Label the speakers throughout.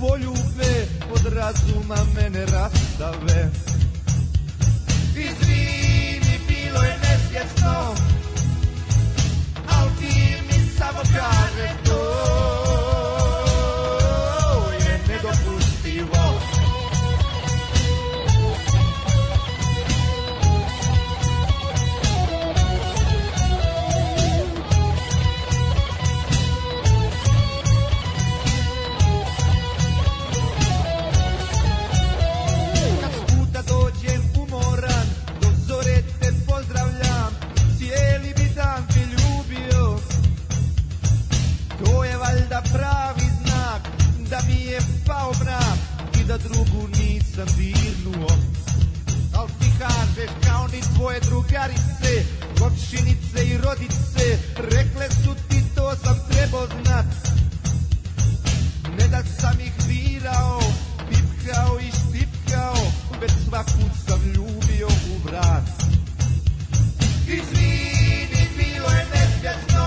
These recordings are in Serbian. Speaker 1: poljube od razuma mene rastave Izvini, bilo je nesvjesno Al ti mi samo kaže to je nedopustivo Kad s puta dođem umoran, do zore te pozdravljam, cijeli bi dan te ljubio. To je valjda pravi znak, da mi je pao mrak i da drugu nisam dirnuo. Al ti kažeš kao ni tvoje drugarice, komšinice i rodice, rekle su ti to sam trebao znat. Ne da sam ih virao, pipkao i štipkao, već svaku sam ljubio u vrat. Izvini, bilo je nesvjesno,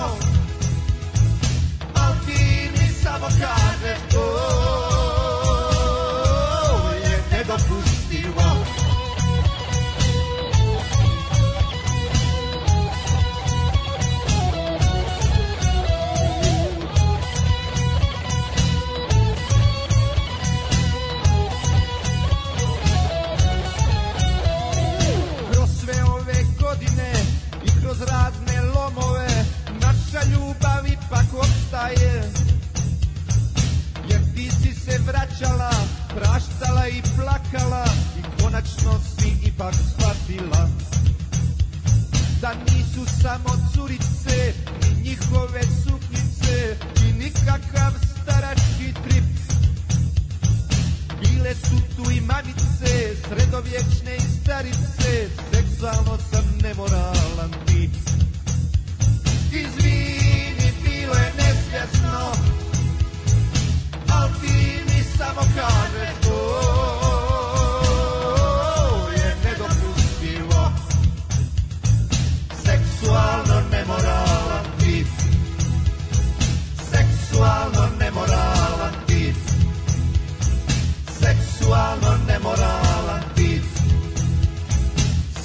Speaker 1: al ti mi samo kažeš to je nedopustivo. Kroz sve ove godine i kroz razne lomove naša ljubav ipak ostaje. Jer ti si se vraćala, praštala i plakala i konačno si ipak shvatila. Da nisu samo curice i njihove suknice i nikakav starački trip bile su tu i mamice, sredovječne i starice, seksualno sam nemoralan tip. Izvini, bilo je nesvjesno, al ti mi samo kažeš to je nedopustivo. Seksualno nemoralan tip, seksualno nemoralan tip seksualno nemoralan tip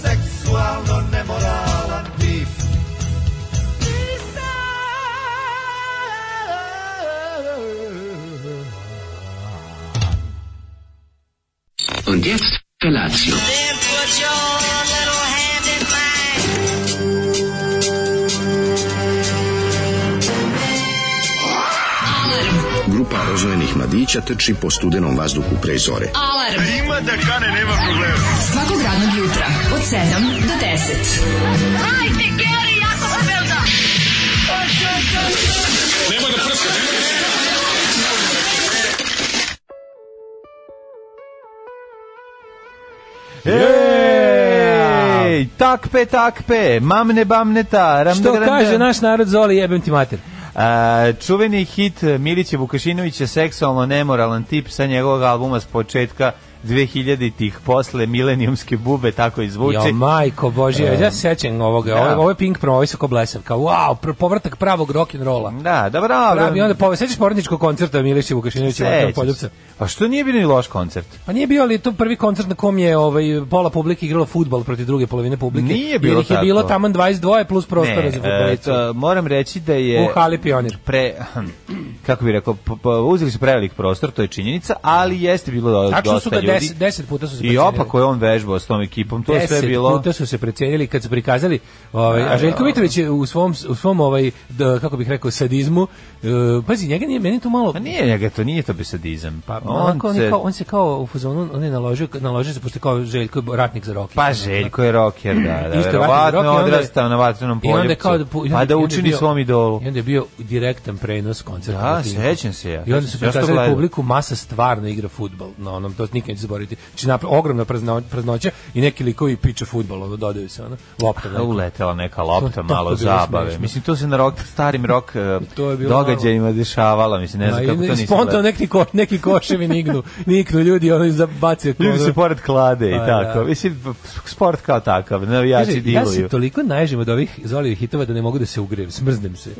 Speaker 1: seksualno nemoralan tip
Speaker 2: Und jetzt Felatio.
Speaker 3: Then put your little hand in mine.
Speaker 4: Grupa rozvojenih mladića trči po studenom vazduhu pre zore.
Speaker 5: Alarm. Ima da kane, nema problema. Svakog radnog jutra, od 7 do 10.
Speaker 3: Hajde, Geri, Jakobelda!
Speaker 6: Ej, takpe, takpe, mamne, bamne, taram.
Speaker 7: Što
Speaker 6: da,
Speaker 7: kaže
Speaker 6: da.
Speaker 7: naš narod Zoli, jebem ti mater.
Speaker 6: A, čuveni hit Milića Vukašinovića seksualno nemoralan tip sa njegovog albuma s početka 2000-ih posle milenijumske bube tako i zvuči. E.
Speaker 7: Jo, majko božija, ja se sećam ovoga,
Speaker 6: da.
Speaker 7: ovo, ovo je Pink promo, ovo je Soko Blesav, kao wow, pr- povratak pravog rock'n'rolla.
Speaker 6: Da, dobro. dobro.
Speaker 7: Pravi, onda pove, sećaš porodničkog koncerta Milića Vukašinovića,
Speaker 6: Sećam
Speaker 7: Vatka
Speaker 6: se.
Speaker 7: Poljupca?
Speaker 6: Pa što nije bio ni loš koncert?
Speaker 7: Pa nije bio, ali to prvi koncert na kom je ovaj, pola publike igrala futbal protiv druge polovine publike.
Speaker 6: Nije bilo
Speaker 7: Jer ih je bilo
Speaker 6: tako.
Speaker 7: taman 22 plus prostora za futbolicu.
Speaker 6: e, to moram reći da je...
Speaker 7: U hali Pionir.
Speaker 6: Pre, kako bih rekao, p- p- uzeli su prevelik prostor, to je činjenica, ali jeste bilo do- dosta ljudi.
Speaker 7: Tačno su ga 10 10 puta su se
Speaker 6: I
Speaker 7: precenili.
Speaker 6: opako je on vežbao s tom ekipom, to je sve
Speaker 7: Deset
Speaker 6: bilo...
Speaker 7: puta su se precenili kad su prikazali ovaj a Željko Mitrović je u svom u svom ovaj d- kako bih rekao sadizmu e, pazi njega nije meni tu malo
Speaker 6: Pa nije njega to, nije to besadizam.
Speaker 7: Pa,
Speaker 6: on,
Speaker 7: on,
Speaker 6: se,
Speaker 7: je kao, on se kao u fazonu, on je naložio, naložio se, pošto je kao Željko ratnik za roke.
Speaker 6: Pa Željko je roker, da, da,
Speaker 7: Isto je
Speaker 6: verovatno
Speaker 7: Vatrin Rock
Speaker 6: je
Speaker 7: i onda je-
Speaker 6: odrastao na vatrenom
Speaker 7: I onda je kao, da pu-
Speaker 6: poljupcu,
Speaker 7: i onda-
Speaker 6: pa
Speaker 7: i
Speaker 6: da
Speaker 7: onda je
Speaker 6: učini
Speaker 7: bio-
Speaker 6: svom idolu.
Speaker 7: I onda je bio direktan prenos koncerta.
Speaker 6: Da,
Speaker 7: na Pinku.
Speaker 6: sećam se ja.
Speaker 7: I onda su
Speaker 6: Dakle, Ja sam
Speaker 7: prikazali
Speaker 6: gledao.
Speaker 7: publiku, masa stvarno igra fudbal na onom, to nikad neću zaboraviti. Znači, napra- ogromna prazno, praznoća i neki likovi piče fudbal, ono, dodaju se, ono, lopta.
Speaker 6: Da
Speaker 7: neka.
Speaker 6: uletela neka
Speaker 7: To
Speaker 6: lopta,
Speaker 7: je tako
Speaker 6: malo
Speaker 7: bilo
Speaker 6: zabave.
Speaker 7: smešno.
Speaker 6: Mislim, to se na rok, starim rok eh,
Speaker 7: To je bilo
Speaker 6: događajima dešavalo. Mislim, ne
Speaker 7: Ma,
Speaker 6: znam
Speaker 7: i
Speaker 6: kako to nisam
Speaker 7: Spontano
Speaker 6: gledao.
Speaker 7: neki, ko, neki koševi niknu, niknu ljudi, ono, zabacije.
Speaker 6: Ljudi se pored klade i
Speaker 7: Pa,
Speaker 6: tako.
Speaker 7: da.
Speaker 6: Mislim, sport kao takav, navijači
Speaker 7: Kaže, ja se
Speaker 6: diluju.
Speaker 7: toliko naježim od ovih Zolijevih hitova da ne mogu da se ugrijem, smrznem se.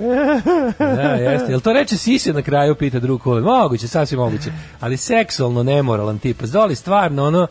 Speaker 7: da, jeste. Jel to reče Sise na kraju, pita drug Kule. Moguće, sasvim moguće. Ali seksualno nemoralan tip. Pa Zoli stvarno, ono,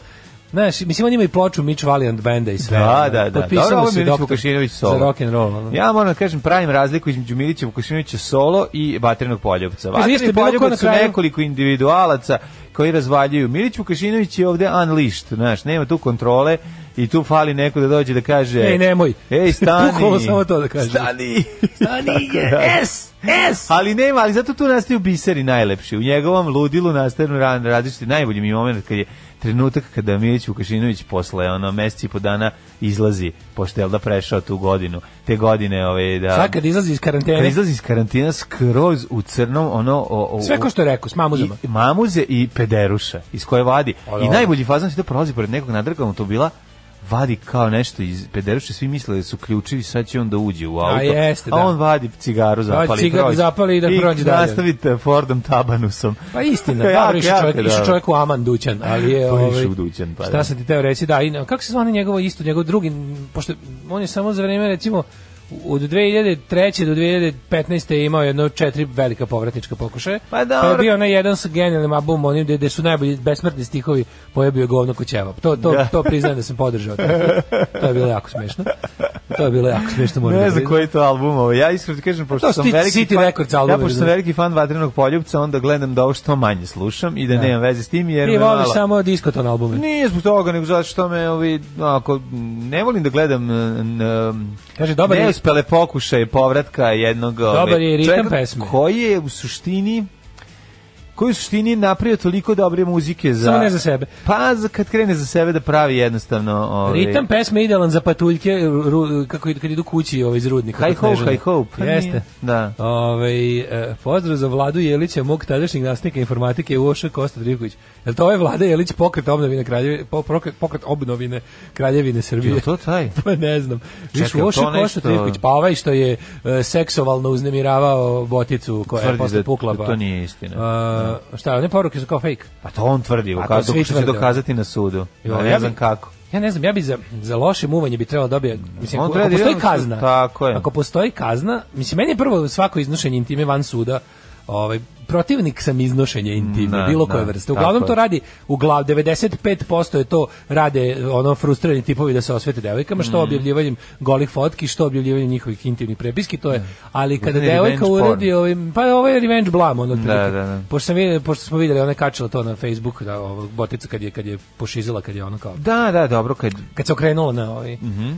Speaker 7: Znaš, mislim, on ima i ploču Mitch Valiant benda i sve.
Speaker 6: Da,
Speaker 7: ono.
Speaker 6: da, da.
Speaker 7: Potpisao
Speaker 6: Dobro, ovo je
Speaker 7: se
Speaker 6: Milić
Speaker 7: doktor
Speaker 6: Vukašinović
Speaker 7: Za
Speaker 6: solo.
Speaker 7: rock'n'roll. Ono.
Speaker 6: Ja moram da kažem, pravim razliku između Milića Vukašinovića solo i Vatrenog poljubca.
Speaker 7: Kaže, isto
Speaker 6: Vatreni
Speaker 7: je bilo ko na
Speaker 6: poljubac su
Speaker 7: kraju-
Speaker 6: nekoliko individualaca koji razvaljuju. Milić Vukašinović je ovde unleashed, znaš, nema tu kontrole i tu fali neko da dođe da kaže...
Speaker 7: Ej, nemoj.
Speaker 6: Ej, stani.
Speaker 7: Bukvalno samo to da kaže.
Speaker 6: Stani.
Speaker 7: Stani,
Speaker 6: Tako da.
Speaker 7: yes, yes!
Speaker 6: Ali nema, ali zato tu nastaju biseri najlepši. U njegovom ludilu nastaju ran, različiti najbolji mi moment kad je trenutak kada Milić Vukašinović posle ono meseci i po dana izlazi, pošto je jel da prešao tu godinu, te godine ove, da...
Speaker 7: Sad kad izlazi iz
Speaker 6: kad
Speaker 7: karantene,
Speaker 6: izlazi iz karantina skroz u crnom, ono... O, o,
Speaker 7: sve ko što je rekao, s mamuzama.
Speaker 6: I, mamuze i pederuša iz koje vadi.
Speaker 7: O,
Speaker 6: I
Speaker 7: dobro.
Speaker 6: najbolji fazan se da prolazi pored nekog nadrga automobila, vadi kao nešto iz pederuše, svi misle da su ključevi, sad će on da uđe u auto.
Speaker 7: jeste, da.
Speaker 6: A on vadi cigaru, zapali i
Speaker 7: cigaru,
Speaker 6: prođe.
Speaker 7: zapali i da prođe dalje.
Speaker 6: nastavite Fordom Tabanusom.
Speaker 7: Pa istina,
Speaker 6: Jako,
Speaker 7: dobro, išao
Speaker 6: jako
Speaker 7: čovjek,
Speaker 6: dobro.
Speaker 7: išao čovjek u Aman Dućan, ali je...
Speaker 6: Pa išao
Speaker 7: ovaj,
Speaker 6: u Dućan, pa da.
Speaker 7: Šta sam ti teo reći, da, i, na- kako se zvane njegovo isto, njegov drugi, m, pošto on je samo za vreme, recimo, od 2003. do 2015. je imao jedno četiri velika povratnička pokušaja.
Speaker 6: Pa dobro.
Speaker 7: Pa je bio onaj jedan sa genijalnim albumom, onim gde, gde su najbolji besmrtni stihovi pojebio je govno ko ćevap. To, to, to priznajem da sam podržao. To je bilo jako smešno. To je bilo jako smešno, moram
Speaker 6: Ne
Speaker 7: da
Speaker 6: znam
Speaker 7: priznam.
Speaker 6: koji je to album ovo. Ja iskreno ti kažem, pošto
Speaker 7: To su
Speaker 6: sam
Speaker 7: ti
Speaker 6: veliki
Speaker 7: City
Speaker 6: fan,
Speaker 7: Records
Speaker 6: ja
Speaker 7: albumi,
Speaker 6: pošto sam
Speaker 7: razumeš.
Speaker 6: veliki fan Vatrenog poljubca, onda gledam da ovo što manje slušam i da, nemam veze s tim, jer
Speaker 7: Ti
Speaker 6: me
Speaker 7: voliš
Speaker 6: malo-
Speaker 7: samo diskoton albume.
Speaker 6: Nije zbog toga, nego zato što me ovi, ako, ne volim da gledam n, n,
Speaker 7: Kaže, dobar je-
Speaker 6: neuspele pokušaje povratka jednog ovi,
Speaker 7: Dobar je ritam
Speaker 6: čovjeka
Speaker 7: pesme.
Speaker 6: Koji je u suštini koji u suštini napravio toliko dobre muzike za...
Speaker 7: Samo ne za sebe.
Speaker 6: Pa za, kad krene za sebe da pravi jednostavno... Ovi,
Speaker 7: Ritam pesme je idealan za patuljke, ru, ru- kako id- kad idu kući ovaj iz rudnika.
Speaker 6: High
Speaker 7: kod
Speaker 6: hope,
Speaker 7: Snežane.
Speaker 6: high hope. Pa nije.
Speaker 7: Jeste.
Speaker 6: Da.
Speaker 7: Ovaj e, pozdrav za Vladu Jelića, mog tadašnjeg nastavnika informatike u Oša Kosta Drivković. Jel to ovaj Vlada Jelić pokret obnovine kraljevine, po- pokret, pokret obnovine kraljevine Srbije?
Speaker 6: Je to taj?
Speaker 7: Pa ne znam. Viš
Speaker 6: Čekaj,
Speaker 7: u
Speaker 6: jel
Speaker 7: Oša
Speaker 6: to
Speaker 7: Kosta
Speaker 6: nešto-
Speaker 7: Drivković, pa ovaj što je e, seksualno uznemiravao boticu koja je
Speaker 6: Tvrdi
Speaker 7: posle
Speaker 6: da-
Speaker 7: pukla.
Speaker 6: da
Speaker 7: pa-
Speaker 6: to nije istina.
Speaker 7: E, šta, one poruke su kao fake?
Speaker 6: Pa to on tvrdi,
Speaker 7: to
Speaker 6: ukazao,
Speaker 7: svi
Speaker 6: će se
Speaker 7: tvrde.
Speaker 6: dokazati na sudu.
Speaker 7: Jo,
Speaker 6: Ja,
Speaker 7: ja
Speaker 6: ne
Speaker 7: bi-
Speaker 6: znam kako.
Speaker 7: Ja ne znam, ja bi za, za loše muvanje bi trebalo dobije, mislim,
Speaker 6: On
Speaker 7: ako,
Speaker 6: treba
Speaker 7: ako
Speaker 6: da
Speaker 7: postoji
Speaker 6: ide na sud,
Speaker 7: kazna,
Speaker 6: tako je.
Speaker 7: ako postoji kazna, mislim, meni je prvo svako iznošenje intime van suda, ovaj, protivnik sam iznošenja intime,
Speaker 6: Da,
Speaker 7: bilo
Speaker 6: da,
Speaker 7: koje vrste.
Speaker 6: tako
Speaker 7: Uglavnom
Speaker 6: je.
Speaker 7: to radi, uglav 95% je to rade ono frustrirani tipovi da se osvete devojkama,
Speaker 6: Mhm.
Speaker 7: što objavljivanjem golih fotki, što objavljivanjem njihovih intimnih prepiski, to je, ali kada
Speaker 6: Uzmi
Speaker 7: devojka
Speaker 6: Mhm. revenge porn.
Speaker 7: uradi, ovaj, pa ovo je revenge blam, ono, otprilike.
Speaker 6: da, da.
Speaker 7: Pošto, sam vidio, pošto smo vidjeli, ona je kačila to na Facebook, da, ovog botica kad je, kad je pošizila, kad je ono kao
Speaker 6: Da, da, dobro, kad
Speaker 7: kad se okrenulo na ovaj
Speaker 6: Mhm.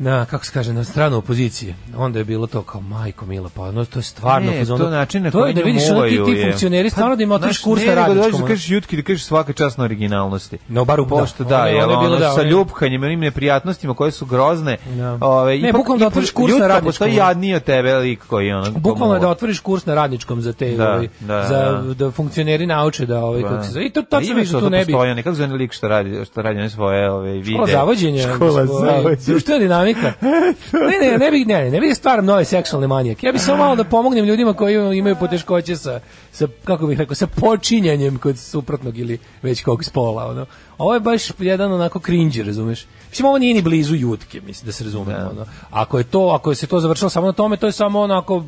Speaker 7: na kako se kaže na stranu opozicije onda je bilo to kao majko mila pa ono to je stvarno
Speaker 6: Ne,
Speaker 7: fazon-
Speaker 6: to način na
Speaker 7: to je
Speaker 6: koji
Speaker 7: da vidiš ono ti, ti
Speaker 6: Pa,
Speaker 7: funkcioneri stvarno da im otiš kurs na
Speaker 6: Da
Speaker 7: radničkom ono.
Speaker 6: kažeš jutki, da kažeš svaka čast na originalnosti.
Speaker 7: No, bar u-
Speaker 6: Pošto
Speaker 7: da.
Speaker 6: da,
Speaker 7: Ono je-
Speaker 6: je
Speaker 7: ono je bilo, da,
Speaker 6: sa
Speaker 7: ono je-
Speaker 6: ljupkanjem, onim neprijatnostima koje su grozne.
Speaker 7: Da.
Speaker 6: Ove,
Speaker 7: Ne,
Speaker 6: ipak-
Speaker 7: bukvalno da
Speaker 6: ipak
Speaker 7: otvoriš kurs na
Speaker 6: jutka
Speaker 7: radničkom.
Speaker 6: Postoji jadniji od tebe lik koji ono...
Speaker 7: Bukvalno je da otvoriš kurs na radničkom za te
Speaker 6: Da,
Speaker 7: ovaj,
Speaker 6: da,
Speaker 7: za
Speaker 6: da.
Speaker 7: da funkcioneri nauče da ovaj kako se zove. I to
Speaker 6: Pa
Speaker 7: tačno vidiš da tu ne bi
Speaker 6: Postoji, nekako zove lik što radi, što radi one svoje ove, vide.
Speaker 7: Škola zavođenja.
Speaker 6: Škola
Speaker 7: gospodine.
Speaker 6: zavođenja.
Speaker 7: Društvena dinamika. Ne, ne, ne bih, ne, ne, ne bih stvaram nove seksualne manijake. Ja bih samo malo da pomognem ljudima koji imaju poteškoće sa, sa kako bih rekao, sa počinjanjem kod suprotnog ili već kog spola. Ono. Ovo je baš jedan onako cringe, razumeš? Mislim, ovo nije ni blizu jutke, mislim, da se razumemo. Ono. Ako je to, ako se to završilo samo na tome, to je samo onako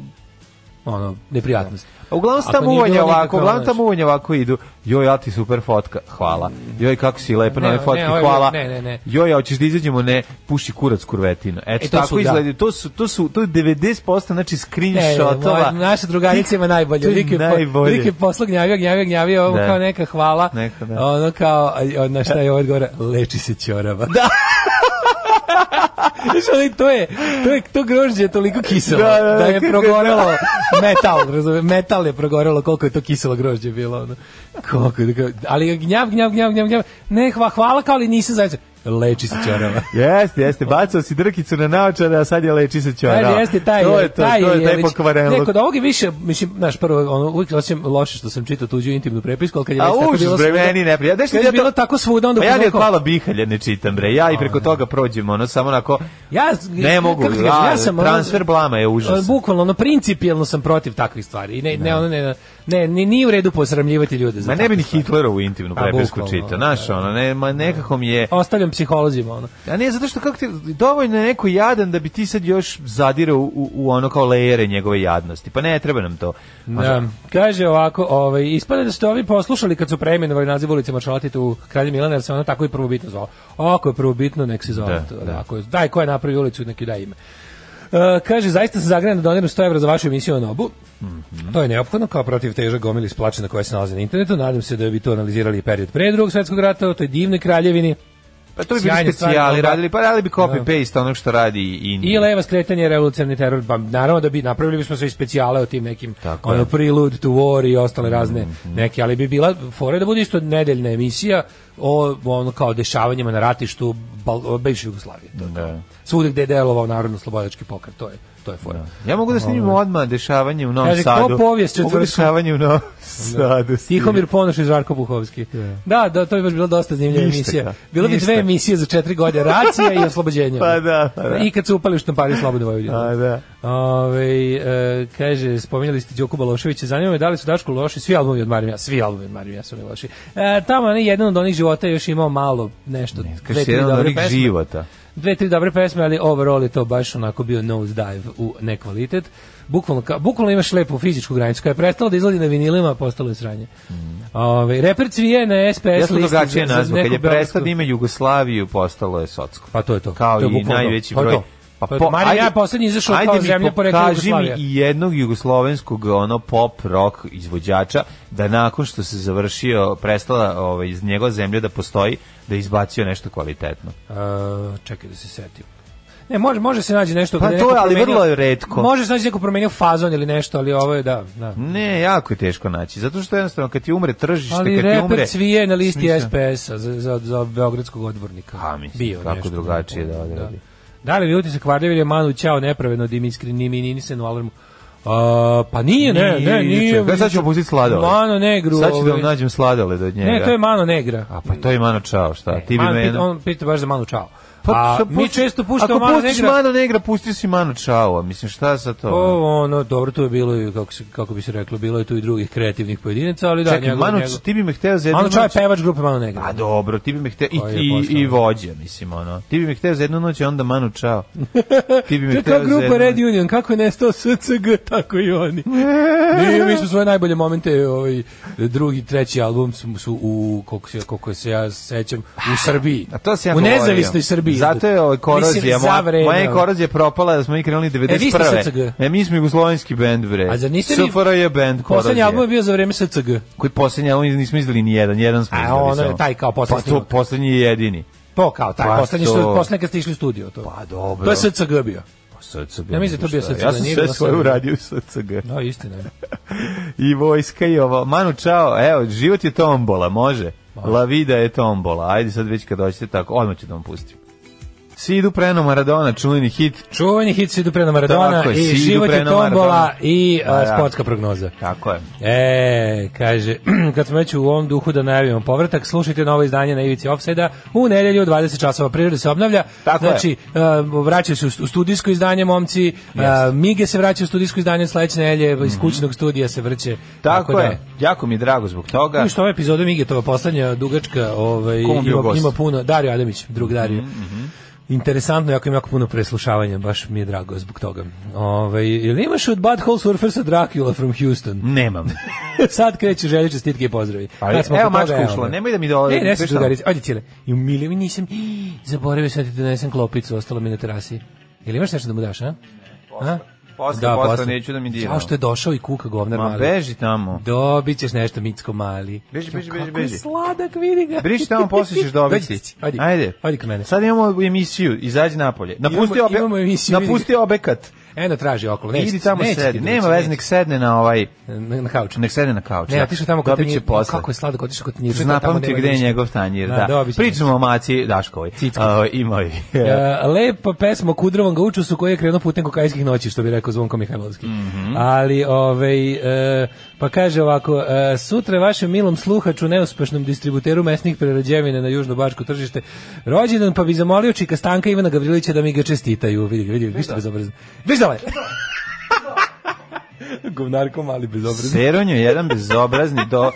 Speaker 7: ono, neprijatnost.
Speaker 6: A Uglavnom se
Speaker 7: Ako
Speaker 6: tamo
Speaker 7: nije
Speaker 6: uvanje
Speaker 7: bilo
Speaker 6: ovako,
Speaker 7: nikakve,
Speaker 6: uglavnom
Speaker 7: ono,
Speaker 6: tamo uvanje ovako idu. Joj, ja ti super fotka, hvala. Joj, kako si lepa na
Speaker 7: Ne,
Speaker 6: ovoj fotki,
Speaker 7: ne, ovo je-
Speaker 6: hvala.
Speaker 7: ne, ne, ne.
Speaker 6: Joj, a hoćeš da izađemo, ne, puši kurac kurvetinu. Eto,
Speaker 7: E, to su,
Speaker 6: tako
Speaker 7: da.
Speaker 6: izgleda. To su, to su, to je 90% znači
Speaker 7: Ne,
Speaker 6: screenshotova.
Speaker 7: moja- naša drugarica ima najbolje.
Speaker 6: To je
Speaker 7: Lik je, po,
Speaker 6: najbolje.
Speaker 7: lik je posla gnjavio, gnjavio, gnjavio, ovo
Speaker 6: Da.
Speaker 7: kao neka hvala.
Speaker 6: Neka, da.
Speaker 7: Ono kao, a, a, na šta je ovaj odgovora, leči se ćorava. Da. Znaš, ali to je, to je, to grožđe je toliko kiselo, da,
Speaker 6: Da, da, da,
Speaker 7: je
Speaker 6: kako-
Speaker 7: progorelo metal, razumem, metal je progorelo, koliko je to kiselo grožđe bilo, ono. Koliko, je to- ali gnjav, gnjav, gnjav, gnjav, gnjav, ne, hva, hvala kao, ali nisam zajedno. leči se ćorava.
Speaker 6: Jeste, jeste, bacao si drkicu na naočare, a sad je leči se ćorava.
Speaker 7: Kaže, jeste taj,
Speaker 6: to je to,
Speaker 7: taj,
Speaker 6: to je taj
Speaker 7: već-
Speaker 6: pokvaren
Speaker 7: Ne,
Speaker 6: luk.
Speaker 7: kod ovog je više, mislim, znaš, prvo, ono, uvijek osim loše što sam čitao tuđu intimnu prepisku, ali kad je
Speaker 6: A
Speaker 7: već tako
Speaker 6: užas,
Speaker 7: bilo
Speaker 6: bre,
Speaker 7: svuda-
Speaker 6: meni neprijatno. Znaš ti
Speaker 7: kad
Speaker 6: da
Speaker 7: je
Speaker 6: to-
Speaker 7: bilo tako svuda, onda...
Speaker 6: Pa ja
Speaker 7: fuzonu
Speaker 6: ni od
Speaker 7: kao-
Speaker 6: Pala Bihalja ne čitam, bre. Ja i preko toga prođem, ono, samo onako...
Speaker 7: Ja
Speaker 6: Ne mogu,
Speaker 7: kako ti kažem, ono-
Speaker 6: ja, transfer blama je užas.
Speaker 7: Bukvalno, ono, principijelno sam protiv takvih stvari. I ne, ne, ono, ne, ne, ne, nije u redu posramljivati ljude. Za
Speaker 6: Ma ne bi
Speaker 7: takve
Speaker 6: ni
Speaker 7: stvari.
Speaker 6: Hitlerovu intimnu
Speaker 7: A,
Speaker 6: prepisku
Speaker 7: bukvalno,
Speaker 6: čitao, znaš, ono, ne, ma nekako mi je...
Speaker 7: Ostavljam psiholozima, ono.
Speaker 6: A ne, zato što kako ti, dovoljno je neko jadan da bi ti sad još zadirao u, u, u ono kao lejere njegove jadnosti. Pa ne, treba nam to.
Speaker 7: Da, kaže ovako, ovaj, ispada da ste ovi poslušali kad su preimenovali naziv ulice Maršalatitu u Kralje Milana, jer se ono tako i prvobitno zvao. Ako je prvobitno, nek se zove.
Speaker 6: Da,
Speaker 7: to,
Speaker 6: da.
Speaker 7: Ako je, daj, ko je napravi ulicu, nek ju daj ime. E, kaže, zaista se zagrajam da doniram 100 evra za vašu emisiju o Nobu.
Speaker 6: Mhm.
Speaker 7: To je neophodno, kao protiv teža gomili splačena koja se nalaze na internetu. Nadam se da bi to analizirali i period pre drugog svetskog rata, o toj divnoj kraljevini.
Speaker 6: Pa to bi bili
Speaker 7: Sjajne stvari,
Speaker 6: specijali,
Speaker 7: da.
Speaker 6: radili, pa radili bi copy-paste onog što radi i
Speaker 7: I leva skretanje, revolucionarni teror, pa naravno da bi napravili bismo sve i specijale o tim nekim
Speaker 6: Tako je. Mhm.
Speaker 7: ono prelude to war i ostale razne neke, ali bi bila fora da bude isto nedeljna emisija o ono kao dešavanjima na ratištu Bal- bivše Jugoslavije. To je to.
Speaker 6: Da.
Speaker 7: Svugde gde je delovao narodno slobodački pokret, to je to je fora.
Speaker 6: Ja mogu da snimim odmah dešavanje u Novom
Speaker 7: Kaže, ko
Speaker 6: Sadu.
Speaker 7: povijest
Speaker 6: Mogu
Speaker 7: četvrtkom?
Speaker 6: dešavanje u Novom Sadu.
Speaker 7: Tihomir Ponoš i Žarko Buhovski. Da, da, to bi baš bila dosta zanimljiva
Speaker 6: Ništa,
Speaker 7: emisija.
Speaker 6: da.
Speaker 7: Bilo bi
Speaker 6: Ništa.
Speaker 7: dve emisije za četiri godine, racija i oslobođenje.
Speaker 6: Pa da, pa da.
Speaker 7: I kad su upali u štampari Slobode Vojvodine.
Speaker 6: A, da.
Speaker 7: Ove, e, kaže, spominjali ste Đoku Baloševića, zanima me da li su Dašku loši, svi albumi od Marimija, svi albumi od Marimija su mi loši. E, tamo ne, jedan od onih života je još imao malo nešto, dve,
Speaker 6: Kaže,
Speaker 7: tri
Speaker 6: jedan od
Speaker 7: dobre
Speaker 6: onih
Speaker 7: pesme.
Speaker 6: života.
Speaker 7: Dve, tri dobre pesme, ali overall je to baš onako bio nose dive u nekvalitet. Bukvalno, ka, bukvalno imaš lepu fizičku granicu koja je prestala da izlazi na vinilima, a postalo je sranje. Ove, reper cvije na SPS
Speaker 6: Mm. Ja
Speaker 7: listi.
Speaker 6: sam
Speaker 7: za-
Speaker 6: drugačije
Speaker 7: za
Speaker 6: nazvao. Kad je
Speaker 7: neku
Speaker 6: prestao
Speaker 7: beogradsku-
Speaker 6: da ima Jugoslaviju, postalo je Socko.
Speaker 7: Pa to je to.
Speaker 6: Kao
Speaker 7: To je
Speaker 6: i
Speaker 7: bukvalno to. Pa
Speaker 6: najveći
Speaker 7: To je
Speaker 6: broj. Pa
Speaker 7: to. To je to. Marin
Speaker 6: ajde-
Speaker 7: ja je poslednji izašao
Speaker 6: ajde
Speaker 7: kao
Speaker 6: mi
Speaker 7: zemlja porekla
Speaker 6: pokaži
Speaker 7: Jugoslavija.
Speaker 6: mi i jednog jugoslovenskog ono pop rock izvođača da nakon što se završio prestala ovaj iz njegova zemlja da postoji da je izbacio nešto kvalitetno.
Speaker 7: E, čekaj da se setim. Ne, može, može se naći nešto.
Speaker 6: Pa
Speaker 7: gde
Speaker 6: to
Speaker 7: neko
Speaker 6: je, ali
Speaker 7: promenio-
Speaker 6: vrlo je retko.
Speaker 7: Može se naći neko promenio fazon ili nešto, ali ovo je da, da.
Speaker 6: Ne, jako je teško naći. Zato što jednostavno kad ti umre tržište,
Speaker 7: Ali
Speaker 6: kad ti umre
Speaker 7: reper cvije na listi
Speaker 6: Smisla.
Speaker 7: SPS-a za, za, za beogradskog odbornika.
Speaker 6: Pa, mislim, kako drugačije da odradi.
Speaker 7: Da li vi utisak Vardevir je Manu Ćao nepravedno dimiskri ni mi ni se u alarmu? A, pa nije, ne,
Speaker 6: Nije,
Speaker 7: ne, nije.
Speaker 6: čekaj, sad ćemo pustiti sladoled.
Speaker 7: Mano Negru.
Speaker 6: Sad ću da vam
Speaker 7: ovaj.
Speaker 6: nađem sladoled od njega.
Speaker 7: Ne, to je Mano Negra.
Speaker 6: A pa to je Mano Čao, šta? ti bi
Speaker 7: Manu
Speaker 6: mene...
Speaker 7: pita, on pita baš za Manu Čao.
Speaker 6: Pa,
Speaker 7: a
Speaker 6: sa-
Speaker 7: mi
Speaker 6: pusti-
Speaker 7: često puštamo
Speaker 6: Ako
Speaker 7: Manu
Speaker 6: pustiš
Speaker 7: Negra.
Speaker 6: Mano Negra, pusti si Mano Čao. Mislim, šta sa to?
Speaker 7: O, ono, dobro, tu je bilo i kako, se, kako bi se reklo, bilo je tu i drugih kreativnih pojedinaca, ali da,
Speaker 6: Čekaj,
Speaker 7: njegov,
Speaker 6: Manu,
Speaker 7: njegov.
Speaker 6: ti bi me hteo za jednu
Speaker 7: Manu Čao je
Speaker 6: noć-
Speaker 7: pevač grupe Manu Negra.
Speaker 6: A Pa dobro, ti bi me hteo, i,
Speaker 7: Koji je
Speaker 6: i,
Speaker 7: postao?
Speaker 6: i vođa, mislim, ono. Ti bi me hteo za jednu noć i onda Manu Čao. Ti
Speaker 7: To
Speaker 6: bi me
Speaker 7: je kao
Speaker 6: hteo za
Speaker 7: grupa
Speaker 6: jednu
Speaker 7: Red
Speaker 6: noć.
Speaker 7: Union, kako je nestao SCG, tako i oni. Mi, mi smo svoje najbolje momente, ovaj, drugi, treći album su, su u, koliko se, koliko se ja sećam, u Srbiji.
Speaker 6: Ah, A to se ja
Speaker 7: U
Speaker 6: govorio.
Speaker 7: nezavisnoj Srbiji.
Speaker 6: Zato je ovaj korozija,
Speaker 7: Mislim, za vreme,
Speaker 6: moja, moja je
Speaker 7: ono.
Speaker 6: korozija propala da smo mi krenuli 91.
Speaker 7: E, vi ste SCG?
Speaker 6: E, mi smo jugoslovenski bend, bre.
Speaker 7: A zar niste vi-
Speaker 6: SFRJ
Speaker 7: Poslednji
Speaker 6: bend korozija.
Speaker 7: album je bio za vreme SCG.
Speaker 6: Koji poslednji album nismo izdali ni jedan, jedan smo
Speaker 7: A,
Speaker 6: izdali
Speaker 7: ono je
Speaker 6: samo.
Speaker 7: taj kao poslednji
Speaker 6: Pa to
Speaker 7: snimak.
Speaker 6: poslednji je jedini.
Speaker 7: To kao, taj
Speaker 6: Pa
Speaker 7: poslednji,
Speaker 6: to-
Speaker 7: što, poslednji kad ste išli u studio. To.
Speaker 6: Pa dobro.
Speaker 7: To je SCG bio.
Speaker 6: SCG.
Speaker 7: Ja mislim da je to bio
Speaker 6: šta je.
Speaker 7: SCG,
Speaker 6: Ja sam
Speaker 7: nije
Speaker 6: sve
Speaker 7: bilo
Speaker 6: svoje
Speaker 7: SCG.
Speaker 6: uradio u SCG.
Speaker 7: Da, istina. je.
Speaker 6: I vojska i ovo. Manu, čao, evo, život je tombola, može. La vida je tombola. Ajde sad već kad hoćete tako, odmah ću da vam pustim. Svi idu preno Maradona, čuveni hit.
Speaker 7: Čuveni hit Sidu Prena Maradona
Speaker 6: Tako je,
Speaker 7: i
Speaker 6: Sidu
Speaker 7: život je
Speaker 6: Prena
Speaker 7: tombola
Speaker 6: Maradona.
Speaker 7: i a,
Speaker 6: Pa da.
Speaker 7: sportska prognoza.
Speaker 6: Tako je.
Speaker 7: E, kaže, kad smo već u ovom duhu da najavimo povratak, slušajte novo izdanje na Ivici Offside-a u nedelju u 20 časova priroda se obnavlja.
Speaker 6: Tako je.
Speaker 7: znači, e, vraćaju se u stu- u studijsko izdanje momci, e, Mige se vraća u studijsko izdanje sledeće nedelje, iz kućnog studija se vrće.
Speaker 6: Mhm. Tako,
Speaker 7: da,
Speaker 6: je. Jako mi je drago zbog toga.
Speaker 7: Vidiš što ova epizoda Mige, to je poslednja dugačka, ovaj,
Speaker 6: Ko vam bio
Speaker 7: ima,
Speaker 6: gost? Mhm,
Speaker 7: ima puno, Dario Adamić, drug Dario. Interesantno, jako ima jako puno preslušavanja, baš mi je drago zbog toga. Ovaj, jel imaš od Bad Hole Surfersa Dracula from Houston?
Speaker 6: Nemam.
Speaker 7: Sad kreću želje čestitke i pozdravi.
Speaker 6: Ali,
Speaker 7: Kad smo
Speaker 6: Pa evo
Speaker 7: Pa kod toga,
Speaker 6: mačka
Speaker 7: evo
Speaker 6: ušla,
Speaker 7: me.
Speaker 6: nemoj da mi dolazi.
Speaker 7: Ne, ne,
Speaker 6: Sve
Speaker 7: sam
Speaker 6: šta?
Speaker 7: drugarici. Ajde, cijele. I umilio mi nisam, zaboravio sam da ti donesem klopicu, ostalo mi na terasi. Jel imaš nešto da mu daš, a? A?
Speaker 6: Posle, da, posle, neću da mi dira.
Speaker 7: Čao što je došao i kuka govnar
Speaker 6: Ma,
Speaker 7: mali.
Speaker 6: beži tamo.
Speaker 7: Dobit ćeš nešto, Micko mali.
Speaker 6: Beži, beži,
Speaker 7: Kako
Speaker 6: beži,
Speaker 7: je
Speaker 6: beži.
Speaker 7: sladak, vidi ga.
Speaker 6: Briši tamo, posle ćeš
Speaker 7: Dođi,
Speaker 6: dobiti.
Speaker 7: Ajde,
Speaker 6: Ajde.
Speaker 7: Ajde kod mene.
Speaker 6: Sad imamo emisiju, izađi napolje. Napusti,
Speaker 7: Imamo-
Speaker 6: obe-
Speaker 7: imamo emisiju, vidi.
Speaker 6: napusti obekat.
Speaker 7: Eno traži okolo. Neće,
Speaker 6: Idi tamo
Speaker 7: neće ti
Speaker 6: sedi.
Speaker 7: doći,
Speaker 6: Nema veze, nek
Speaker 7: neće.
Speaker 6: sedne na ovaj...
Speaker 7: Na, na kauču.
Speaker 6: Nek sedne na kauč.
Speaker 7: Ne,
Speaker 6: da.
Speaker 7: otišao tamo kod
Speaker 6: Dobit će
Speaker 7: tanjira.
Speaker 6: posle.
Speaker 7: Kako je sladak, otišao kod tanjira.
Speaker 6: Znapamtio gde je njegov tanjir,
Speaker 7: Da,
Speaker 6: da.
Speaker 7: dobit će
Speaker 6: Pričamo o maci Daškovoj.
Speaker 7: Cicki.
Speaker 6: A, I moj.
Speaker 7: E, lepa pesma o Kudrovom gaučusu koji je krenuo putem kokajskih noći, što bi rekao Zvonko Mihajlovski. Ali, ovaj, e, pa kaže ovako, e, sutra vašem milom sluhaču, neuspešnom distributeru mesnih prerađevina na južnobačko tržište, rođendan, pa bi zamolio Čika Stanka i Ivana Gavrilića da mi ga čestitaju. Vidi ga, vidi ga, ništa bezobrazno. Viš ovaj! Govnarko mali bezobrazno.
Speaker 6: Seronjo, jedan bezobrazni do...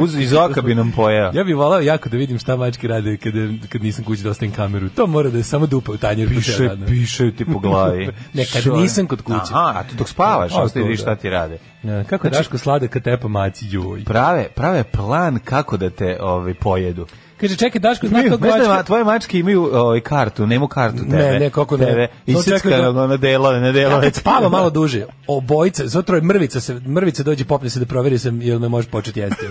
Speaker 6: Uz, iz oka bi nam pojeo.
Speaker 7: Ja bih volao jako da vidim šta mačke rade kad, kad nisam kući da ostavim kameru. To mora da je samo dupa u tanjer. po ceo
Speaker 6: Piše,
Speaker 7: dan.
Speaker 6: piše ti po glavi.
Speaker 7: Ne, kad
Speaker 6: Što je?
Speaker 7: nisam kod kuće.
Speaker 6: Aha, a ti dok spavaš,
Speaker 7: A,
Speaker 6: ostaje
Speaker 7: to
Speaker 6: vidiš
Speaker 7: da.
Speaker 6: šta ti rade. Znači,
Speaker 7: Ja, E, kako je Daško sladak kad tepa maci, joj.
Speaker 6: Prave, prave plan kako da te ovaj, pojedu.
Speaker 7: Kaže, čekaj, Daško, zna
Speaker 6: Znaš
Speaker 7: kako
Speaker 6: da
Speaker 7: mačka...
Speaker 6: ma- tvoje mačke imaju ovaj, kartu, nemu kartu tebe.
Speaker 7: Ne, ne, kako ne.
Speaker 6: Tebe,
Speaker 7: Samo čekaj
Speaker 6: isjeckanog,
Speaker 7: da-
Speaker 6: ono delove, ne
Speaker 7: Ja
Speaker 6: delove.
Speaker 7: kad spava malo duže, obojica, zato je mrvica se, mrvica dođe popne se da proveri sam jel me može početi jesti.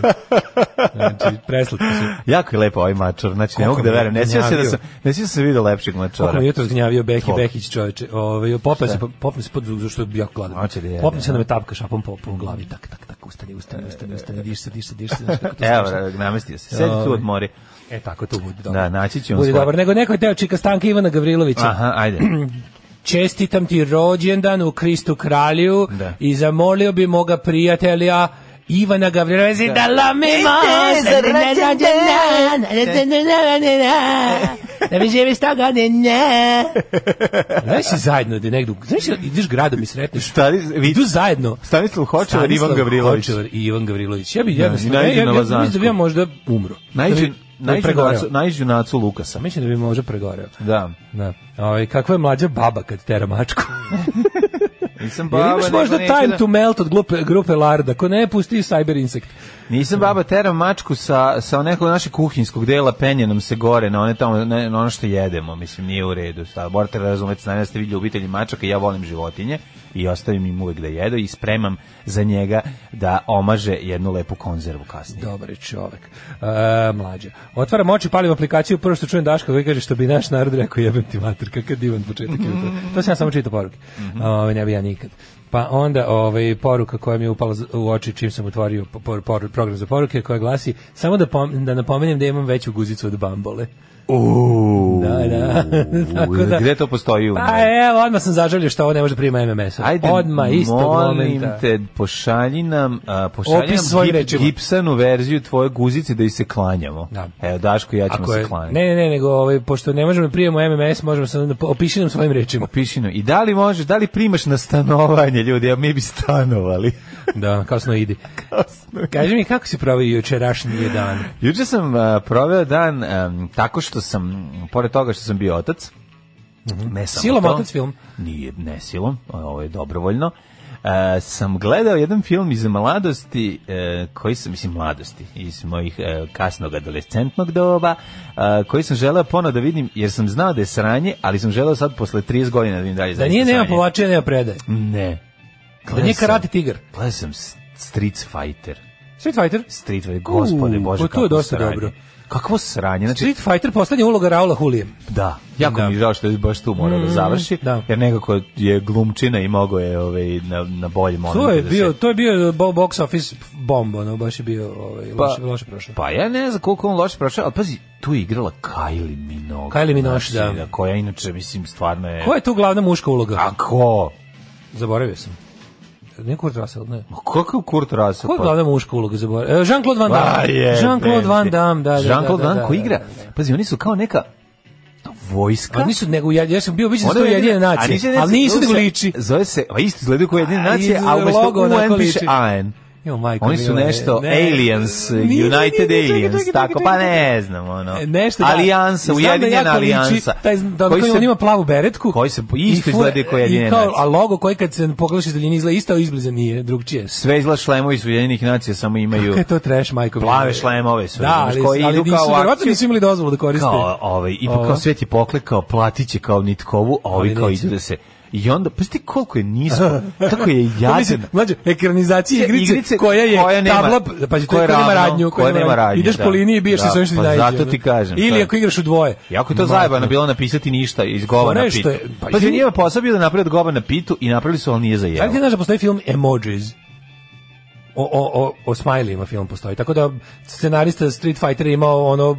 Speaker 7: Znači, preslatko se.
Speaker 6: Jako je lepo ovaj mačor, znači ne
Speaker 7: Koliko
Speaker 6: mogu da
Speaker 7: mi je
Speaker 6: verujem. Ne sjećam se da
Speaker 7: gnjavio.
Speaker 6: sam, ne sjećam se da sam vidio lepšeg
Speaker 7: Kako
Speaker 6: mačora.
Speaker 7: me jutro zgnjavio Behi
Speaker 6: To.
Speaker 7: Behić čoveče. Ove, popne, se, popne se pod zub, zašto je jako gladan.
Speaker 6: Hoće da jede,
Speaker 7: popne se
Speaker 6: da.
Speaker 7: na me tapka šapom po, po glavi, tak, tak, tak, ustani, ustani, ustani, ustani, diš se, diš se, diš se. Znaš kako to
Speaker 6: Evo,
Speaker 7: smešno.
Speaker 6: namestio se. Sedi tu
Speaker 7: Ovaj.
Speaker 6: odmori.
Speaker 7: E, tako to bude dobro.
Speaker 6: Da, naći ću on
Speaker 7: Bude
Speaker 6: svoj.
Speaker 7: dobro, nego neko je teo čika Stanka Ivana Gavrilovića.
Speaker 6: Aha, ajde.
Speaker 7: čestitam ti rođendan u Kristu kralju
Speaker 6: Da.
Speaker 7: i zamolio bi moga prijatelja Ivana Gavrilovića da lomimo se na rođendan. da mi živi sto godina. Znaš si zajedno da negdje, znaš ideš gradom i sretneš.
Speaker 6: Stari,
Speaker 7: Idu
Speaker 6: vidu
Speaker 7: zajedno.
Speaker 6: Stanislav Hočevar, Ivan
Speaker 7: Stanislav
Speaker 6: Gavrilović.
Speaker 7: Hočevar i Ivan Gavrilović. Ja bih
Speaker 6: Da,
Speaker 7: jednostavno,
Speaker 6: i
Speaker 7: ja, ja,
Speaker 6: najđu
Speaker 7: ja,
Speaker 6: na
Speaker 7: mislim da
Speaker 6: Lazansku.
Speaker 7: bi ja možda umro. Da
Speaker 6: Najđu,
Speaker 7: bi- da bi
Speaker 6: najđu,
Speaker 7: pregoreo.
Speaker 6: nacu, najđu nacu Lukasa.
Speaker 7: Mislim da bi možda pregoreo.
Speaker 6: Da.
Speaker 7: Da. Ovaj kakva je mlađa baba kad tera mačku.
Speaker 6: Nisam
Speaker 7: Baba,
Speaker 6: baba,
Speaker 7: imaš
Speaker 6: Pa, nego
Speaker 7: možda
Speaker 6: neću
Speaker 7: time
Speaker 6: da-
Speaker 7: to melt od grupe, grupe Larda, ko ne pusti Cyber Insect.
Speaker 6: Nisam baba teram mačku sa, sa nekog našeg kuhinskog dela penjenom se gore na, one tamo, na, na ono što jedemo. Mislim, nije u redu. Šta, morate razumeti, znam da ste vi ljubitelji mačaka, ja volim životinje i ostavim im uvek da jedu i spremam za njega da omaže jednu lepu konzervu kasnije.
Speaker 7: Dobar je čovek. E, mlađa. Otvaram oči, palim aplikaciju, prvo što čujem Daška koji kaže što bi naš narod rekao jebem ti mater, kakav divan početak. jutra. to sam ja samo čitao poruke.
Speaker 6: Mhm.
Speaker 7: Ovaj, ne bi ja nikad. Pa onda ovaj, poruka koja mi je upala z- u oči čim sam otvorio po- por- por- program za poruke koja glasi samo da, pom- da napomenem da imam veću guzicu od bambole.
Speaker 6: Uuu.
Speaker 7: Da, da. Tako da-
Speaker 6: Gde to postoji u
Speaker 7: Pa evo, odmah sam zažalio što ovo ne može da prima MMS-a.
Speaker 6: Ajde,
Speaker 7: odmah, istog
Speaker 6: molim
Speaker 7: momenta.
Speaker 6: te, pošalji nam, a, pošalji
Speaker 7: Opis
Speaker 6: nam
Speaker 7: svojim rečima.
Speaker 6: gipsanu verziju tvoje guzice da i se klanjamo.
Speaker 7: Da.
Speaker 6: Evo, Daško i ja ćemo
Speaker 7: Ako je,
Speaker 6: se klanjati.
Speaker 7: ne, ne, ne, nego ovaj, pošto ne možemo da prijemo MMS, možemo samo da po- opiši nam svojim rečima.
Speaker 6: Pišino, i da li možeš, da li primaš na stanovanje ljudi, a mi bi stanovali.
Speaker 7: Da, kasno idi. Kaži mi kako si pravio jučerašnji dan.
Speaker 6: Juče sam a, proveo dan em, tako što sam, m, pored toga što sam bio otac, ne samo
Speaker 7: Mhm. Silom
Speaker 6: to,
Speaker 7: otac film?
Speaker 6: Nije, ne silom, ovo je dobrovoljno. E, sam gledao jedan film iz mladosti, e, koji sam, mislim, mladosti, iz mojih e, kasnog adolescentnog doba, e, koji sam želeo ponovo da vidim, jer sam znao da je sranje, ali sam želeo sad posle 30 godina da vidim dalje.
Speaker 7: Da
Speaker 6: zaista
Speaker 7: nije nema
Speaker 6: sranje.
Speaker 7: povlačenja, nema predaje.
Speaker 6: Ne.
Speaker 7: Da nije karate tigar.
Speaker 6: Gledao sam s- Street Fighter.
Speaker 7: Street Fighter?
Speaker 6: Street Fighter, gospode
Speaker 7: U,
Speaker 6: Bože,
Speaker 7: pa to je
Speaker 6: kakvo
Speaker 7: dosta
Speaker 6: sranje.
Speaker 7: dobro.
Speaker 6: Kakvo sranje, znači,
Speaker 7: Street Fighter poslednja uloga Raula Hulijem.
Speaker 6: da, jako
Speaker 7: Da. Mm,
Speaker 6: mi je žao što je baš tu morao da završi,
Speaker 7: da.
Speaker 6: jer nekako je glumčina i mogao je ovaj, na, na boljem
Speaker 7: To
Speaker 6: momentu
Speaker 7: je
Speaker 6: da
Speaker 7: bio,
Speaker 6: se...
Speaker 7: to je bio bo- box office bomb, ono, baš je bio ovaj,
Speaker 6: Pa-
Speaker 7: loše, loše prošao.
Speaker 6: Pa ja ne znam koliko on loše prošao, ali pazi, tu je igrala Kylie Minogue.
Speaker 7: Kylie Minogue,
Speaker 6: znači,
Speaker 7: da.
Speaker 6: Koja inače, mislim, stvarno je...
Speaker 7: Ko je tu glavna muška uloga?
Speaker 6: Kako?
Speaker 7: Zaboravio sam. Nije Kurt Russell, ne.
Speaker 6: Ma Kako je Kurt Russell?
Speaker 7: Ko je
Speaker 6: pa?
Speaker 7: glavna muška uloga zaboravio? E, Jean-Claude Van
Speaker 6: Pa
Speaker 7: Damme.
Speaker 6: je,
Speaker 7: Jean-Claude
Speaker 6: ne,
Speaker 7: Van
Speaker 6: ne.
Speaker 7: Damme, da, da, da.
Speaker 6: Jean-Claude
Speaker 7: da,
Speaker 6: Van
Speaker 7: da,
Speaker 6: Damme koji
Speaker 7: da,
Speaker 6: igra.
Speaker 7: da, da.
Speaker 6: Pazi, oni su kao neka vojska.
Speaker 7: Ali nisu, nego ja, ja sam bio viđen da su
Speaker 6: Ona je
Speaker 7: jedine
Speaker 6: ujedinjena- a
Speaker 7: nacije,
Speaker 6: nisu-
Speaker 7: ali nisu
Speaker 6: zove
Speaker 7: nego
Speaker 6: se-
Speaker 7: liči.
Speaker 6: Zove se, a isto izgledaju kao jedine
Speaker 7: A,
Speaker 6: nacije,
Speaker 7: izgleda
Speaker 6: ali umesto
Speaker 7: logo onako
Speaker 6: UN piše
Speaker 7: liči.
Speaker 6: AN.
Speaker 7: Jo, majko,
Speaker 6: Oni su
Speaker 7: mila,
Speaker 6: nešto
Speaker 7: ne.
Speaker 6: aliens,
Speaker 7: Nije, nije, nije,
Speaker 6: United
Speaker 7: čekaj, čekaj,
Speaker 6: aliens,
Speaker 7: čekaj,
Speaker 6: tako,
Speaker 7: čekaj,
Speaker 6: pa
Speaker 7: čekaj.
Speaker 6: ne znam, ono.
Speaker 7: E, Nešto da.
Speaker 6: Alijansa,
Speaker 7: Znam da
Speaker 6: ujedinjena
Speaker 7: jako liči,
Speaker 6: alijansa.
Speaker 7: Taj da
Speaker 6: Koji
Speaker 7: koji
Speaker 6: se-
Speaker 7: on ima plavu beretku.
Speaker 6: koji se isto
Speaker 7: i fura-
Speaker 6: izgleda kao Ujedinjene
Speaker 7: i kao-
Speaker 6: nacije.
Speaker 7: A logo koji kad se pogledaš iz daljine izgleda isto, a izbliza nije, drugčije.
Speaker 6: Sve izgleda šlemovi su Ujedinjenih nacija, samo imaju
Speaker 7: Kako je to trash, majko? mila?
Speaker 6: plave šlemove su.
Speaker 7: Da,
Speaker 6: razumeš,
Speaker 7: ali,
Speaker 6: koji
Speaker 7: ali
Speaker 6: idu
Speaker 7: nisu,
Speaker 6: kao u
Speaker 7: verovatno
Speaker 6: akciju.
Speaker 7: nisu imali dozvolu da koriste.
Speaker 6: kao ovaj ipak
Speaker 7: Ovo.
Speaker 6: kao sveti poklekao platiće kao nitkovu a ovi
Speaker 7: Ali
Speaker 6: kao
Speaker 7: neće.
Speaker 6: idu da se I onda, pa ti koliko je nisko, kako je jadan.
Speaker 7: Mlađe, ekranizacija igrice, igrice koja je koja nema, tabla, pa koja,
Speaker 6: ravno,
Speaker 7: nema radnju,
Speaker 6: koja nema radnju.
Speaker 7: Ideš
Speaker 6: da.
Speaker 7: po liniji i biješ se
Speaker 6: Da,
Speaker 7: sa ovim što ti
Speaker 6: pa
Speaker 7: naiđe.
Speaker 6: zato
Speaker 7: ono.
Speaker 6: ti kažem, to
Speaker 7: Ili
Speaker 6: je-
Speaker 7: ako igraš u dvoje.
Speaker 6: Jako je to zajebano bilo napisati ništa iz goba
Speaker 7: Ono
Speaker 6: na
Speaker 7: je što
Speaker 6: pitu.
Speaker 7: je- pa
Speaker 6: Pa, pa
Speaker 7: izvini.
Speaker 6: njima posao bio da naprave od goba na pitu i napravili su, ali nije za
Speaker 7: Da li
Speaker 6: jelo.
Speaker 7: ti znaš da postoji film Emojis? O, o, o, o Smileyima film postoji. Tako da scenarista Street Fighter imao ono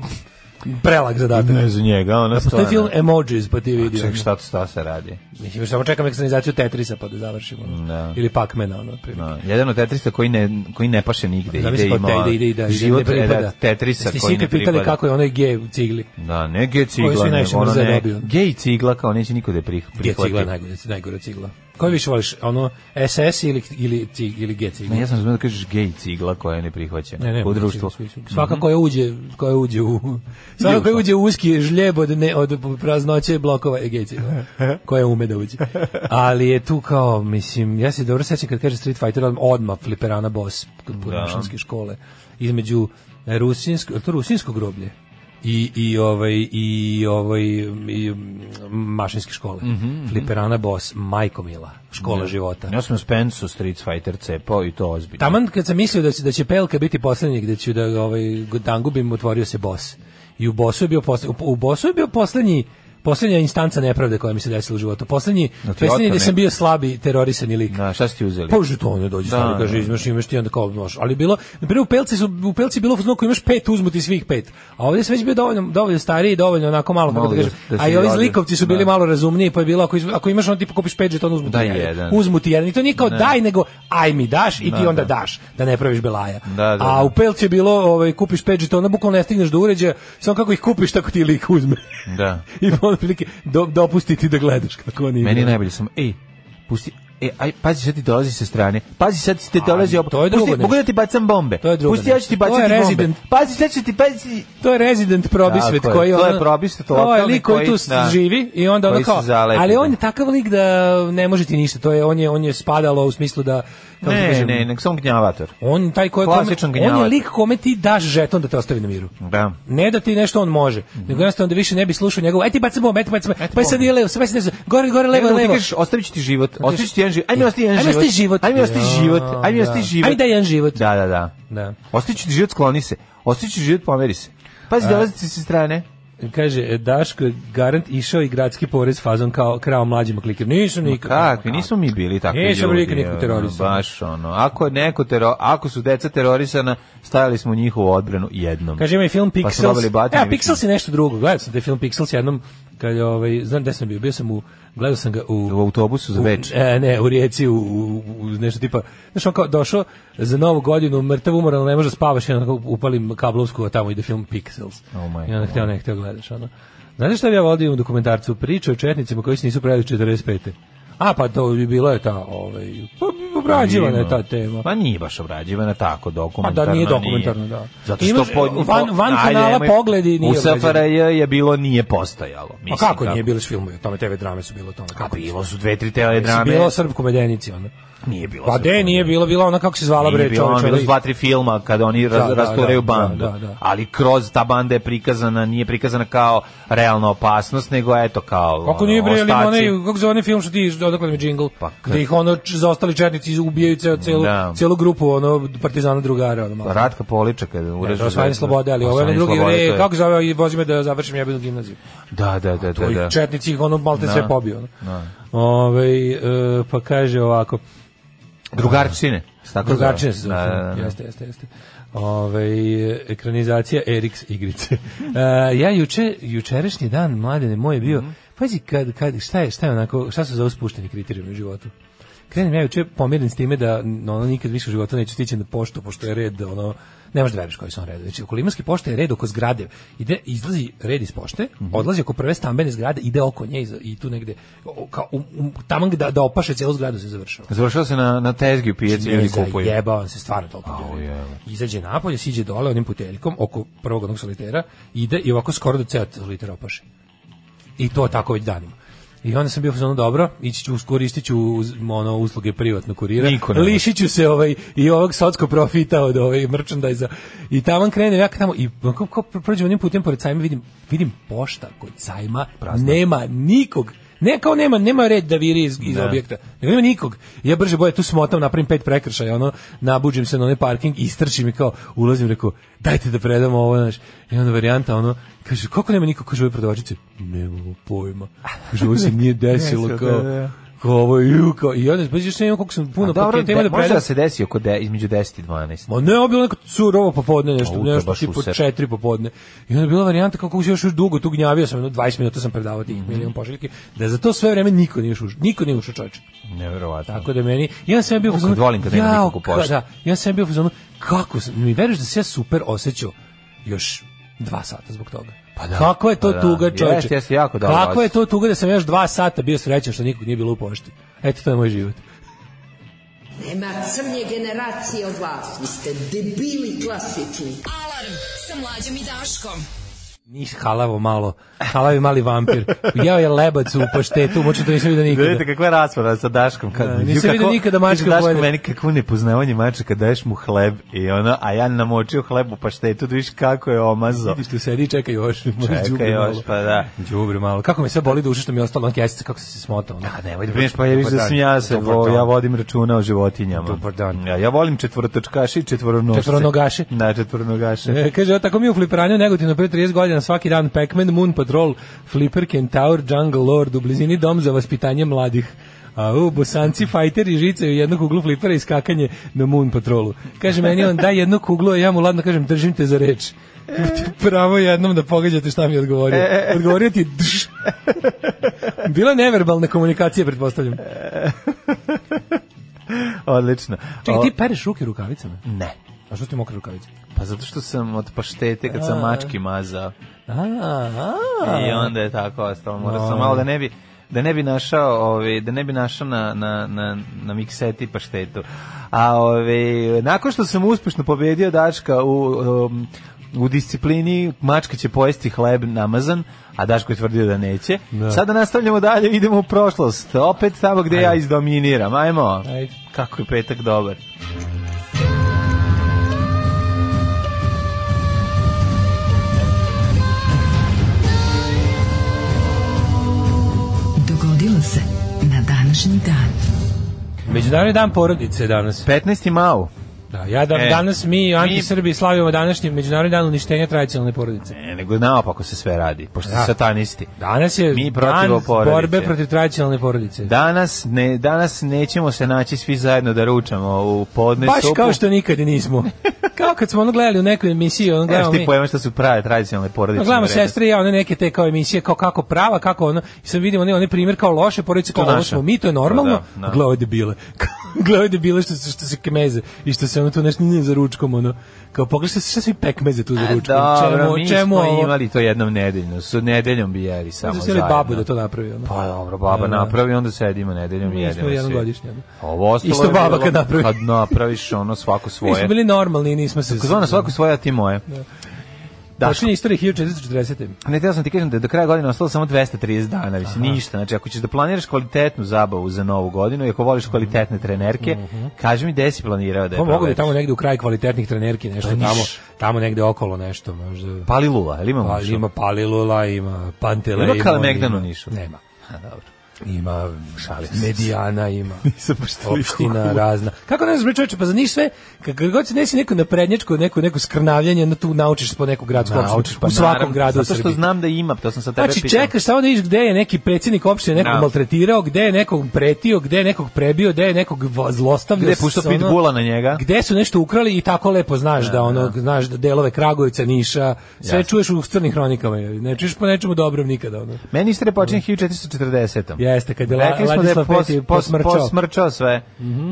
Speaker 7: prelag zadatak.
Speaker 6: Ne za njega, ona
Speaker 7: Postoji
Speaker 6: stvarno.
Speaker 7: film Emojis, pa ti vidio.
Speaker 6: Ček, šta to šta se radi?
Speaker 7: Mislim, još samo čekam ekranizaciju Tetrisa pa da završimo. ono.
Speaker 6: Da.
Speaker 7: Ili Pac-Mana, ono, otprilike.
Speaker 6: No, jedan od Tetrisa koji ne, koji ne paše nigde.
Speaker 7: Da,
Speaker 6: pa ide,
Speaker 7: mislim,
Speaker 6: ima,
Speaker 7: kao te ide, ide, ide,
Speaker 6: život
Speaker 7: ne
Speaker 6: e,
Speaker 7: pripada.
Speaker 6: da, Tetrisa
Speaker 7: Jeste
Speaker 6: koji ne
Speaker 7: svi pitali
Speaker 6: pripada.
Speaker 7: kako je onaj gej u cigli.
Speaker 6: Da, ne gej
Speaker 7: Koji svi
Speaker 6: cigla,
Speaker 7: najviše
Speaker 6: nego ono
Speaker 7: mrze
Speaker 6: ne.
Speaker 7: dobiju.
Speaker 6: Gej cigla kao neće niko da je prih,
Speaker 7: Gej
Speaker 6: prihvati.
Speaker 7: cigla je najgore, najgore cigla. Koji više voliš, ono SS ili, ili, cig- ili gej cigla?
Speaker 6: Ne, ja sam razumio da kažeš gej cigla koja je neprihvaćena
Speaker 7: Ne, ne,
Speaker 6: u društvu.
Speaker 7: svi- svi- Mhm. svi- Svaka koja uđe, koja uđe u svaka koja uđe u uski žljeb od ne od praznoće blokova je gej cigla. Koja ume da uđe. Ali je tu kao mislim ja se dobro sećam kad kaže Street Fighter odma- odma fliperana boss kod da. škole između rusinsko, je li to rusinsko groblje i i ovaj i ovaj i mm, mašinske škole. Fliperana boss Majko Mila, škola života.
Speaker 6: Ja sam u Spensu Street Fighter cepao i to ozbiljno.
Speaker 7: Taman kad sam mislio da će, da će Pelka biti poslednji gde ću da ga, ovaj tangubim, otvorio se bos. I u bosu je bio posle, u, u bosu je bio poslednji poslednja instanca nepravde koja mi se desila u životu. Poslednji,
Speaker 6: Da ti
Speaker 7: poslednji
Speaker 6: otme
Speaker 7: gde sam
Speaker 6: neko.
Speaker 7: bio slabi terorisani lik.
Speaker 6: Na, šta ste uzeli?
Speaker 7: Pa to ono dođe, stvarno
Speaker 6: da,
Speaker 7: kaže,
Speaker 6: da.
Speaker 7: imaš, imaš ti onda kao nož. Ali bilo, na primjer u Pelci, su, u Pelci je bilo fuzno ako imaš pet, uzmu ti svih pet. A ovdje sam već bio dovoljno, dovoljno stariji, dovoljno onako malo, kako
Speaker 6: Malo
Speaker 7: da
Speaker 6: da-
Speaker 7: kažem.
Speaker 6: da si
Speaker 7: a i ovi
Speaker 6: radi.
Speaker 7: zlikovci su bili
Speaker 6: Da.
Speaker 7: malo razumniji, pa je bilo, ako, iz- ako imaš onda ti kupiš pet žetona, uzmu ti
Speaker 6: Daj
Speaker 7: jedan.
Speaker 6: jedan.
Speaker 7: Uzmu ti jedan. I to nije kao daj, nego aj mi daš i ti onda daš, da ne praviš belaja.
Speaker 6: Da, da,
Speaker 7: a
Speaker 6: da.
Speaker 7: u Pelci je bilo, ovaj, kupiš pet žetona, bukvalno ne stigneš do uređaja, samo kako ih kupiš, tako ti lik uzme.
Speaker 6: Da.
Speaker 7: I onda prilike, do, dopustiti da gledaš kako oni
Speaker 6: Meni je
Speaker 7: igraju.
Speaker 6: najbolje sam, ej, pusti, E, aj, pazi, sad ti dolazi sa strane. Pazi, sad ti dolazi
Speaker 7: A,
Speaker 6: opet.
Speaker 7: to je drugo
Speaker 6: Pusti,
Speaker 7: nešto.
Speaker 6: mogu da ti bacam bombe.
Speaker 7: To je drugo
Speaker 6: Pusti, ja ću ti
Speaker 7: nešto. To je
Speaker 6: bacati bombe.
Speaker 7: Resident.
Speaker 6: Pazi, sad ću ti, pazi.
Speaker 7: To je rezident probisvet
Speaker 6: Tako je,
Speaker 7: koji
Speaker 6: to je
Speaker 7: ono-
Speaker 6: probisvet
Speaker 7: To je
Speaker 6: lokalni
Speaker 7: lik koji
Speaker 6: koji,
Speaker 7: tu
Speaker 6: da,
Speaker 7: živi i onda ono
Speaker 6: koji se
Speaker 7: kao
Speaker 6: zalepi,
Speaker 7: ali on
Speaker 6: da.
Speaker 7: je takav lik da ne može ti ništa. To je on je on je spadalo u smislu da kako ti
Speaker 6: Ne,
Speaker 7: kažem,
Speaker 6: ne, nek sam gnjavator.
Speaker 7: on je taj koji
Speaker 6: Klasičan
Speaker 7: on je
Speaker 6: gnjavac.
Speaker 7: lik kome ti daš žeton da te ostavi na miru.
Speaker 6: Da.
Speaker 7: Ne da ti nešto on može, nego jednostavno da više ne bi slušao njegovu, aj ti bacaj bombu, aj ti bacaj bombu, pa sad je levo, sve se desno, gore, gore, levo,
Speaker 6: Nego mu ti
Speaker 7: levo.
Speaker 6: kažeš, ostavit ću ti život, ostavit ću ti jedan život, ajme ostavi jedan
Speaker 7: Ajme ostavi život.
Speaker 6: ajme ostavi život,
Speaker 7: Ja,
Speaker 6: ajme
Speaker 7: da.
Speaker 6: ostavi život.
Speaker 7: Ajme daj jedan život.
Speaker 6: Da, da, da.
Speaker 7: Da.
Speaker 6: Ostavi ću ti život, skloni se, ostavit ću ti život, pomeri se. Pazi, dolazi ti sa strane.
Speaker 7: Kaže, Daško je garant išao i gradski porez fazom kao krao mlađima klikir. Nisam nikad.
Speaker 6: Kakvi, nismo mi bili takvi ljudi.
Speaker 7: Nisam nikad nikog
Speaker 6: ono,
Speaker 7: terorisao.
Speaker 6: Baš ono, ako, je neko tero, ako su deca terorisana, stajali smo u njihovu odbranu jednom.
Speaker 7: Kaže ima i film
Speaker 6: Pa smo
Speaker 7: Pixels.
Speaker 6: dobili batine
Speaker 7: ja,
Speaker 6: više.
Speaker 7: Pixels je nešto drugo. Gledao sam taj film Pixels jednom kad je ovaj znam gde sam bio, bio sam u gledao sam ga u
Speaker 6: U autobusu za
Speaker 7: u-
Speaker 6: več.
Speaker 7: E, ne, u Rijeci u, u, u nešto tipa, znaš, on kao došao za novu godinu, mrtav umoran, ne može da spavaš, i onako upalim kablovsku, a tamo ide film Pixels.
Speaker 6: Oh my
Speaker 7: I onda hteo ne hteo gledaš, ono. Znate šta bi ja vodio u dokumentarcu? Priča o četnicima koji se nisu pravili 45. A, pa to bi bilo je ta, ovaj, pa, obrađivana je ta tema.
Speaker 6: Pa nije baš obrađivana tako
Speaker 7: Pa da
Speaker 6: dokumentarno.
Speaker 7: nije dokumentarno, da.
Speaker 6: Zato što
Speaker 7: Imaš, van, van
Speaker 6: Ajde,
Speaker 7: kanala
Speaker 6: nemoj-
Speaker 7: pogledi nije
Speaker 6: U
Speaker 7: obrađeno.
Speaker 6: SFRJ je bilo nije postojalo.
Speaker 7: Pa
Speaker 6: Mislim,
Speaker 7: kako nije bilo filmove, tome TV drame su bilo o tome.
Speaker 6: A pa
Speaker 7: Kako
Speaker 6: bilo su dve, tri teledrame.
Speaker 7: Mislim, Bilo srpko medenici ono.
Speaker 6: Nije bilo.
Speaker 7: Pa de nije bilo, bila ona kako se zvala
Speaker 6: Nije
Speaker 7: bre,
Speaker 6: bilo, ono,
Speaker 7: čoveče.
Speaker 6: bilo su
Speaker 7: lik.
Speaker 6: dva, tri filma kada oni raz,
Speaker 7: Da, da,
Speaker 6: rasturaju
Speaker 7: da,
Speaker 6: bandu.
Speaker 7: da, da.
Speaker 6: Ali kroz ta banda je prikazana, nije prikazana kao realna opasnost, nego eto kao
Speaker 7: Kako
Speaker 6: ono,
Speaker 7: nije bre, ali ima
Speaker 6: ostaci.
Speaker 7: onaj, kako se zove onaj film što ti odakle mi džingl?
Speaker 6: Pa, kad-
Speaker 7: da ih ono č- zaostali četnici ubijaju ceo, celu,
Speaker 6: Da.
Speaker 7: celu grupu ono, partizana drugara. Ono, malo.
Speaker 6: Ratka Poliča kada ureže.
Speaker 7: Da, osvajanje slobode, ali ovo je onaj
Speaker 6: Osvajanje
Speaker 7: drugi,
Speaker 6: slobode, to
Speaker 7: re,
Speaker 6: je-
Speaker 7: kako se zove, i vozi me da završim jebenu gimnaziju.
Speaker 6: Da, da, da, da.
Speaker 7: Ovi
Speaker 6: da.
Speaker 7: četnici ih ono malte
Speaker 6: Da.
Speaker 7: sve pobio. Ono.
Speaker 6: Da.
Speaker 7: Ovaj, e, pa kaže ovako,
Speaker 6: Drugarčine. se tako zove.
Speaker 7: Drugačije se zove.
Speaker 6: Da,
Speaker 7: film.
Speaker 6: da, da.
Speaker 7: Jeste, jeste, jeste. Ove, ekranizacija Eriks igrice. E, ja juče, jučerašnji dan, mladene, moj je
Speaker 6: Mhm.
Speaker 7: bio, pazi, kad, kad, šta je, šta je onako, šta su za uspušteni kriterijumi u životu? Krenem ja juče pomiren s time da n- ono, nikad više u životu neću stići na poštu, pošto je red, ono, ne možeš da veriš koji su on red. Znači, oko Limanske pošte je red oko zgrade. Ide, izlazi red iz pošte,
Speaker 6: Mhm.
Speaker 7: odlazi oko prve stambene zgrade, ide oko nje i, za- i tu negde, o, kao, um, um, tamo da, da opaše celu zgradu se završava.
Speaker 6: Završao se na, na tezgi u pijaci ljudi kupuju.
Speaker 7: Jebao se stvarno toliko.
Speaker 6: Au,
Speaker 7: ljudi.
Speaker 6: jebe.
Speaker 7: Izađe napolje, siđe dole onim puteljkom oko prvog onog solitera, ide i ovako skoro do ceo solitera opaši. I to tako već danima. I onda sam bio ono dobro, ići ću, skoristit ću uz- ono, usluge privatnog kurira,
Speaker 6: Niko ne može.
Speaker 7: lišit ću se ovaj, i ovog socko profita od ovaj merchandise I tamo krenem, ja tamo, i kako, kako prođem onim putem pored sajma, vidim, vidim pošta kod sajma, nema nikog Ne, kao nema, nema red da viri iz, iz objekta. Nego nema nikog. Ja brže boje tu smotam, napravim pet prekršaja, ono, nabuđim se na onaj parking i istrčim i kao ulazim, rekao, dajte da predamo ovo, znaš. I onda varijanta, ono, kaže, kako nema nikog, kaže, ove prodavačice, nemamo pojma. Kaže, ovo se nije desilo,
Speaker 6: Desilo,
Speaker 7: kao,
Speaker 6: da, da.
Speaker 7: kao ovo je, ju, kao, i onda, pa još ne imam koliko sam puno
Speaker 6: Dobro,
Speaker 7: paketa ima
Speaker 6: de,
Speaker 7: da
Speaker 6: može
Speaker 7: predam.
Speaker 6: da se desi oko de, između 10 i 12.
Speaker 7: Ma ne, ovo je bilo neko surovo popodne,
Speaker 6: A,
Speaker 7: nešto,
Speaker 6: u, to je
Speaker 7: nešto
Speaker 6: baš
Speaker 7: tipu
Speaker 6: usep.
Speaker 7: četiri popodne. I onda je bila varijanta kako se još dugo tu gnjavio sam, jedno 20 minuta sam predavao tih
Speaker 6: Mhm.
Speaker 7: milion pošiljki, da za to sve vreme niko nije ušao, niko nije ušao čovječe.
Speaker 6: Neverovatno.
Speaker 7: Tako da meni, ja sam ja bio u
Speaker 6: Kako
Speaker 7: fazonu,
Speaker 6: volim kad nema
Speaker 7: jao,
Speaker 6: nikog u pošti.
Speaker 7: Da, ja sam ja bio u fazonu, kako, sam- mi veruješ da se ja super osjećao još dva sata zbog toga. Pa
Speaker 6: da,
Speaker 7: Kako je to
Speaker 6: pa da.
Speaker 7: tuga, čovječe?
Speaker 6: Jeste, jeste, jako dobro
Speaker 7: Kako je
Speaker 6: osjećaj.
Speaker 7: to tuga da sam još dva sata bio srećan što nikog nije bilo u pošti. Eto, to je moj život.
Speaker 8: Nema crnje generacije od vas. Vi ste debili klasični.
Speaker 5: Alarm sa mlađom i Daškom.
Speaker 7: Nis halavo malo. Halavi mali vampir. Jeo je lebac u paštetu, moću to nisam vidio
Speaker 6: Vidite
Speaker 7: nikada.
Speaker 6: kakva je rasprava sa Daškom. Kad,
Speaker 7: Da, nisam
Speaker 6: Ju, kako-
Speaker 7: vidio nikada mačka
Speaker 6: Daško
Speaker 7: bolje.
Speaker 6: meni kakvo nepoznavanje mačaka, daješ mu hleb i ono, a ja namočio hleb u paštetu, da vidiš kako je omazo.
Speaker 7: Vidiš tu sedi i čeka još. Čeka
Speaker 6: Čekaj još, pa da.
Speaker 7: Đubre malo. Kako me sve boli duša što mi je ostalo na kesica, kako se se smotao. ono.
Speaker 6: A nemoj da brineš, pa ja viš da sam ja se, vo, ja vodim računa o životinjama.
Speaker 7: Dobar dan.
Speaker 6: Ja, ja volim četvorotočkaše i četvoronošce.
Speaker 7: Četvoronogaše.
Speaker 6: Da, četvoronogaše.
Speaker 7: E, kaže, evo, tako mi u Fliperanju Negotino pre 30 godina svaki dan Pac-Man, Moon Patrol, Flipper, Kentaur, Jungle Lord, u blizini dom za vaspitanje mladih. A u Bosanci fajteri žice u jednu kuglu flipera i skakanje na Moon Patrolu. Kaže meni on daj jednu kuglu, a ja mu ladno kažem držim te za reč. Pravo jednom da pogađate šta mi je odgovorio. Odgovorio ti drž. Bila je neverbalna komunikacija, pretpostavljam.
Speaker 6: Odlično.
Speaker 7: Čekaj,
Speaker 6: O,
Speaker 7: ti pereš ruke rukavicama?
Speaker 6: Ne.
Speaker 7: A što ti mokre rukavice?
Speaker 6: Pa zato što sam od paštete kad sam mački mazao.
Speaker 7: A, a,
Speaker 6: I onda je tako ostalo. Morao sam malo Pa. da ne bi da ne bi našao, ovaj da ne bi našao na na na na mikseti paštetu. A ovaj nakon što sam uspešno pobedio Dačka u um, u disciplini mačka će pojesti hleb namazan, a Daško je tvrdio da neće. Sada nastavljamo dalje, idemo u prošlost. Opet tamo gde ja izdominiram. Ajmo.
Speaker 7: Ajde.
Speaker 6: Kako je petak dobar.
Speaker 5: Dogodilo se na današnji dan.
Speaker 7: Međunarodni dan porodice je danas.
Speaker 6: 15. mau.
Speaker 7: Da, ja da,
Speaker 6: E,
Speaker 7: danas mi, anti-Srbi, slavimo današnji međunarodni dan uništenja tradicionalne porodice.
Speaker 6: Ne, E, nego naopako se sve radi, pošto
Speaker 7: Da.
Speaker 6: su satanisti.
Speaker 7: Danas je
Speaker 6: Mi protiv
Speaker 7: dan
Speaker 6: porodice.
Speaker 7: borbe protiv tradicionalne porodice.
Speaker 6: Danas ne danas nećemo se naći svi zajedno da ručamo u podne
Speaker 7: Baš
Speaker 6: sopu.
Speaker 7: kao što nikad i nismo. kao kad smo ono gledali u nekoj emisiji, ono
Speaker 6: Nemaš
Speaker 7: gledamo
Speaker 6: ti
Speaker 7: mi.
Speaker 6: pojma šta su prave tradicionalne porodice.
Speaker 7: Ono, gledamo sestre i ja, one neke te kao emisije, kao kako prava, kako ono, i sad vidimo onaj, onaj primjer kao loše porodice, kao
Speaker 6: To
Speaker 7: ovo
Speaker 6: naša.
Speaker 7: smo mi, to je normalno,
Speaker 6: Pa da, da.
Speaker 7: gledaj ove debile, gledaj ove debile što, se- što se kemeze i što se ono tu nešto nije za ručkom, ono, kao pogledaj šta svi pekmeze tu za ručkom,
Speaker 6: E, Dobro, mi smo
Speaker 7: ovo?
Speaker 6: imali to jednom nedeljno. Su nedeljom bi jeli samo
Speaker 7: Možda su imali
Speaker 6: zajedno.
Speaker 7: babu da to napravi, ono.
Speaker 6: Pa dobro, baba
Speaker 7: Da, da.
Speaker 6: napravi, onda sedimo nedeljom i
Speaker 7: Mi smo
Speaker 6: jedemo
Speaker 7: jednom
Speaker 6: svi.
Speaker 7: godišnje, da.
Speaker 6: Ovo ostalo
Speaker 7: Isto
Speaker 6: je
Speaker 7: baba
Speaker 6: bilo-
Speaker 7: kad napravi.
Speaker 6: Kad napraviš ono svako
Speaker 7: Mi smo
Speaker 6: svoje.
Speaker 7: bili normalni i nismo se...
Speaker 6: Zvona svako svoje, a ti moje. Da.
Speaker 7: Počinje istorija 1440.
Speaker 6: Pa Ne, teo sam ti kažem da je do kraja godine ostalo samo 230 dana, više ništa. Znači, ako ćeš da planiraš kvalitetnu zabavu za novu godinu i ako voliš kvalitetne trenerke, kaži mi gde si planirao da je
Speaker 7: Mhm. Pa mogu bi
Speaker 6: provedeš.
Speaker 7: tamo negde u kraj kvalitetnih trenerki nešto,
Speaker 6: E, Pa niš.
Speaker 7: tamo, tamo negde okolo nešto možda.
Speaker 6: Pali lula, ili imamo
Speaker 7: Pa,
Speaker 6: što?
Speaker 7: ima Palilula, ima Pantelejmo.
Speaker 6: Ima Kalemegdan u Nišu?
Speaker 7: Nema.
Speaker 6: A, dobro.
Speaker 7: Ima šalim Medijana ima.
Speaker 6: Nisam baš toliko
Speaker 7: Opština
Speaker 6: cool.
Speaker 7: razna. Kako ne znaš, čoveče, pa za Niš sve, kako god se nesi neko naprednjačko, neko, neko skrnavljanje, na tu naučiš po neku gradsku opštinu.
Speaker 6: Naučiš, pa
Speaker 7: u svakom
Speaker 6: naravno,
Speaker 7: gradu u
Speaker 6: Zato što
Speaker 7: Srbiji.
Speaker 6: znam da ima, pa to sam sa tebe
Speaker 7: Znači,
Speaker 6: pitao.
Speaker 7: čekaš samo da vidiš gde je neki predsjednik opštine nekog
Speaker 6: Da.
Speaker 7: maltretirao, gde je nekog pretio, gde je nekog prebio, gde je nekog vo- zlostavljao.
Speaker 6: Gde je puštao
Speaker 7: s- ono,
Speaker 6: pitbula na njega?
Speaker 7: Gde su nešto ukrali i tako lepo znaš da, ono, znaš da delove Kragujevca, Niša, sve
Speaker 6: Jasno.
Speaker 7: čuješ u crnim hronikama. je. Ne čuješ po nečemu dobrom nikada. Ono.
Speaker 6: Meni istorija počinje 1440.
Speaker 7: Jeste, kad je La-
Speaker 6: Rekli smo da je
Speaker 7: Ladislav
Speaker 6: pos,
Speaker 7: V.
Speaker 6: pos, posmrčao.
Speaker 7: posmrčao. Mhm.
Speaker 6: sve.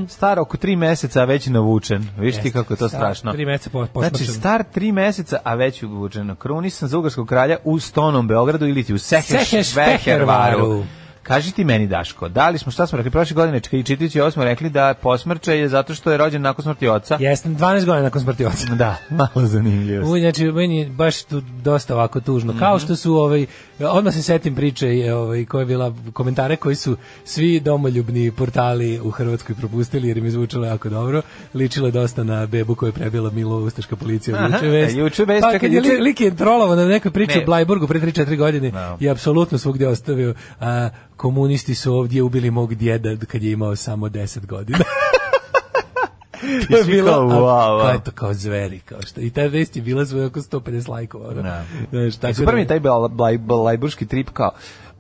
Speaker 6: Star oko tri meseca, a već je navučen. Viš ti kako je to
Speaker 7: Star
Speaker 6: strašno.
Speaker 7: tri meseca po-
Speaker 6: Znači,
Speaker 7: posmrčan.
Speaker 6: star tri meseca, a već je uvučen. Krunisan za Ugarskog kralja u Stonom Beogradu ili ti u Seheš,
Speaker 7: Seheš
Speaker 6: Vehervaru.
Speaker 7: Vehervaru.
Speaker 6: Kaži ti meni, Daško, da li smo, šta smo rekli, prošle godine, čekaj, čitajući ovo smo rekli da posmrča je zato što je rođen nakon smrti oca.
Speaker 7: Jeste, 12 godina nakon smrti oca.
Speaker 6: Da, malo zanimljivo.
Speaker 7: U, znači, meni je baš tu dosta ovako tužno.
Speaker 6: Mhm.
Speaker 7: Kao što su, ovaj, odmah se setim priče je, ovaj, koja je bila, komentare koji su svi domoljubni portali u Hrvatskoj propustili jer im je zvučalo jako dobro. Ličilo je dosta na bebu koju je prebila Milo Ustaška policija
Speaker 6: Aha,
Speaker 7: u Juče Vest.
Speaker 6: e, Juče Vest,
Speaker 7: pa,
Speaker 6: čekaj,
Speaker 7: kad je li,
Speaker 6: Juče-
Speaker 7: lik je trolovao na nekoj priči
Speaker 6: Ne.
Speaker 7: o Blajburgu pre 3-4 godine
Speaker 6: Da.
Speaker 7: i apsolutno svugdje ostavio a, komunisti su ovdje ubili mog djeda kad je imao samo 10 godina.
Speaker 6: I svi kao,
Speaker 7: a, pa
Speaker 6: wow,
Speaker 7: kao
Speaker 6: wow.
Speaker 7: eto, kao zveri, kao što. I ta vest je bila svoje oko 150 lajkova. Ono.
Speaker 6: Da.
Speaker 7: Znaš, tako
Speaker 6: I E, super
Speaker 7: da-
Speaker 6: mi je taj bla- bla- blajburški trip kao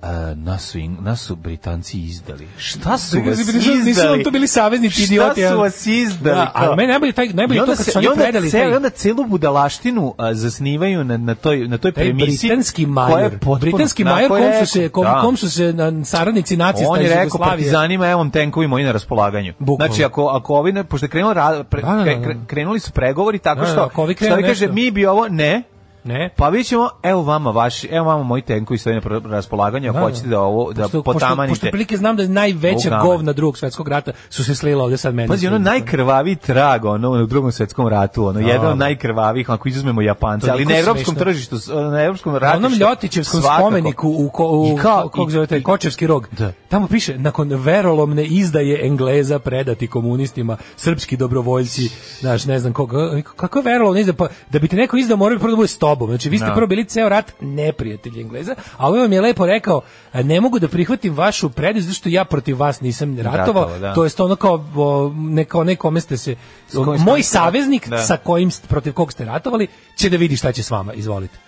Speaker 6: e, nas su, Ing- nas su Britanci izdali. Šta su vas
Speaker 7: Nisu-
Speaker 6: izdali?
Speaker 7: nisu vam to bili saveznici idioti,
Speaker 6: Šta su
Speaker 7: ali-
Speaker 6: vas izdali?
Speaker 7: Da, ali
Speaker 6: kao?
Speaker 7: meni najbolje taj- najbolje
Speaker 6: I
Speaker 7: je to
Speaker 6: onda
Speaker 7: kad
Speaker 6: se-
Speaker 7: su oni
Speaker 6: i onda
Speaker 7: predali
Speaker 6: cel-
Speaker 7: taj-
Speaker 6: i onda celu budalaštinu a, zasnivaju na, na toj, na toj
Speaker 7: Taj
Speaker 6: premisi.
Speaker 7: britanski
Speaker 6: koja je
Speaker 7: major,
Speaker 6: potpuno-
Speaker 7: britanski
Speaker 6: na
Speaker 7: major
Speaker 6: kojoj
Speaker 7: kom
Speaker 6: je
Speaker 7: su se
Speaker 6: rekao-
Speaker 7: kom,
Speaker 6: da.
Speaker 7: kom su se na saradnici nacista
Speaker 6: On je
Speaker 7: iz
Speaker 6: rekao
Speaker 7: Jugoslavije.
Speaker 6: partizanima, evo vam tenkovi moji na raspolaganju.
Speaker 7: Bukvalno.
Speaker 6: Znači, ako, ako ovi, ne, pošto je krenuo, ra- pre-
Speaker 7: Da, da, da, da.
Speaker 6: kre- krenuli su pregovori tako
Speaker 7: Da, da,
Speaker 6: što,
Speaker 7: ako ovi
Speaker 6: što
Speaker 7: krenu
Speaker 6: ovi kaže,
Speaker 7: nešto.
Speaker 6: mi bi ovo, ne,
Speaker 7: Ne.
Speaker 6: Pa vidjet ćemo, evo vama vaši, evo vama moji tenkovi stoji na pro- raspolaganju, ako
Speaker 7: Da, da.
Speaker 6: hoćete da ovo da
Speaker 7: Pošto-
Speaker 6: potamanite.
Speaker 7: Pošto, pošto prilike znam da je najveća
Speaker 6: Ovu gamen.
Speaker 7: govna drugog svetskog rata su se slila ovde sad meni.
Speaker 6: Pazi, ono najkrvaviji trag, ono, u drugom svetskom ratu, ono, jedan od najkrvavijih, ako izuzmemo Japance, ali
Speaker 7: Toliko
Speaker 6: na evropskom
Speaker 7: smešno.
Speaker 6: tržištu, s- na evropskom
Speaker 7: Na
Speaker 6: ratu.
Speaker 7: onom Ljotićevskom spomeniku u, ko, u
Speaker 6: I kao-
Speaker 7: ko- kako
Speaker 6: i-
Speaker 7: zove taj,
Speaker 6: i-
Speaker 7: Kočevski rog,
Speaker 6: Da.
Speaker 7: tamo piše, nakon verolomne izdaje Engleza predati komunistima, srpski dobrovoljci, znaš, ne znam koga, kako je verolomna izdaja, pa, da bi te neko izdao morao bi prvo da bude s tobom, znači vi ste
Speaker 6: Da.
Speaker 7: prvo bili ceo rat neprijatelji Engleza, a ovaj vam je lepo rekao, "A ne mogu da prihvatim vašu predaju, zato što ja protiv vas nisam ratovao,
Speaker 6: Ratovao, da.
Speaker 7: to jest ono kao, o, ne, kao ne kome ste se,
Speaker 6: kojim
Speaker 7: moj
Speaker 6: ste-
Speaker 7: saveznik
Speaker 6: Da.
Speaker 7: sa kojim ste- protiv kog ste ratovali će da vidi šta će s vama, izvolite.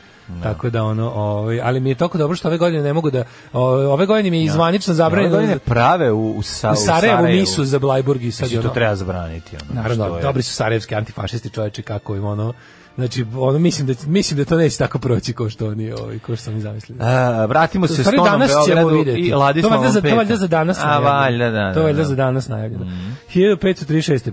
Speaker 7: Tako da ono, ovaj, ali mi je toliko dobro što ove godine ne mogu da o, ove godine mi je zvanično zabranjeno
Speaker 6: Godine prave u, u, sa,
Speaker 7: u Sarajevu misu za Blajburg i sad je
Speaker 6: Znači, to
Speaker 7: ono,
Speaker 6: treba zabraniti. Ono,
Speaker 7: naravno,
Speaker 6: što je-
Speaker 7: dobri su sarajevski antifašisti čoveče kako im ono Znači, ono, mislim da, mislim da to neće tako proći kao što oni, ovaj, kao što sam i zamislili.
Speaker 6: E, vratimo se
Speaker 7: U
Speaker 6: s
Speaker 7: stvari,
Speaker 6: Tonom
Speaker 7: danas ćemo
Speaker 6: Beogradu
Speaker 7: vidjeti.
Speaker 6: i
Speaker 7: To valjda
Speaker 6: Ladislavom
Speaker 7: za- To valjda
Speaker 6: Petom.
Speaker 7: za danas.
Speaker 6: A,
Speaker 7: najavljeno.
Speaker 6: valjda, da.
Speaker 7: To
Speaker 6: da,
Speaker 7: valjda
Speaker 6: da. Mhm.
Speaker 7: za danas najavljeno. 1536.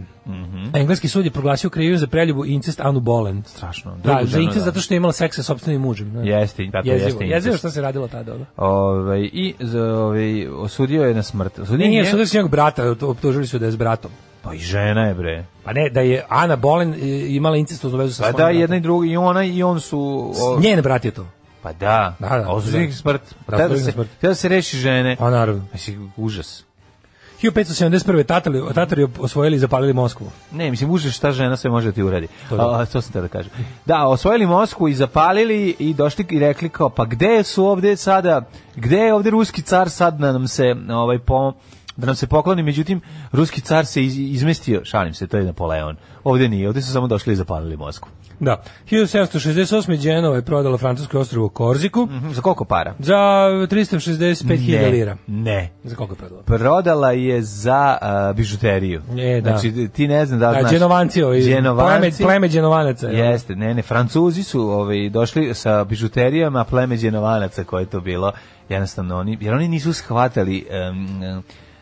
Speaker 7: Engleski sud je proglasio krivim za preljubu i incest Anu Bolen.
Speaker 6: Strašno.
Speaker 7: Da,
Speaker 6: Drugu
Speaker 7: za
Speaker 6: ženu,
Speaker 7: incest
Speaker 6: da.
Speaker 7: zato što je imala seks sa sopstvenim mužem. da.
Speaker 6: Jeste, da, to
Speaker 7: jezivo,
Speaker 6: jeste incest.
Speaker 7: Jezivo što se radilo tada. Ono.
Speaker 6: Ovaj i za- ovaj osudio je na smrt. Osudio
Speaker 7: Nije, E, nije,
Speaker 6: je-
Speaker 7: sudili su njegovog brata, to- optužili su da je s bratom.
Speaker 6: Pa i žena je bre.
Speaker 7: Pa ne, da je Ana Bolen e, imala incestoznu vezu sa
Speaker 6: Pa
Speaker 7: svojim
Speaker 6: da,
Speaker 7: bratom.
Speaker 6: jedna i druga, i ona i on su... o-
Speaker 7: Njen brat je to.
Speaker 6: pa da,
Speaker 7: Da, da,
Speaker 6: a osuđen je
Speaker 7: da.
Speaker 6: smrt.
Speaker 7: Da,
Speaker 6: Htio Da,
Speaker 7: osuđen je
Speaker 6: se,
Speaker 7: smrt.
Speaker 6: htio da se reši žene.
Speaker 7: Pa naravno.
Speaker 6: Mislim, užas.
Speaker 7: 1571. Tatari, Tatari osvojili i zapalili Moskvu.
Speaker 6: Ne, mislim, užas šta žena sve može da ti uradi.
Speaker 7: To
Speaker 6: To,
Speaker 7: da.
Speaker 6: a, to sam te da kažem. Da, osvojili Moskvu i zapalili i došli i rekli kao, pa gde su ovde sada, gde je ovde ruski car sad da nam se, ovaj, po, da nam se pokloni, međutim, ruski car se iz- izmestio, šalim se, to je Napoleon. Ovde nije, ovde su samo došli i zapalili Moskvu.
Speaker 7: Da. 1768. Genova je prodala francusko ostrovo Korziku
Speaker 6: Mhm, Za koliko para?
Speaker 7: za 365.000 lira.
Speaker 6: Ne.
Speaker 7: Za koliko je prodala?
Speaker 6: prodala je za a, bižuteriju.
Speaker 7: E, da.
Speaker 6: Znači, ti ne znam da li
Speaker 7: Da,
Speaker 6: znaš.
Speaker 7: Genovanci, ovi, pleme,
Speaker 6: Genovanci.
Speaker 7: pleme Genovanaca. jel?
Speaker 6: Jeste, ne, ne, Francuzi su ovaj, došli sa bižuterijama, a pleme Genovanaca koje je to bilo, jednostavno oni, jer oni nisu shvatali em,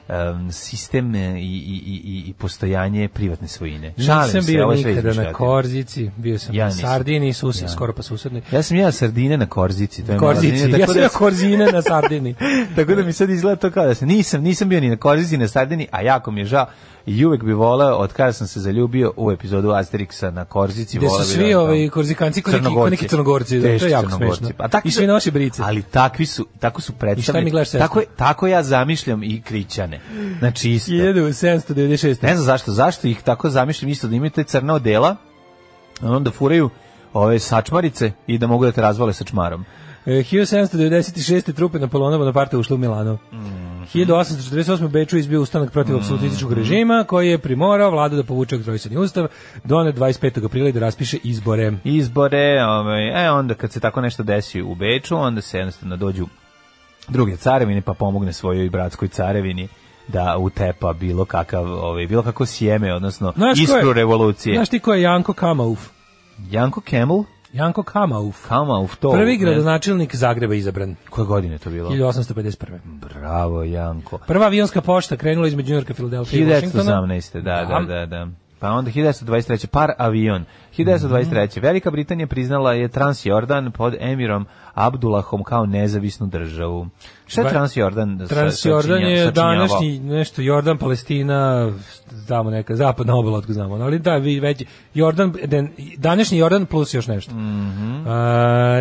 Speaker 6: em, sistem e, i, i, i- i, i postojanje privatne svojine. Šalim
Speaker 7: Nisam
Speaker 6: se,
Speaker 7: bio
Speaker 6: ovo je sve
Speaker 7: nikada na
Speaker 6: izmišljotina.
Speaker 7: Korzici, bio sam
Speaker 6: Ja
Speaker 7: na
Speaker 6: nisam.
Speaker 7: Sardini, sused, skoro pa susedni.
Speaker 6: Ja sam jeo sardine na korzici. To je moja
Speaker 7: Korzici,
Speaker 6: razina,
Speaker 7: ja
Speaker 6: tako
Speaker 7: sam
Speaker 6: da
Speaker 7: na Korzine na Sardini.
Speaker 6: Tako da mi sad izgleda to kao da se nisam, nisam bio ni na Korzici, ni na Sardini, a jako mi je žao. I uvek bi voleo, od kada sam se zaljubio u epizodu Asterixa na Korzici,
Speaker 7: Gde su
Speaker 6: voleo bi
Speaker 7: svi
Speaker 6: da tamo.
Speaker 7: ovi korzikanci ko neki, ko neki crnogorci, da, to
Speaker 6: Teški
Speaker 7: je jako
Speaker 6: Crnogorci.
Speaker 7: smešno.
Speaker 6: Pa takvi
Speaker 7: I svi
Speaker 6: su-
Speaker 7: nosi brice.
Speaker 6: Ali takvi su, tako su
Speaker 7: mi
Speaker 6: predstavljeni.
Speaker 7: gledaš sestru?
Speaker 6: Tako, je- tako ja zamišljam i krićane. Znači isto.
Speaker 7: 1796.
Speaker 6: Ne znam zašto, zašto ih tako zamišljam isto da imaju te crna odela, a onda furaju ove sačmarice i da mogu da te razvale sačmarom.
Speaker 7: E, 1796. trupe Napoleonova naparte ušle u Milano.
Speaker 6: Mhm.
Speaker 7: 1848. u Beču izbio ustanak protiv apsolutističkog režima koji je primorao vladu da povuče oktrojstveni ustav, done 25. aprila i da raspiše izbore.
Speaker 6: izbore, ovaj, e, onda kad se tako nešto desi u Beču, onda se jednostavno dođu druge carevine pa pomogne svojoj bratskoj carevini da utepa bilo kakav ovaj bilo kako sjeme odnosno
Speaker 7: Znaš ko je-
Speaker 6: iskru revolucije.
Speaker 7: Znaš ti ko je Janko Kamauf?
Speaker 6: Janko Kemel,
Speaker 7: Janko Kamauf.
Speaker 6: kama u to.
Speaker 7: Prvi
Speaker 6: ne znam
Speaker 7: gradonačelnik Zagreba izabran.
Speaker 6: Koje godine je to bilo?
Speaker 7: 1851.
Speaker 6: Bravo Janko.
Speaker 7: Prva avionska pošta krenula između Njurka, Filadelfije i Washingtona.
Speaker 6: 1918. Da, da, da, da. Pa onda 1923. par avion. 1923. Velika Britanija priznala je Transjordan pod emirom Abdulahom kao nezavisnu državu. Šta je
Speaker 7: Ba-
Speaker 6: Transjordan? sa-
Speaker 7: Transjordan
Speaker 6: sačinja-
Speaker 7: je
Speaker 6: sačinjavao?
Speaker 7: današnji nešto Jordan, Palestina, tamo neka zapadna obala, otkud znamo, ono, ali da vi veći Jordan den- današnji Jordan plus još nešto.
Speaker 6: Mhm.
Speaker 7: Uh,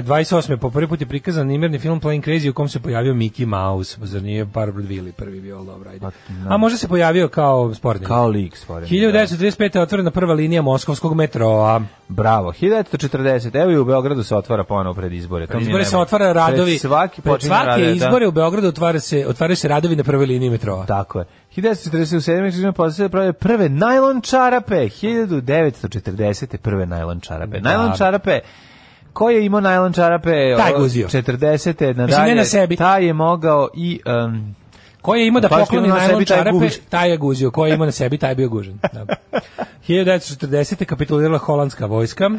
Speaker 7: 28. po prvi put je prikazan nimerni film Playing Crazy u kom se pojavio Mickey Mouse. Pa Zar nije Barbara Willy prvi bio ali dobro, ajde.
Speaker 6: Pa,
Speaker 7: A možda se pojavio kao sportnik.
Speaker 6: Kao lik stvoren.
Speaker 7: 1935. je otvorena prva linija moskovskog metroa.
Speaker 6: Bravo. 1940. Evo i u Beogradu se otvara ponovo pred izbore. To
Speaker 7: Pred
Speaker 6: mi je
Speaker 7: izbore se
Speaker 6: nemoguće.
Speaker 7: otvara radovi.
Speaker 6: Pred svaki
Speaker 7: pred
Speaker 6: počinje
Speaker 7: svake
Speaker 6: radovi, da.
Speaker 7: izbore u Beogradu otvara se, otvaraju se radovi na prvoj liniji metroa.
Speaker 6: Tako je. 1947. Križna posle prave prve najlon čarape. 1940. prve najlon čarape. Najlon čarape Ko je imao najlon čarape?
Speaker 7: Taj
Speaker 6: o,
Speaker 7: guzio.
Speaker 6: 40.
Speaker 7: Mislim, ne
Speaker 6: na dalje,
Speaker 7: na sebi.
Speaker 6: Taj je mogao i... Um,
Speaker 7: Ko je imao da
Speaker 6: Pa, što
Speaker 7: pokloni
Speaker 6: ima na
Speaker 7: najlon
Speaker 6: sebi, taj je
Speaker 7: čarape,
Speaker 6: gužen.
Speaker 7: taj je guzio. Ko je imao na sebi, taj je bio gužen. Da. 1940. kapitulirala holandska vojska.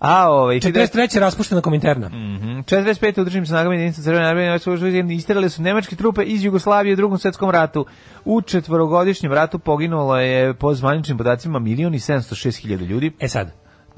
Speaker 6: a, ovaj,
Speaker 7: 43. raspuštena kominterna.
Speaker 6: Mm. 45. u državnim snagama jedinica Crvene armije Nemačke vojske isterale su nemačke trupe iz Jugoslavije u drugom svetskom ratu. U četvorogodišnjem ratu poginulo je po zvaničnim podacima milion i 706 hiljada ljudi.
Speaker 7: E sad,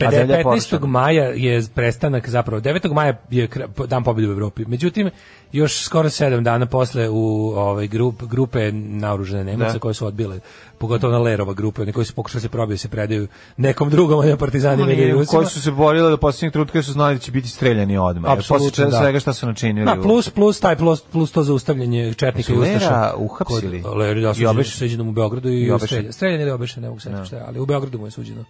Speaker 6: A zemlja je
Speaker 7: 15.
Speaker 6: porušena.
Speaker 7: maja je prestanak zapravo 9. maja je kra- dan pobjede u Evropi. Međutim još skoro 7 dana posle u ovaj grup grupe naoružane Nemaca
Speaker 6: Da.
Speaker 7: koje su odbile pogotovo na Lerova grupe, oni koji su pokušali se probiju se predaju nekom drugom, a ne partizanima ili Rusima.
Speaker 6: koji su se borili do posljednjeg trenutka jer su znali da će biti streljani odmah. jer
Speaker 7: Apsolutno,
Speaker 6: Posle
Speaker 7: da.
Speaker 6: da. svega šta su načinili.
Speaker 7: Ma plus plus taj plus plus to zaustavljanje četnika i
Speaker 6: Su Lera
Speaker 7: ustaša.
Speaker 6: uhapsili?
Speaker 7: Kod Lera da
Speaker 6: I
Speaker 7: su
Speaker 6: obešen?
Speaker 7: suđeno u Beogradu i,
Speaker 6: I obešen?
Speaker 7: streljan. Streljan ili obešen, ne mogu se šta, je, ali u Beogradu mu je suđeno.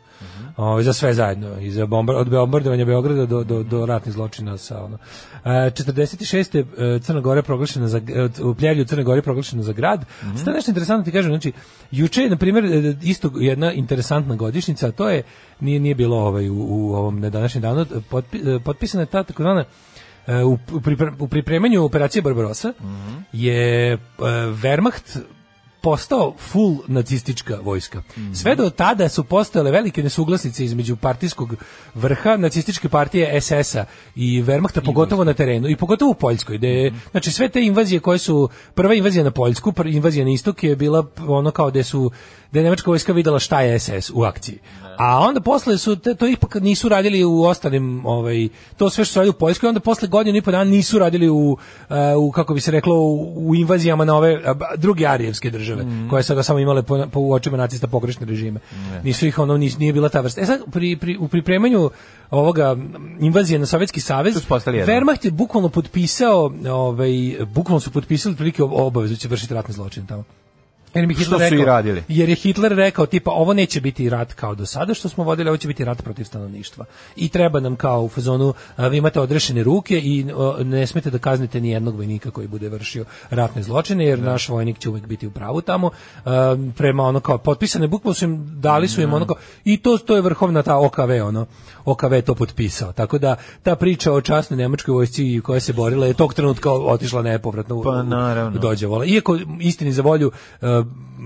Speaker 7: Ovaj, za sve zajedno, i za bombar, od bombardovanja Beograda do do do ratnih zločina sa ono. E, 46. e, Crna Gora je proglašena za g- od- u Pljevlju Crna Gora je proglašena za grad. Mm Sada nešto interesantno ti kažem, znači juče je na primjer e, isto jedna interesantna godišnjica, a to je nije nije bilo ovaj u, u ovom na današnjem danu potpi- e, potpisana je ta takozvana E, u, u pripre- u pripremanju operacije Barbarosa je e, Wehrmacht postao full nacistička vojska. Sve do tada su postojale velike nesuglasice između partijskog vrha nacističke partije SS-a i Wehrmachta, pogotovo na terenu i pogotovo u Poljskoj. Gde, je- Znači sve te invazije koje su, prva invazija na Poljsku, prva invazija na istok je bila p- ono kao da su da je nemačka vojska videla šta je SS u akciji. A onda posle su te, to ipak nisu radili u ostalim ovaj to sve što su radili u Poljskoj onda posle godinu i po dana nisu radili u, e, u kako bi se reklo u, u invazijama na ove a, ba- druge arijevske države
Speaker 6: Mhm.
Speaker 7: koje sada samo imale po, po u očima nacista pogrešne režime. Nisu ih ono nis, nije bila ta vrsta. E sad pri, pri, u pripremanju ovoga m, invazije na Sovjetski savez
Speaker 6: Tu su postali jedno.
Speaker 7: Wehrmacht je bukvalno potpisao ovaj bukvalno su potpisali otprilike ob- obavezu da će vršiti ratni zločin tamo. Jer mi je Hitler
Speaker 6: Što su i
Speaker 7: rekao-
Speaker 6: radili.
Speaker 7: Jer je Hitler rekao tipa ovo neće biti rat kao do sada što smo vodili, ovo će biti rat protiv stanovništva. I treba nam kao u fazonu a, vi imate odrešene ruke i o, ne smete da kaznite ni jednog vojnika koji bude vršio ratne zločine jer naš vojnik će uvek biti u pravu tamo. A, prema ono kao potpisane bukvalno su im dali su im ono kao i to to je vrhovna ta OKV ono. OKV je to potpisao. Tako da ta priča o časnoj nemačkoj vojsci koja se borila je tog trenutka otišla nepovratno u-
Speaker 6: Pa,
Speaker 7: u-
Speaker 6: naravno.
Speaker 7: do dođe vola. Iako istini za volju e,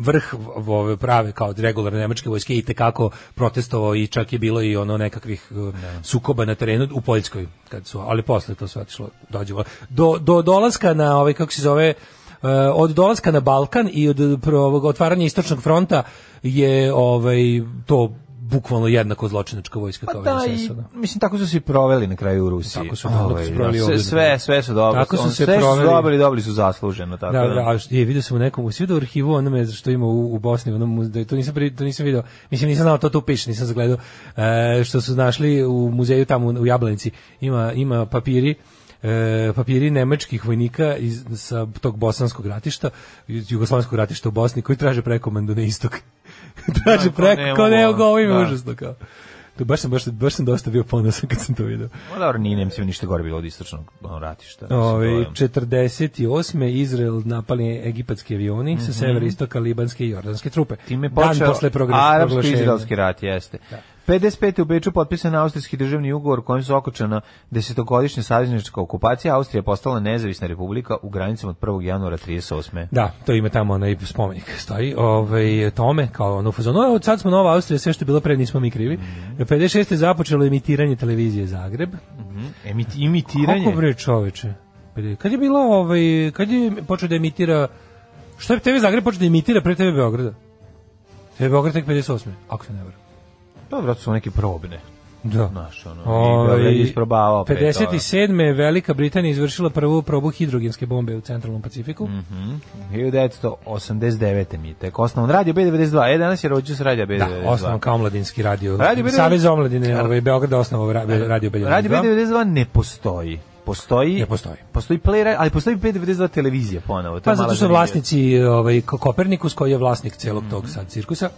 Speaker 7: vrh v- ove prave kao regularne nemačke vojske i tekako protestovao i čak je bilo i ono nekakvih e, sukoba na terenu u Poljskoj kad su ali posle to sve otišlo dođe vola. Do do dolaska na ovaj kako se zove e, od dolaska na Balkan i od pro- ovog otvaranja istočnog fronta je ovaj to bukvalno jednako zločinačka vojska kao
Speaker 6: Pa Da,
Speaker 7: i
Speaker 6: i,
Speaker 7: SS-a, da.
Speaker 6: mislim, tako su se i proveli na kraju u Rusiji.
Speaker 7: Tako su, da, tako su proveli
Speaker 6: sve-
Speaker 7: ovdje, da.
Speaker 6: sve, sve su dobro.
Speaker 7: Tako su
Speaker 6: On-
Speaker 7: se
Speaker 6: sve
Speaker 7: proveli.
Speaker 6: su dobili, dobili su zasluženo. Tako
Speaker 7: Da,
Speaker 6: da,
Speaker 7: da, a što- je, vidio sam u nekom, svi u arhivu onome što ima u, u Bosni, onom, muze- da, to nisam, pri- to nisam vidio, mislim nisam znao, to tu piše, nisam zagledao, e, što su našli u muzeju tamo u Jablanici, ima, ima papiri, e, papiri nemačkih vojnika iz, sa tog bosanskog ratišta, iz jugoslovenskog ratišta u Bosni, koji traže prekomandu na istok. traže
Speaker 6: Da, kao
Speaker 7: preko,
Speaker 6: nemamo,
Speaker 7: kao
Speaker 6: ono,
Speaker 7: ne, ovo ima
Speaker 6: da.
Speaker 7: užasno, kao. To baš sam, baš, baš sam dosta bio ponosan kad sam to vidio.
Speaker 6: Ma dobro, nije Nemcima ništa gore bilo od istočnog ono, ratišta. Mislim, to
Speaker 7: Ove,
Speaker 6: je-
Speaker 7: 48. Izrael napali egipatski avioni sa severa istoka libanske i jordanske trupe.
Speaker 6: Mhm. Time je
Speaker 7: Dan
Speaker 6: počeo
Speaker 7: posle progres- proglašenja.
Speaker 6: arapsko-izraelski rat, jeste. 55. u Beču potpisan austrijski državni ugovor kojim su okočena desetogodišnja saveznička okupacija. Austrija je postala nezavisna republika u granicama od 1. januara 38.
Speaker 7: Da, to ima tamo onaj spomenik stoji. Ovaj tome kao ono u fazonu, "Evo, sad smo Nova Austrija, sve što je bilo pre nismo mi krivi.
Speaker 6: Mhm.
Speaker 7: 56. je započelo emitiranje televizije Zagreb.
Speaker 6: Emit, imitiranje.
Speaker 7: Kako bre čoveče? Kad je bilo ovaj kad je počeo da emitira Što je TV Zagreb počeo da emitira pre TV Beograda? TV Beograd tek 58. Ako se ne varam.
Speaker 6: Pa, Dobro, to su neke probne.
Speaker 7: Da.
Speaker 6: Znaš, ono, i Beograd je isprobavao pre
Speaker 7: 57. je Velika Britanija izvršila prvu probu hidrogenske bombe u centralnom Pacifiku.
Speaker 6: Mhm. toga. 1989. mi je tek osnovan. Radio B92, e, danas je rođen s Radio
Speaker 7: Da,
Speaker 6: B92.
Speaker 7: osnovan kao omladinski radio.
Speaker 6: Radio B92.
Speaker 7: Savez omladine ovaj, Beograda osnovao ra- radio B92.
Speaker 6: Radio B92 ne postoji. Postoji,
Speaker 7: Ne postoji.
Speaker 6: postoji play, ra- ali postoji B92 televizija ponovo. To je
Speaker 7: Pa zato
Speaker 6: mala
Speaker 7: su
Speaker 6: zanimljivost. Mhm.
Speaker 7: vlasnici ovaj, Ko- Kopernikus, koji je vlasnik celog tog sad cirkusa,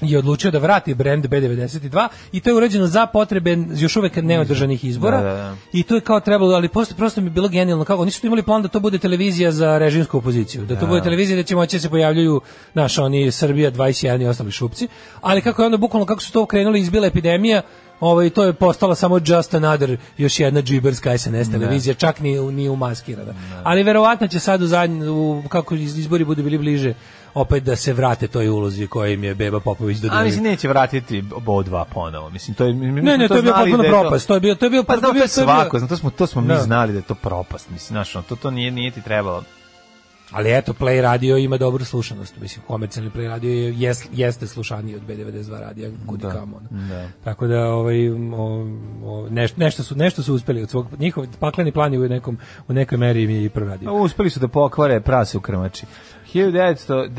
Speaker 7: je odlučio da vrati brend B92 i to je urađeno za potrebe još uvek neodržanih izbora
Speaker 6: Da, da, da.
Speaker 7: i to je kao trebalo, ali prosto, prosto mi je bilo genijalno kako oni su imali plan da to bude televizija za režimsku opoziciju, da to bude televizija da će moći da se pojavljuju naš oni Srbija 21 i ostali šupci, ali kako je onda bukvalno kako su to krenuli izbila epidemija Ovaj to je postala samo just another još jedna džiberska SNS televizija, čak ni ni umaskirana. Ali verovatno će sad u, zadnj, u kako iz- izbori budu bili bliže opet da se vrate toj ulozi koja im je Beba Popović
Speaker 6: A mislim
Speaker 7: dodelila.
Speaker 6: neće vratiti Bo 2 ponovo. Mislim to je mi- mi
Speaker 7: Ne,
Speaker 6: smo
Speaker 7: ne, to je bio
Speaker 6: znali
Speaker 7: potpuno
Speaker 6: da je
Speaker 7: propast, to je bio- to je bio-
Speaker 6: pa
Speaker 7: to je
Speaker 6: znam,
Speaker 7: bio-
Speaker 6: to je
Speaker 7: to je bio-
Speaker 6: svako, znam, to smo to smo mi
Speaker 7: Da.
Speaker 6: znali da je to propast, mislim, znaš, ono, to to nije nije ti trebalo.
Speaker 7: Ali eto Play radio ima dobru slušanost, mislim komercijalni Play radio je, jes- jeste slušaniji od B92 radija kudi kamo. ono. Tako da ovaj o- o- neš- nešto su nešto su uspeli od svog njihov pakleni plan je u nekom u nekoj meri im je i
Speaker 6: A
Speaker 7: proradio.
Speaker 6: Uspeli su da pokvare prase u krmači.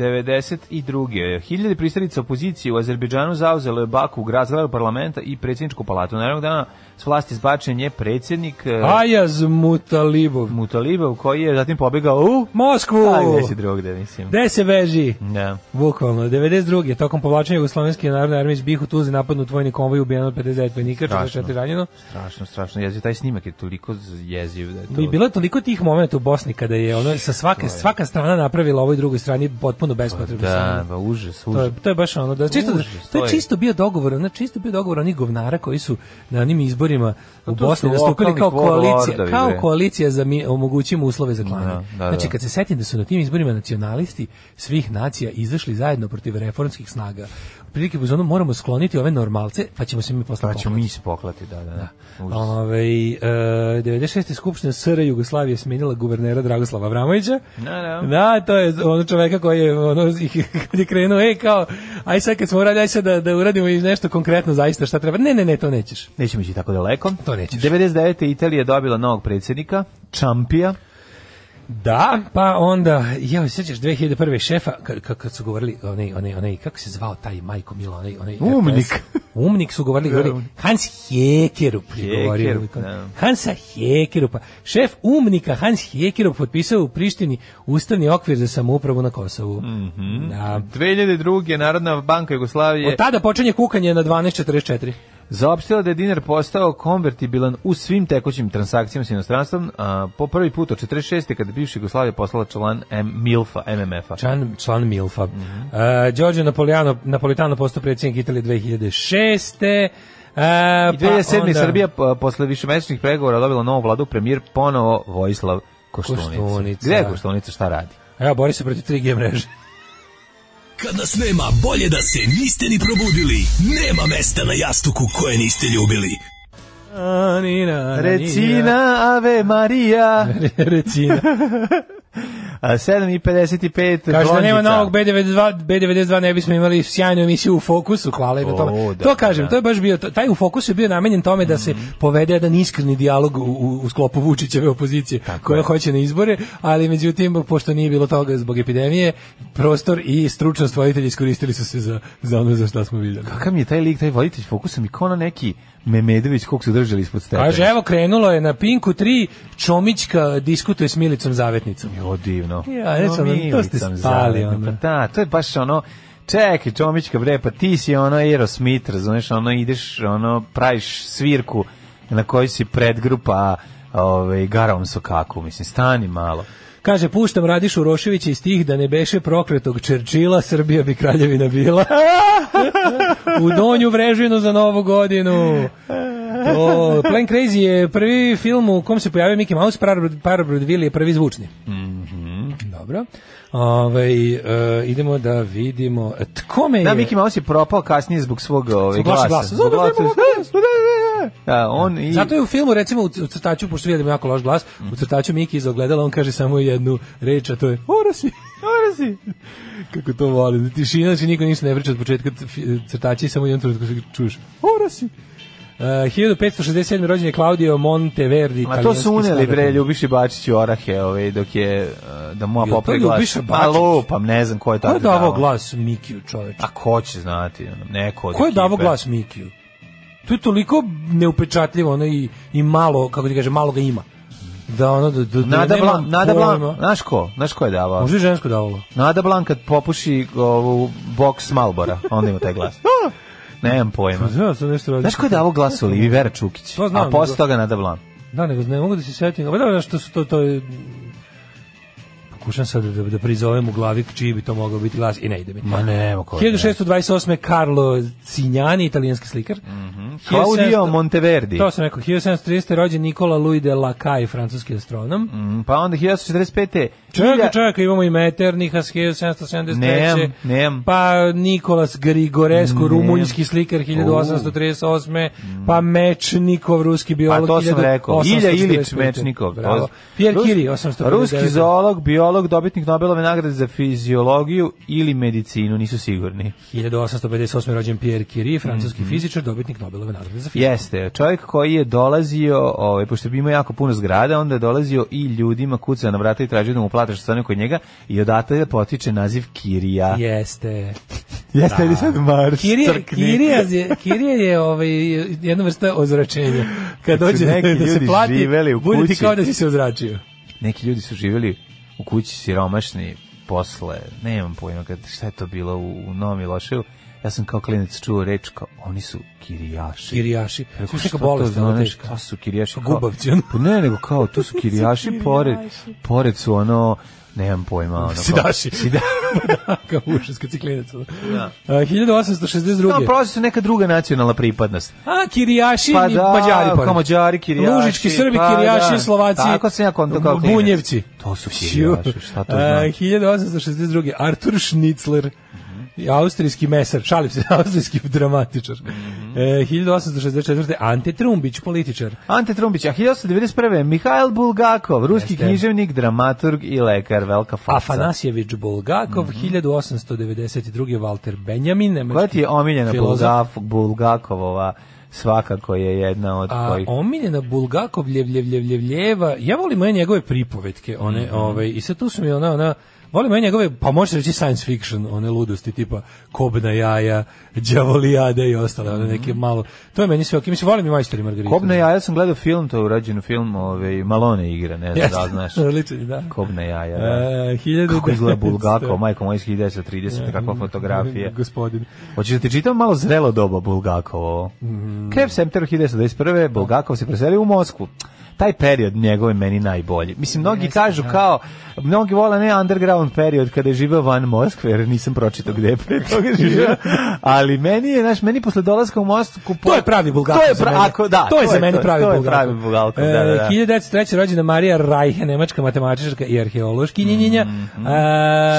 Speaker 6: 1992. Hiljade pristalica opozicije u Azerbejdžanu zauzelo je Baku u grad zgradu parlamenta i predsjedničku palatu. Naravnog dana s vlasti zbačen je predsjednik e,
Speaker 7: Ajaz Mutalibov.
Speaker 6: Mutalibov koji je zatim pobegao u
Speaker 7: Moskvu!
Speaker 6: Aj, gde si drugde, mislim.
Speaker 7: Gde se beži?
Speaker 6: Da.
Speaker 7: Bukvalno, 92. tokom povlačenja Jugoslovenske narodne armije iz Bihu Tuzli napadnut vojni konvoj ubijeno od 59 vojnika,
Speaker 6: Strašno.
Speaker 7: 44 ranjeno.
Speaker 6: Strašno, strašno jeziv. Taj snimak je toliko jeziv da je to...
Speaker 7: I bilo je toliko tih momenta u Bosni kada je ono sa svake svaka strana napravila ovoj drugoj strani potpuno bespotrebno.
Speaker 6: Da, ba, užas,
Speaker 7: To
Speaker 6: užas.
Speaker 7: je, to je baš ono da čisto
Speaker 6: Užas,
Speaker 7: to
Speaker 6: to
Speaker 7: je
Speaker 6: je.
Speaker 7: čisto bio dogovor, znači čisto bio dogovor onih govnara koji su na onim izborima u
Speaker 6: to su
Speaker 7: Bosni nastupili
Speaker 6: lokalni
Speaker 7: kao
Speaker 6: warlordovi,
Speaker 7: koalicija, kao
Speaker 6: bre.
Speaker 7: koalicija za mi omogućimo uslove za klanje.
Speaker 6: Da, da,
Speaker 7: znači
Speaker 6: da.
Speaker 7: kad se setim da su na tim izborima nacionalisti svih nacija izašli zajedno protiv reformskih snaga. Prilike u zonu moramo skloniti ove normalce, pa ćemo se mi posle
Speaker 6: Pa ćemo
Speaker 7: poklati.
Speaker 6: mi se poklati, da, da. da. Užas.
Speaker 7: Ove, e, 96. skupština SR Jugoslavije smenila guvernera Dragoslava Vramovića.
Speaker 6: Da, da.
Speaker 7: Da, to je ono čoveka koji je, ono, kad je krenuo, ej, kao, aj sad kad smo uradili, aj sad da, da uradimo i nešto konkretno zaista šta treba. Ne, ne, ne, to nećeš.
Speaker 6: Nećemo ići tako daleko.
Speaker 7: To nećeš.
Speaker 6: 99. Italija je dobila novog predsjednika, Čampija.
Speaker 7: Da, pa onda, ja se sećaš 2001. šefa, kad, kad, kad su govorili, onaj, onaj, onaj, kako se zvao taj Majko Milo, onaj, onaj RTS?
Speaker 6: Umnik.
Speaker 7: Umnik su govorili, govorili Hans Hekerup je govorio.
Speaker 6: Hekerup, da.
Speaker 7: Hansa Hekerupa. pa Šef umnika Hans Hekerup potpisao u Prištini ustavni okvir za samoupravu na Kosovu.
Speaker 6: Mhm.
Speaker 7: da.
Speaker 6: 2002. Narodna banka Jugoslavije
Speaker 7: Od tada počinje kukanje na 12.44.
Speaker 6: zaopštila da je dinar postao konvertibilan u svim tekućim transakcijama s inostranstvom a, po prvi put od 46. kada je bivša Jugoslavija poslala član M Milfa, MMF-a.
Speaker 7: Član, član Milfa.
Speaker 6: Mhm.
Speaker 7: Mm Đorđe Napoleano, Napolitano postao predsjednik Italije 2006. Uh,
Speaker 6: I 2007. Srbija p- posle višemesečnih pregovora dobila novu vladu, premijer ponovo Vojislav Koštunica.
Speaker 7: Koštunica.
Speaker 6: Gde je Koštunica, šta radi?
Speaker 7: Evo, bori se protiv 3G mreže.
Speaker 9: Kad nas nema, bolje da se niste ni probudili. Nema mesta na jastuku koje niste ljubili.
Speaker 7: A, Nina, Nina.
Speaker 6: Recina Ave Marija.
Speaker 7: Recina.
Speaker 6: A, 7 i 55.
Speaker 7: Kaže da nema
Speaker 6: Blondica.
Speaker 7: novog B92, B92 ne bismo imali sjajnu emisiju u fokusu, hvala im na tome.
Speaker 6: O, da,
Speaker 7: to kažem,
Speaker 6: da. Mhm.
Speaker 7: to je baš bio, taj u fokusu je bio namenjen tome da se povede jedan iskreni dijalog u, u, u sklopu Vučićeve opozicije koja
Speaker 6: je.
Speaker 7: hoće na izbore, ali međutim, pošto nije bilo toga zbog epidemije, prostor i stručnost voditelji iskoristili su se za, za ono za šta smo vidjeli.
Speaker 6: Kakav mi je taj lik, taj voditelj fokusa mi kao na neki Memedović kog su držali ispod stepena.
Speaker 7: Kaže, "E, evo krenulo je na Pinku 3, Čomićka diskutuje s Milicom Zavetnicom.
Speaker 6: Jo, divno.
Speaker 7: Ja, eto,
Speaker 6: No,
Speaker 7: ono, to
Speaker 6: Milicom
Speaker 7: ste spali,
Speaker 6: zajedno.
Speaker 7: ono.
Speaker 6: Pa da, to je baš ono, čekaj, Čomićka, bre, pa ti si ono Aerosmith, razumeš, ono, ideš, ono, praviš svirku na kojoj si predgrupa ovaj, Garom Sokaku, mislim, stani malo.
Speaker 7: Kaže, puštam Radišu Roševića iz tih da ne beše prokletog Čerčila, Srbija bi kraljevina bila. U Donju Vrežinu za novu godinu. To, Plan Crazy je prvi film u kom se pojavio Mickey Mouse, Parabro- Parabrodvili je prvi zvučni. Dobro. Ovaj, e, idemo da vidimo e, tko me je...
Speaker 6: Da, Miki Mouse je propao kasnije zbog svog ovaj,
Speaker 7: Zbog vašeg
Speaker 6: glasa.
Speaker 7: glasa.
Speaker 6: Zbog
Speaker 7: Zato
Speaker 6: glasa.
Speaker 7: nemamo
Speaker 6: Da, on i...
Speaker 7: Zato je u filmu, recimo, u c- u crtaču, pošto vidim jako loš glas, u crtaču Miki iz ogledala, on kaže samo jednu reč, a to je Orasi, Orasi. Kako to volim. Tišina, znači niko ništa ne priča od početka, c- fi- crtači samo jednu trenutku se čuješ. Orasi. E, 1567. rođen je Claudio Monteverdi.
Speaker 6: Ma to
Speaker 7: italijanski
Speaker 6: su uneli
Speaker 7: skladatelj.
Speaker 6: bre Ljubiši Bačić i Orahe, ovaj dok je uh, da moja
Speaker 7: Jel to
Speaker 6: popre
Speaker 7: Ljubiša
Speaker 6: glas. Ma
Speaker 7: Bačić?
Speaker 6: lupam, ne znam ko je
Speaker 7: Ko
Speaker 6: tako.
Speaker 7: je davao glas Mikiju, čoveče?
Speaker 6: A ko će znati, ono, neko od
Speaker 7: Ko je davao
Speaker 6: ekipe.
Speaker 7: glas Mikiju? To je toliko neupečatljivo, ono i, i malo, kako ti kaže, malo ga ima. Da ono, da, da, da
Speaker 6: Nada
Speaker 7: nemam
Speaker 6: Blan, Nada
Speaker 7: pojma.
Speaker 6: Blan, znaš ko? Znaš ko je davao?
Speaker 7: Možda je žensko davalo.
Speaker 6: Nada Blan kad popuši ovu boks Malbora, onda ima taj glas. Nemam pojma.
Speaker 7: Pa Znam sam nešto radi.
Speaker 6: Znaš ko je davao glas Olivi Vera Čukić?
Speaker 7: To znam,
Speaker 6: A posle
Speaker 7: nego-
Speaker 6: toga Nada Blan.
Speaker 7: Da, nego ne mogu da se setim. Pa da, što su to, to je... Pokušam sad da, da prizovem u glavi čiji bi to mogao biti glas i ne ide mi.
Speaker 6: Ma nema ko.
Speaker 7: 1628. Carlo Cignani, italijanski slikar.
Speaker 6: Mhm. Claudio
Speaker 7: 1700
Speaker 6: Monteverdi.
Speaker 7: To sam rekao, 1730. rođen Nikola Louis de Lacaille, francuski astronom.
Speaker 6: Mm, Pa onda 1945.
Speaker 7: Čovjeka,
Speaker 6: Ilja-
Speaker 7: čovjeka, imamo i Meterniha, 1773.
Speaker 6: Nemam, nemam.
Speaker 7: Pa Nikolas Grigorescu,
Speaker 6: Nemam. Mm.
Speaker 7: rumunjski slikar, 1838. Pa Mečnikov, ruski biolog,
Speaker 6: Pa to sam rekao.
Speaker 7: 1845.
Speaker 6: Ilja Ilić Mečnikov.
Speaker 7: Bravo.
Speaker 6: To-
Speaker 7: Pierre
Speaker 6: Rus-
Speaker 7: Curie, 859.
Speaker 6: Ruski zoolog, biolog, dobitnik Nobelove nagrade za fiziologiju ili medicinu, nisu sigurni.
Speaker 7: 1858. rođen Pierre Curie,
Speaker 6: Mhm.
Speaker 7: francuski fizičar, dobitnik Nobelove nagrade za fiziku.
Speaker 6: Jeste, čovjek koji je dolazio, ovaj, pošto bi imao jako puno zgrada, onda je dolazio i ljudima kucao na vrata i tražio da mu plate što stane kod njega i odatle potiče naziv Kirija.
Speaker 7: Jeste.
Speaker 6: Jeste li sad Mars?
Speaker 7: Kirija,
Speaker 6: crkni?
Speaker 7: Kirija, je, Kirija je ovaj, jedna vrsta ozračenja. Kad
Speaker 6: Kad su
Speaker 7: dođe
Speaker 6: neki
Speaker 7: da se
Speaker 6: ljudi
Speaker 7: plati,
Speaker 6: živeli u
Speaker 7: bude ti
Speaker 6: kući.
Speaker 7: kao da si se ozračio.
Speaker 6: Neki ljudi su živjeli u kući siromašni posle, nemam pojma kad, šta je to bilo u, u Novom Miloševu, ja sam kao klinac čuo reč kao, oni su kirijaši.
Speaker 7: Kirijaši.
Speaker 6: Rekao,
Speaker 7: Sve
Speaker 6: šta
Speaker 7: neka
Speaker 6: to
Speaker 7: bolest, ono
Speaker 6: znaš,
Speaker 7: teška.
Speaker 6: to su kirijaši.
Speaker 7: Kao
Speaker 6: kao-
Speaker 7: gubavci, ono.
Speaker 6: Pa ne, nego kao, to su kirijaši, pored, pored su ono, nemam pojma. Ono, kao-
Speaker 7: Sidaši.
Speaker 6: Sida-
Speaker 7: Kao užas, kad si klinac. ono.
Speaker 6: Da.
Speaker 7: A, 1862.
Speaker 6: No, prosto su neka druga nacionalna pripadnost. Pa
Speaker 7: A, kirijaši i mađari.
Speaker 6: da,
Speaker 7: pored.
Speaker 6: kao mađari, kirijaši.
Speaker 7: Lužički, Srbi,
Speaker 6: pa
Speaker 7: kirijaši,
Speaker 6: da.
Speaker 7: Slovaci.
Speaker 6: Tako sam ja konto kao klinac.
Speaker 7: Bunjevci.
Speaker 6: To su kirijaši, šta
Speaker 7: A,
Speaker 6: to znači?
Speaker 7: 1862. Artur Schnitzler. i Austrijski mesar, šalim se, austrijski dramatičar. E, 1864. Ante Trumbić, političar.
Speaker 6: Ante Trumbić, a 1991. Mihajl Bulgakov, ruski
Speaker 7: Jeste.
Speaker 6: književnik, dramaturg i lekar, velika faca.
Speaker 7: Afanasjević Bulgakov, 1892. Walter Benjamin, nemački
Speaker 6: Koja ti je omiljena
Speaker 7: filozof.
Speaker 6: Bulgaf, Bulgakovova svakako je jedna od
Speaker 7: A,
Speaker 6: kojih...
Speaker 7: omiljena Bulgakov ljev, ljev, ljev, ljev, ljeva. Ja volim moje njegove pripovetke, one,
Speaker 6: Mhm.
Speaker 7: ovaj, i sad tu su mi ona, ona, volim moje njegove, pa možeš reći science fiction, one ludosti tipa Kobna jaja, Đavolijade i ostale, one neke malo, to je meni sve ok. Mislim, volim i majstori Margarita.
Speaker 6: Mhm. Kobna jaja, ja sam gledao film, to je urađen film, ove, Malone igra, ne znam
Speaker 7: Jeste.
Speaker 6: da li znaš.
Speaker 7: Odličan, da.
Speaker 6: Kobna jaja,
Speaker 7: E,
Speaker 6: da.
Speaker 7: 1900.
Speaker 6: Kako izgleda Bulgakov, majko moj iz 1930, kakva fotografija.
Speaker 7: Mm, Gospodin.
Speaker 6: Hoćeš da ti čitam malo zrelo doba Bulgakovo?
Speaker 7: Mhm.
Speaker 6: Krep septembra 1921. Bulgakov se preselio u Moskvu. Taj period njegov je meni najbolji. Mislim, mnogi kažu kao, mnogi vole ne underground period kada je živeo van Moskve, jer nisam pročitao gde je pre toga živeo, ali meni je, znaš, meni posle dolaska u Moskvu...
Speaker 7: To je pravi Bulgakov.
Speaker 6: To je,
Speaker 7: za
Speaker 6: pra-
Speaker 7: mene.
Speaker 6: ako, da,
Speaker 7: to je za mene pravi
Speaker 6: To je
Speaker 7: Bulgakov.
Speaker 6: pravi Bulgakov, da, da, da.
Speaker 7: E, 1903. rođena Marija Rajhe, nemačka matematičarka i arheološkinjenja. E,
Speaker 6: Mhm.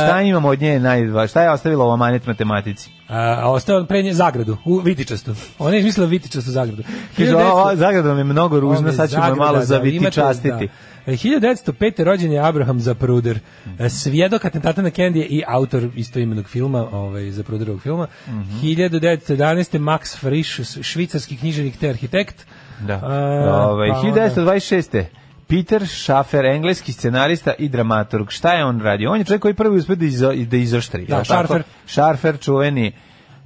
Speaker 6: Šta imamo od nje najdva? Šta je ostavila ova manet matematici?
Speaker 7: A, a ostao on pre nje zagradu, u Vitičastu. Ona je izmislila Vitičastu zagradu.
Speaker 6: Kaže,
Speaker 7: 1900
Speaker 6: ova zagrada vam je mnogo ružna, sad ćemo je
Speaker 7: Zagrada,
Speaker 6: malo
Speaker 7: da,
Speaker 6: zaviti
Speaker 7: imate,
Speaker 6: častiti.
Speaker 7: da. E, 1905. rođen je Abraham Zapruder,
Speaker 6: Mhm.
Speaker 7: e, svjedok atentata na Kennedy i autor istoimenog filma, ovaj, Zapruderovog filma.
Speaker 6: Mhm.
Speaker 7: 1911. Max Frisch, s- švicarski književnik te arhitekt.
Speaker 6: Da.
Speaker 7: E,
Speaker 6: Ovaj,
Speaker 7: pa onda-
Speaker 6: 1926. Peter Schaffer, engleski scenarista i dramaturg. Šta je on radio? On je čovjek koji prvi uspe da, izo, da izoštri.
Speaker 7: Da,
Speaker 6: jel tako?
Speaker 7: Schaffer.
Speaker 6: Schaffer, čuveni.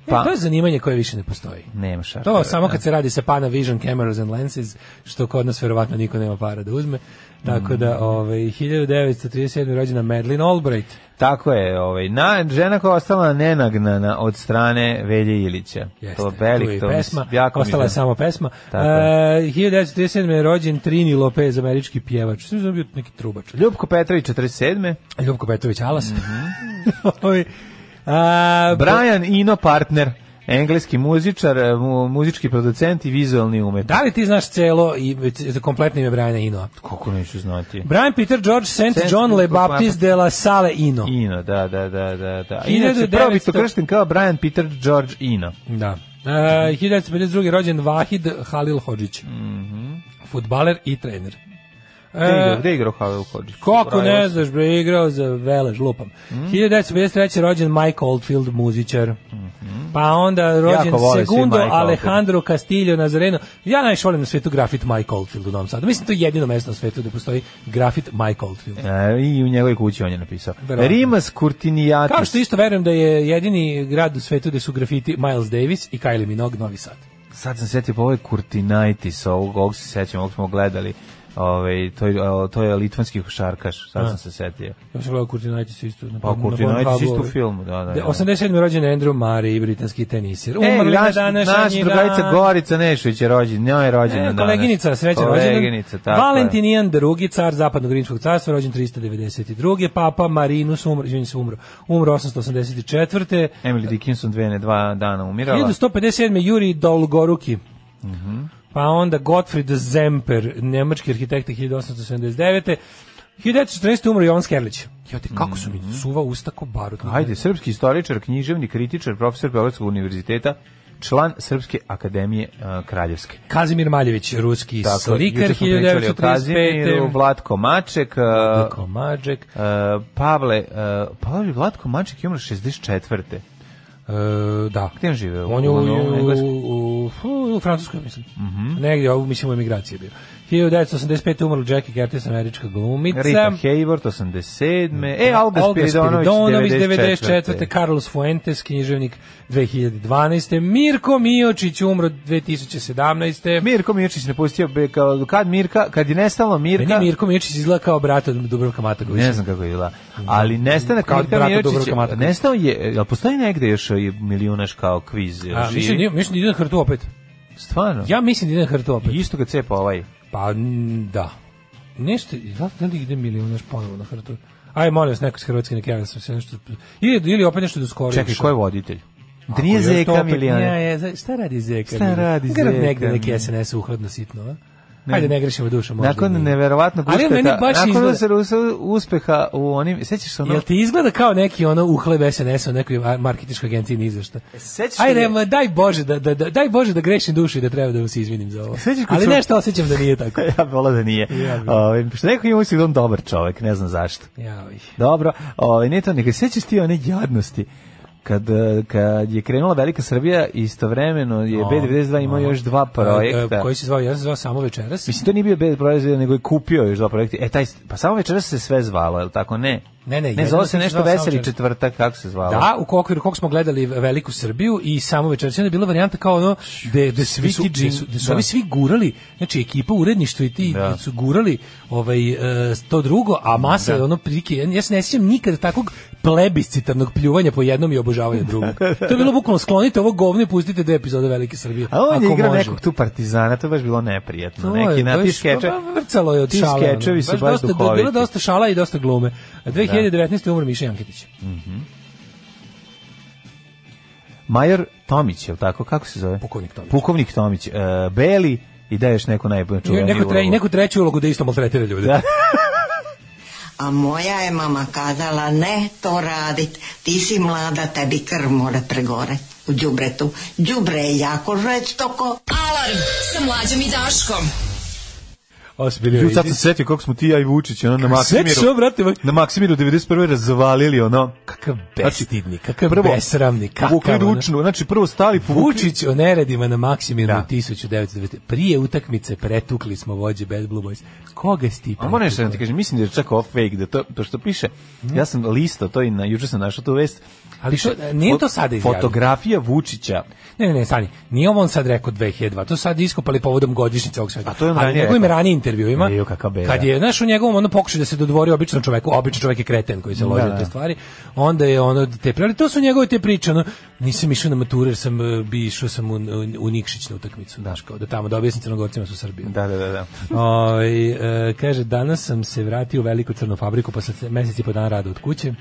Speaker 7: E,
Speaker 6: Pa,
Speaker 7: to je zanimanje koje više ne postoji.
Speaker 6: nema Schaffer.
Speaker 7: To samo kad se radi sa Panavision cameras and lenses, što kod nas verovatno niko nema para da uzme. Tako
Speaker 6: Mm.
Speaker 7: da, ovaj, 1937. rođena Madeleine Albright.
Speaker 6: Tako je, ovaj, na, žena koja je ostala nenagnana od strane Velje Ilića.
Speaker 7: Jeste,
Speaker 6: to je
Speaker 7: tu je
Speaker 6: velik,
Speaker 7: i
Speaker 6: to mi se-
Speaker 7: pesma,
Speaker 6: jako mi
Speaker 7: ostala je
Speaker 6: žao.
Speaker 7: samo pesma. E,
Speaker 6: Tako je.
Speaker 7: 1937. je rođen Trini Lopez, američki pjevač. Sve znam bio neki trubač.
Speaker 6: Ljubko Petrović, 47.
Speaker 7: Ljubko Petrović Alas. Ovaj, a,
Speaker 6: Mhm. Brian Ino partner, engleski muzičar, eh, mu- muzički producent i vizualni umetnik.
Speaker 7: Da li ti znaš celo i c- kompletno ime Briana Inoa?
Speaker 6: Kako neću znati?
Speaker 7: Brian Peter George St.
Speaker 6: Saint
Speaker 7: John Le
Speaker 6: John
Speaker 7: Baptiste de la Salle Ino.
Speaker 6: Ino, da, da, da, da, da.
Speaker 7: 1900
Speaker 6: Inače, prvi to kršten kao Brian Peter George Ino.
Speaker 7: Da. E, 1952. rođen Vahid Halil Hođić. Mm Futbaler i trener.
Speaker 6: Mhm. Gde je igrao, gde je igrao Havel Hodges?
Speaker 7: Kako ne
Speaker 6: Brajos.
Speaker 7: znaš, bre, igrao za Velež, lupam.
Speaker 6: Mhm.
Speaker 7: 1953. rođen Mike Oldfield, muzičar. Pa onda rođen
Speaker 6: Mhm. Jako vole svi
Speaker 7: Segundo
Speaker 6: Mike
Speaker 7: Alejandro Castillo Nazareno. Ja najviše volim na svetu grafit Mike Oldfield u Novom Sadu. Mislim, to je jedino mesto na svetu gde postoji grafit Mike Oldfield.
Speaker 6: E, I u njegovoj kući on je napisao.
Speaker 7: Verovatno.
Speaker 6: Rimas Kurtinijatis.
Speaker 7: Kao što isto verujem da je jedini grad u svetu gde su grafiti Miles Davis i Kylie Minogue, Novi Sad.
Speaker 6: Sad sam setio, pa ovo je Kurtinaitis, ovog, ovog se sećam, ovog smo gledali. Ove, to, je, o, to je litvanski košarkaš, sad sam se setio.
Speaker 7: Ja sam gledao Kurtinaitis isto. Na,
Speaker 6: Pa
Speaker 7: na
Speaker 6: Kurtinaitis
Speaker 7: Pornhubu,
Speaker 6: isto u
Speaker 7: ovaj.
Speaker 6: filmu, da, da.
Speaker 7: De-
Speaker 6: da.
Speaker 7: 87. rođen Andrew Murray, britanski tenisir.
Speaker 6: Ej,
Speaker 7: Umrli na
Speaker 6: naš,
Speaker 7: današnji
Speaker 6: naš drugarica
Speaker 7: dan.
Speaker 6: Gorica Nešović je rođen, njoj je rođen
Speaker 7: E, koleginica, sreća rođendan.
Speaker 6: Koleginica, tako je.
Speaker 7: Valentinijan II, car zapadnog rimskog carstva, rođen 392. Papa Marinus umro, izvinjam se, umro. Umro 884.
Speaker 6: Emily Dickinson dve, ne, dva dana umirala.
Speaker 7: 1157. Juri Dolgoruki.
Speaker 6: Mhm.
Speaker 7: Pa onda Gottfried Zemper, nemački arhitekta 1879. 1914. umro Jovan Skerlić. Jote, kako su mi suva usta ko barut.
Speaker 6: Mhm. Ajde, srpski istoričar, književnik, kritičar, profesor Beogradskog univerziteta, član Srpske akademije e, Kraljevske.
Speaker 7: Kazimir Maljević, ruski slikar
Speaker 6: juče smo pričali o Kazimiru,
Speaker 7: 1935.
Speaker 6: Vlatko Maček, e,
Speaker 7: Komađek.
Speaker 6: e, Pavle, e, Pavle Vlatko Maček je umro 64.
Speaker 7: E, da.
Speaker 6: Gde on žive?
Speaker 7: On je u,
Speaker 6: Londonu,
Speaker 7: u,
Speaker 6: Engleskoj? Mhm.
Speaker 7: u, u, u Francuskoj, mislim. Negdje, ovo mislim u emigraciji je bio. 1985. umrla Jackie Curtis, američka glumica.
Speaker 6: Rita Hayward, 87. E, Alga
Speaker 7: Olga
Speaker 6: Spiridonović,
Speaker 7: Spiridonović,
Speaker 6: 94.
Speaker 7: 94. Carlos Fuentes, književnik 2012. Mirko Miočić, umro 2017.
Speaker 6: Mirko Mirčić napustio, be- kao- kad Mirka, kad je nestalo Mirka,
Speaker 7: Meni Mirko Miočić izgleda kao brat od Dubrovka Matagovića.
Speaker 6: ne znam kako je bila, ali nestanak
Speaker 7: Kao
Speaker 6: Mirka
Speaker 7: brata
Speaker 6: Mirčića,
Speaker 7: Dubravka Matakovića.
Speaker 6: nestao je, jel postoji negde još je milijunaš kao kviz, jel
Speaker 7: A, mislim, da
Speaker 6: živi?
Speaker 7: idem- mislim da idem na hrtu opet.
Speaker 6: Stvarno?
Speaker 7: Ja mislim da idem na hrtu opet.
Speaker 6: Isto ga cepa ovaj.
Speaker 7: Pa, n- da. Nešto, da da li ide milionaš ponovo na hrtu? Aj, molim vas, neko iz Hrvatske neka javlja sam se nešto... Ili, ili opet nešto do skoro.
Speaker 6: Čekaj,
Speaker 7: ušao.
Speaker 6: ko je voditelj?
Speaker 7: Ako
Speaker 6: Da nije
Speaker 7: još to
Speaker 6: Zeka
Speaker 7: opet-
Speaker 6: Milijane.
Speaker 7: Ne, je, za- šta radi Zeka?
Speaker 6: Šta
Speaker 7: Milijane?
Speaker 6: radi
Speaker 7: Grb
Speaker 6: Zeka,
Speaker 7: negde neki
Speaker 6: ne.
Speaker 7: SNS uhladno sitno, a? Ajde, ne grešimo dušom. možda i
Speaker 6: Nakon
Speaker 7: nije.
Speaker 6: neverovatnog
Speaker 7: Ali on meni
Speaker 6: uspeha,
Speaker 7: baš
Speaker 6: nakon
Speaker 7: izgleda-
Speaker 6: uspeha- uspeha u onim, sećaš se ono?
Speaker 7: Jel ti izgleda kao neki ono uhleb SNS-a u nekoj a- marketinškoj agenciji ni za šta?
Speaker 6: E, Sećaš
Speaker 7: Ajde,
Speaker 6: li-
Speaker 7: ma, daj Bože da, da, da, daj Bože da grešim dušu i da treba da vam se izvinim za ovo.
Speaker 6: Sećaš kad
Speaker 7: Ali
Speaker 6: su-
Speaker 7: nešto osjećam da nije tako.
Speaker 6: ja bi volao da nije. Ovaj, što neko ima uvijek da je on dobar čovek, ne znam zašto.
Speaker 7: Jaoj.
Speaker 6: Dobro, ovaj, ne to, neka sećaš ti one jadnosti. Kad, eh, kad je krenula Velika Srbija, istovremeno je B92 imao još dva
Speaker 7: E,
Speaker 6: projekta.
Speaker 7: Koji se zvao, ja sam se zvao samo večeras.
Speaker 6: Mislim, to nije bio B92, nego je kupio još dva projekta. E, taj, pa samo večeras se sve zvalo, je li tako? Ne.
Speaker 7: Ne, ne,
Speaker 6: ne
Speaker 7: jedino
Speaker 6: zvalo se
Speaker 7: sam se
Speaker 6: nešto
Speaker 7: zvao samo
Speaker 6: veseli
Speaker 7: večeras.
Speaker 6: četvrtak, kako se zvalo?
Speaker 7: Da, u okviru kog smo gledali Veliku Srbiju i samo večeras, onda je bila varijanta kao ono gde, gde, svi, su, gde, su, gde su
Speaker 6: Da.
Speaker 7: ovi svi gurali, znači ekipa uredništvo i ti
Speaker 6: Da.
Speaker 7: da. su gurali ovaj, e, to drugo, a masa ono prilike, ja ja se ne sjećam nikada takvog plebiscitarnog pljuvanja po jednom i obožavanja drugog. to je bilo bukvalno sklonite ovo govno i pustite dve epizode Velike Srbije.
Speaker 6: A on je
Speaker 7: ako
Speaker 6: igrao
Speaker 7: može.
Speaker 6: nekog tu partizana, to je baš bilo neprijatno.
Speaker 7: To
Speaker 6: Neki
Speaker 7: je
Speaker 6: na ti
Speaker 7: baš-
Speaker 6: skeče.
Speaker 7: pa, Vrcalo je od
Speaker 6: ti
Speaker 7: šale. ono.
Speaker 6: skečevi su baš
Speaker 7: dosta,
Speaker 6: duhoviti.
Speaker 7: Bilo dosta šala i dosta glume. 2019. umro Miša Janketić.
Speaker 6: Major Tomić, je li tako? Kako se zove?
Speaker 7: Pukovnik Tomić.
Speaker 6: Pukovnik Tomić. e, Beli i da još neko najbolje
Speaker 7: Neku, tre, neku treću ulogu da isto maltretira ljude.
Speaker 6: Da.
Speaker 3: A moja je mama kazala, ne to radit, ti si mlada, tebi krv mora pregore u džubretu. Džubre je jako žestoko.
Speaker 5: Alarm sa mlađom i Daškom.
Speaker 7: Ovo su bili
Speaker 6: Ju, sad sam se setio kako smo ti ja i Vučić ono na Maksimiru.
Speaker 7: Sećaš ovo, brate, ovaj-
Speaker 6: Na Maksimiru 91. razvalili ono.
Speaker 7: Kakav
Speaker 6: Znači,
Speaker 7: bestidnik, kakav
Speaker 6: prvo,
Speaker 7: besramnik,
Speaker 6: Vukli
Speaker 7: kakav... ono.
Speaker 6: ručnu, znači prvo stali po
Speaker 7: Vučić o neredima na Maksimiru
Speaker 6: Da.
Speaker 7: 1990. Prije utakmice pretukli smo vođe Bad Blue Boys. Koga si ti
Speaker 6: A moram nešto da
Speaker 7: pretukao?
Speaker 6: ti kažem, mislim da je čak ovo fake, da to, to što piše, ja sam listao to i na, juče sam našao tu vest.
Speaker 7: Ali što, nije to sada izjavio.
Speaker 6: Fotografija Vučića.
Speaker 7: Ne, ne, ne, stani. Nije ovo on sad rekao 2002. To su sad iskopali povodom godišnjice ovog sveta.
Speaker 6: A to je on
Speaker 7: Ali u
Speaker 6: ranije
Speaker 7: njegovim
Speaker 6: rekao.
Speaker 7: ranijim intervjuima.
Speaker 6: Ejo, kakav beda.
Speaker 7: Kad je, znaš, u njegovom ono pokušaj da se dodvori običnom čoveku, običan čovek je kreten koji se loži
Speaker 6: Da,
Speaker 7: na
Speaker 6: da.
Speaker 7: te stvari, onda je ono te pri- ali to su njegove te priče, ono, nisam išao na mature, jer sam e, bi išao sam u, u, u Nikšić na utakmicu, znaš, kao da tamo, da objasnim crnogorcima su Srbiju.
Speaker 6: Da, da, da, da.
Speaker 7: Ovaj, e, kaže, danas sam se vratio u veliku crnu fabriku posle se- mesec i po dana rada od kuće.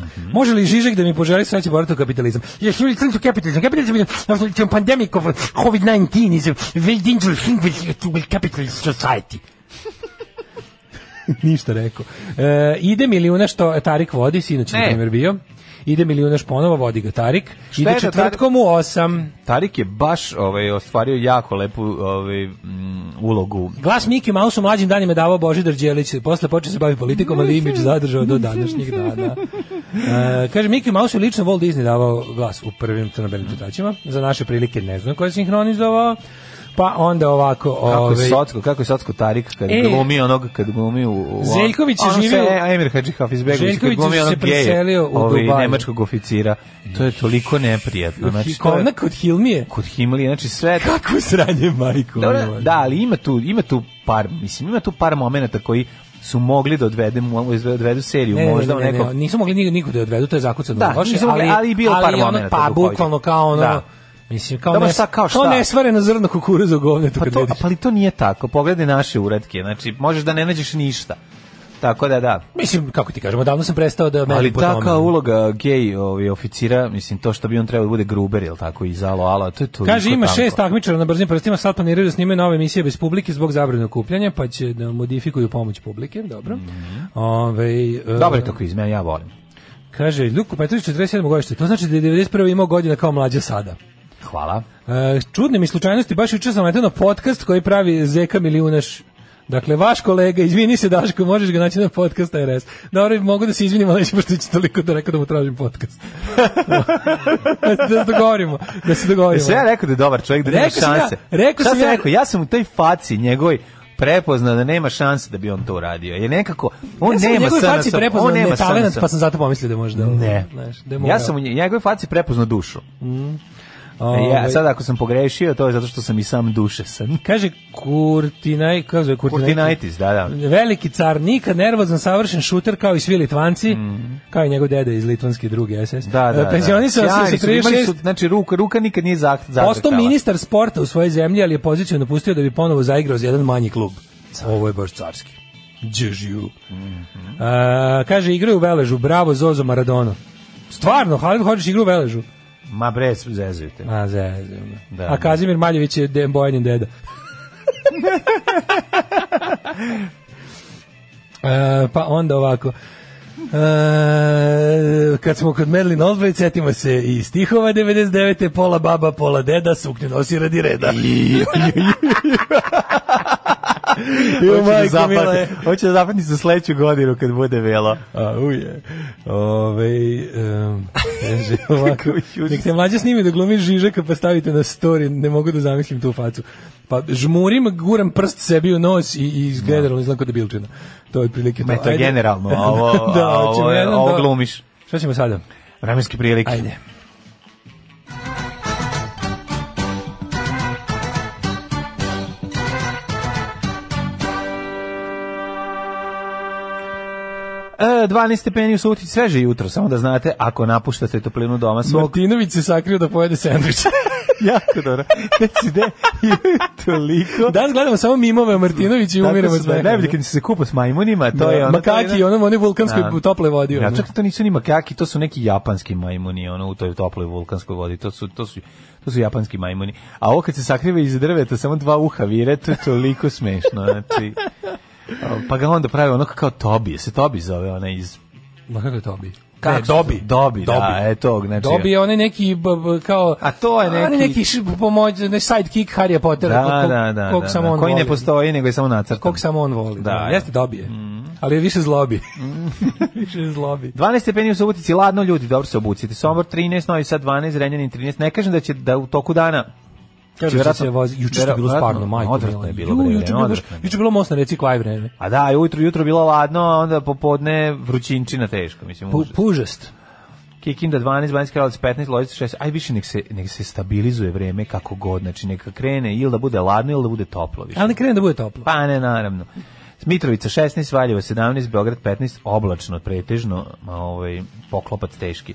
Speaker 6: Mhm.
Speaker 7: Može li Žižek da mi poželi sreće borati u kapitalizam? Yes, you return to capitalism. Capitalism is after the pandemic of COVID-19 is a very dangerous thing with, with capitalist society. Ništa rekao. E, ide milijuna što Tarik vodi, sinoć na
Speaker 6: E.
Speaker 7: primjer bio. ide milijunaš ponovo, vodi ga Tarik.
Speaker 6: Šta
Speaker 7: Ide
Speaker 6: je to
Speaker 7: četvrtkom u osam.
Speaker 6: Tarik je baš ovaj, ostvario jako lepu ovaj, mm, ulogu.
Speaker 7: Glas Miki Mouse u mlađim danima je davao Božidar Đelić, posle počeo se bavi politikom, ali imidž zadržao do današnjih dana. E, kaže, Miki Mouse je lično Walt Disney davao glas u prvim crnobelim čitačima, za naše prilike ne znam ko je sinhronizovao, pa onda ovako...
Speaker 6: Kako je
Speaker 7: ovaj,
Speaker 6: Socko, kako je Socko Tarik kad
Speaker 7: E.
Speaker 6: glumi onog, kad glumi u... u
Speaker 7: Zeljković je
Speaker 6: ono
Speaker 7: živio-
Speaker 6: se Emir Hadži Hafizbegović, kad
Speaker 7: Željković
Speaker 6: glumi
Speaker 7: se
Speaker 6: onog geje,
Speaker 7: preselio u
Speaker 6: ovaj,
Speaker 7: Dubai.
Speaker 6: nemačkog oficira. To je toliko neprijatno. Znači, to je,
Speaker 7: Kovna kod Hilmije.
Speaker 6: kod Himlije, znači sve...
Speaker 7: Kako sranje, majko.
Speaker 6: Dobro,
Speaker 7: moja.
Speaker 6: da, ali ima tu, ima tu par, mislim, ima tu par momenata koji su mogli da odvedemo, odvedu seriju,
Speaker 7: Ne, ne,
Speaker 6: možda
Speaker 7: ne, ne,
Speaker 6: u nekom...
Speaker 7: ne, nisu mogli niko, niko da je odvedu, to je zakucano
Speaker 6: Da,
Speaker 7: loše,
Speaker 6: nisu mogli, ali i bilo par
Speaker 7: ono,
Speaker 6: momenata
Speaker 7: Pa,
Speaker 6: duhovitih.
Speaker 7: bukvalno kao ono,
Speaker 6: Da.
Speaker 7: mislim, kao,
Speaker 6: Dobro,
Speaker 7: nes,
Speaker 6: šta,
Speaker 7: kao
Speaker 6: kao šta?
Speaker 7: nesvareno zrno kukuruza u govnetu
Speaker 6: Pa
Speaker 7: kad
Speaker 6: to,
Speaker 7: vidiš.
Speaker 6: pa ali to nije tako. Pogledaj naše uratke. Znači, možeš da ne nađeš ništa. Tako da, da.
Speaker 7: Mislim, kako ti kažemo, davno sam prestao da
Speaker 6: Ali
Speaker 7: merim po tome.
Speaker 6: taka uloga gej ovaj, oficira, mislim, to što bi on trebao da bude gruber, jel tako, i zalo, ala, to je to.
Speaker 7: Kaže, ima šest takmičara na brzim prstima, sad planiraju da snimaju nove emisije bez publike zbog zabrane okupljanja, pa će da modifikuju pomoć publike, dobro. Ovaj, e,
Speaker 6: Mhm. Dobro je to kviz, ja volim.
Speaker 7: Kaže, Ljuko Petrović 47. godište, to znači da je 91. imao godina kao mlađa sada.
Speaker 6: Hvala.
Speaker 7: E, čudne mi slučajnosti, baš juče sam letao na podcast koji pravi Zeka Milijunaš. Dakle, vaš kolega, izvini se Daško, možeš ga naći na podcast RS. Dobro, mogu da se izvinim, ali neću pošto će toliko da rekao da mu tražim podcast. da se dogovorimo, da se dogovorimo.
Speaker 6: Sve ja rekao da je dobar čovjek, da nema
Speaker 7: Rekao sam ja,
Speaker 6: šanse.
Speaker 7: rekao
Speaker 6: Šta
Speaker 7: sam
Speaker 6: sam
Speaker 7: ja-
Speaker 6: rekao? Ja sam u toj faci njegovoj prepoznao da nema šanse da bi on to uradio. Je nekako, on
Speaker 7: ja sam u
Speaker 6: nema
Speaker 7: njegovoj faci
Speaker 6: SNS,
Speaker 7: prepoznao
Speaker 6: on
Speaker 7: ne
Speaker 6: nema
Speaker 7: talent,
Speaker 6: SNS.
Speaker 7: pa sam zato pomislio da možda... ono,
Speaker 6: Ne.
Speaker 7: Znaš, da je
Speaker 6: ja
Speaker 7: morao.
Speaker 6: sam u nje- njegovoj faci prepoznao dušu. E,
Speaker 7: Ovaj,
Speaker 6: Ja, sad ako sam pogrešio, to je zato što sam i sam duše sam.
Speaker 7: Kaže Kurtinaj, kako zove Kurtinaj?
Speaker 6: Kurtinitis, da, da.
Speaker 7: Veliki car, nikad nervozan, savršen šuter kao i svi Litvanci, kao i njegov dede iz Litvanske druge SS.
Speaker 6: Mhm. Da, da, da.
Speaker 7: Pensionisao se
Speaker 6: Sjajni
Speaker 7: sa
Speaker 6: su, imali
Speaker 7: 36
Speaker 6: su, znači, ruka, ruka nikad nije zah- zavrkala.
Speaker 7: Postao ministar sporta u svojoj zemlji, ali je poziciju napustio da bi ponovo zaigrao za jedan manji klub. Ovo je baš carski. Džežiju.
Speaker 6: Mhm.
Speaker 7: A, kaže, igraju u Veležu, bravo Zozo Maradona. Stvarno, Halil Hođić igra u Veležu.
Speaker 6: Ma bre, zezujte.
Speaker 7: A, zezio me.
Speaker 6: Da.
Speaker 7: A Kazimir Maljević je de, Bojanin deda. E, pa onda ovako. E, kad smo kod Merlin Osbroj, setimo se i stihova 99. Pola baba, pola deda, suknju nosi radi reda. Jo,
Speaker 6: Hoće da
Speaker 7: majko mila
Speaker 6: zapadne,
Speaker 7: je.
Speaker 6: hoće da zapadne za sledeću godinu kad bude velo.
Speaker 7: A, uje. Ove, um, kaže, ovako,
Speaker 6: je užas.
Speaker 7: nek se mlađe snimi da glumi Žižaka pa stavite na story, ne mogu da zamislim tu facu. Pa žmurim, guram prst sebi u nos i, i izgledalo izlako debilčina. To je otprilike to.
Speaker 6: Ma, to je
Speaker 7: Ajde.
Speaker 6: generalno, a ovo,
Speaker 7: Da,
Speaker 6: a ovo, je-
Speaker 7: očigledno
Speaker 6: ovo
Speaker 7: da.
Speaker 6: glumiš.
Speaker 7: Šta ćemo sada?
Speaker 6: Vremenske prilike.
Speaker 7: Ajde.
Speaker 6: E, 12 stepeni u suti, sveže jutro, samo da znate, ako napuštate toplinu doma svog,
Speaker 7: Martinović se sakrio da pojede sandvič.
Speaker 6: jako dobro. Znači, ne, toliko.
Speaker 7: Danas gledamo samo mimove o Martinoviću i
Speaker 6: Tako
Speaker 7: umiramo
Speaker 6: su,
Speaker 7: od smeha.
Speaker 6: Najbolje kad se kupa s majmunima, to
Speaker 7: Da,
Speaker 6: je ono... to
Speaker 7: Makaki,
Speaker 6: je-
Speaker 7: onom, onoj vulkanskoj
Speaker 6: Da.
Speaker 7: tople vodi.
Speaker 6: Ja,
Speaker 7: ono.
Speaker 6: čak to nisu ni makaki, to su neki japanski majmuni, ono u toj toploj vulkanskoj vodi. To su to su to su japanski majmuni. A ovo kad se sakriva iz drveta samo dva uha vire, to je toliko smešno, znači. a, Pa ga onda pravi ono kao Tobi, se Tobi zove ona iz
Speaker 7: Ma kako je Tobi?
Speaker 6: Kako
Speaker 7: Ne,
Speaker 6: se
Speaker 7: Dobi.
Speaker 6: zove? Dobi, da, e, tog, znači-
Speaker 7: Dobi je onaj neki, b, b, kao...
Speaker 6: A to je
Speaker 7: onaj
Speaker 6: Pa neki-
Speaker 7: neki š, pomoć, ne, sidekick Harry Pottera.
Speaker 6: Da,
Speaker 7: kog-
Speaker 6: da, da.
Speaker 7: kog
Speaker 6: da,
Speaker 7: samo
Speaker 6: da,
Speaker 7: on
Speaker 6: koji ne
Speaker 7: voli.
Speaker 6: postoji, nego je samo nacrtan.
Speaker 7: Kog samo on voli. Da,
Speaker 6: Da, Mm. da.
Speaker 7: Jeste Dobi je. Ali je više zlobi. više je zlobi.
Speaker 6: 12 stepeni u Subotici, ladno ljudi, dobro se obucite. Sombor 13, Novi Sad 12, Renjanin 13. Ne kažem da će da u toku dana
Speaker 7: Kaže
Speaker 6: Će
Speaker 7: da
Speaker 6: verovatno-
Speaker 7: se vozi. Juče što je bilo
Speaker 6: verovatno,
Speaker 7: sparno, majko.
Speaker 6: odvratno
Speaker 7: mila.
Speaker 6: je bilo
Speaker 7: Ju,
Speaker 6: vreme,
Speaker 7: Juče je bilo, baš-
Speaker 6: odvratno je
Speaker 7: juče je bilo most na reci Klaj vreme.
Speaker 6: A da, jutro, jutro bilo ladno, a onda popodne vrućinčina teško, mislim.
Speaker 7: Pu,
Speaker 6: užas.
Speaker 7: pužast.
Speaker 6: Kikinda 12, Banjski Kralovac 15, Loznica 6. Aj više nek se nek se stabilizuje vreme kako god, znači neka krene ili da bude ladno ili da bude toplo više.
Speaker 7: Ali ne krene da bude toplo.
Speaker 6: Pa ne, naravno. Mitrovica 16, Valjevo 17, Beograd 15, oblačno pretežno, a, ovaj poklopac teški.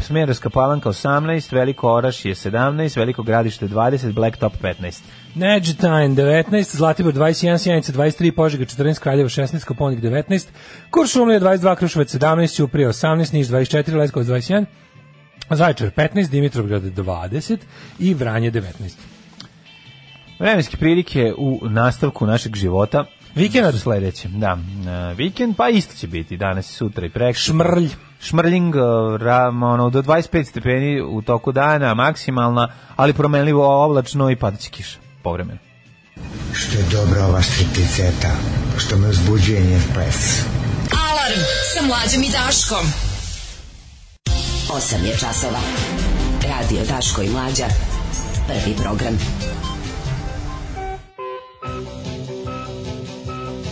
Speaker 6: Smederska Palanka 18, Veliko Oraš je 17, Veliko Gradište 20, Blacktop 15.
Speaker 7: Neđetajn 19, Zlatibor 21, Sjenica 23, Požega 14, Kraljevo 16, Koponik 19, Kuršumlija 22, Krušovac 17, Ćuprija 18, Niš 24, Leskovac 21, Zaječar 15, Dimitrovgrad 20 i Vranje 19.
Speaker 6: Vremenske prilike u nastavku našeg života.
Speaker 7: Vikend?
Speaker 6: Su sledeće, da. E, vikend, pa isto će biti danas, sutra i prekšt.
Speaker 7: Šmrlj.
Speaker 6: šmrljing uh, ra, ono, do 25 stepeni u toku dana, maksimalna, ali promenljivo oblačno i padaće kiša povremeno.
Speaker 10: Što je dobra ova stripticeta, što me uzbuđuje njen pes.
Speaker 5: Alarm sa mlađom i Daškom.
Speaker 8: 8 je časova. Radio Daško i Mlađa. Prvi program.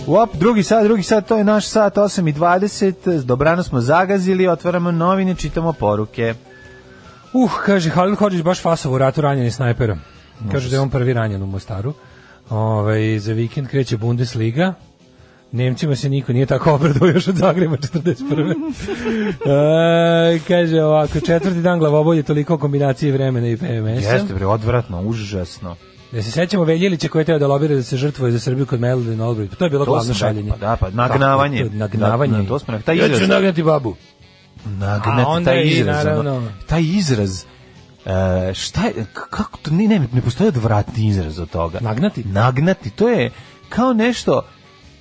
Speaker 6: Uop, drugi sat, drugi sat, to je naš sat, 8 i 20, dobrano smo zagazili, otvaramo novine, čitamo poruke.
Speaker 7: Uh, kaže, Halil Hođić baš fasovo u ratu ranjen je snajperom. Kaže da je on prvi ranjen u Mostaru. Ove, za vikend kreće Bundesliga. Nemcima se niko nije tako obradao još od Zagreba 41. e, kaže ovako, četvrti dan glavobolje toliko kombinacije vremena i PMS-a.
Speaker 6: Jeste, bre, odvratno, užasno.
Speaker 7: Da se sećamo Veljilića koji je teo da lobira da se žrtvuje za Srbiju kod Madeleine Albright. Pa To je bilo
Speaker 6: To
Speaker 7: glavno
Speaker 6: sam
Speaker 7: šaljenje.
Speaker 6: čekao, pa da, pa nagnavanje. Znači,
Speaker 7: Tako, to, nagnavanje.
Speaker 6: Na- na- to smo rekli. Taj
Speaker 7: ja ću
Speaker 6: izraz-
Speaker 7: nagnati babu.
Speaker 6: Nagnet,
Speaker 7: A onda
Speaker 6: taj
Speaker 7: i,
Speaker 6: izraz, ono,
Speaker 7: naravno.
Speaker 6: taj izraz, e, šta je, k- kako to, ne, ne, ne postoji odvratni izraz od toga.
Speaker 7: Nagnati?
Speaker 6: Nagnati, to je kao nešto,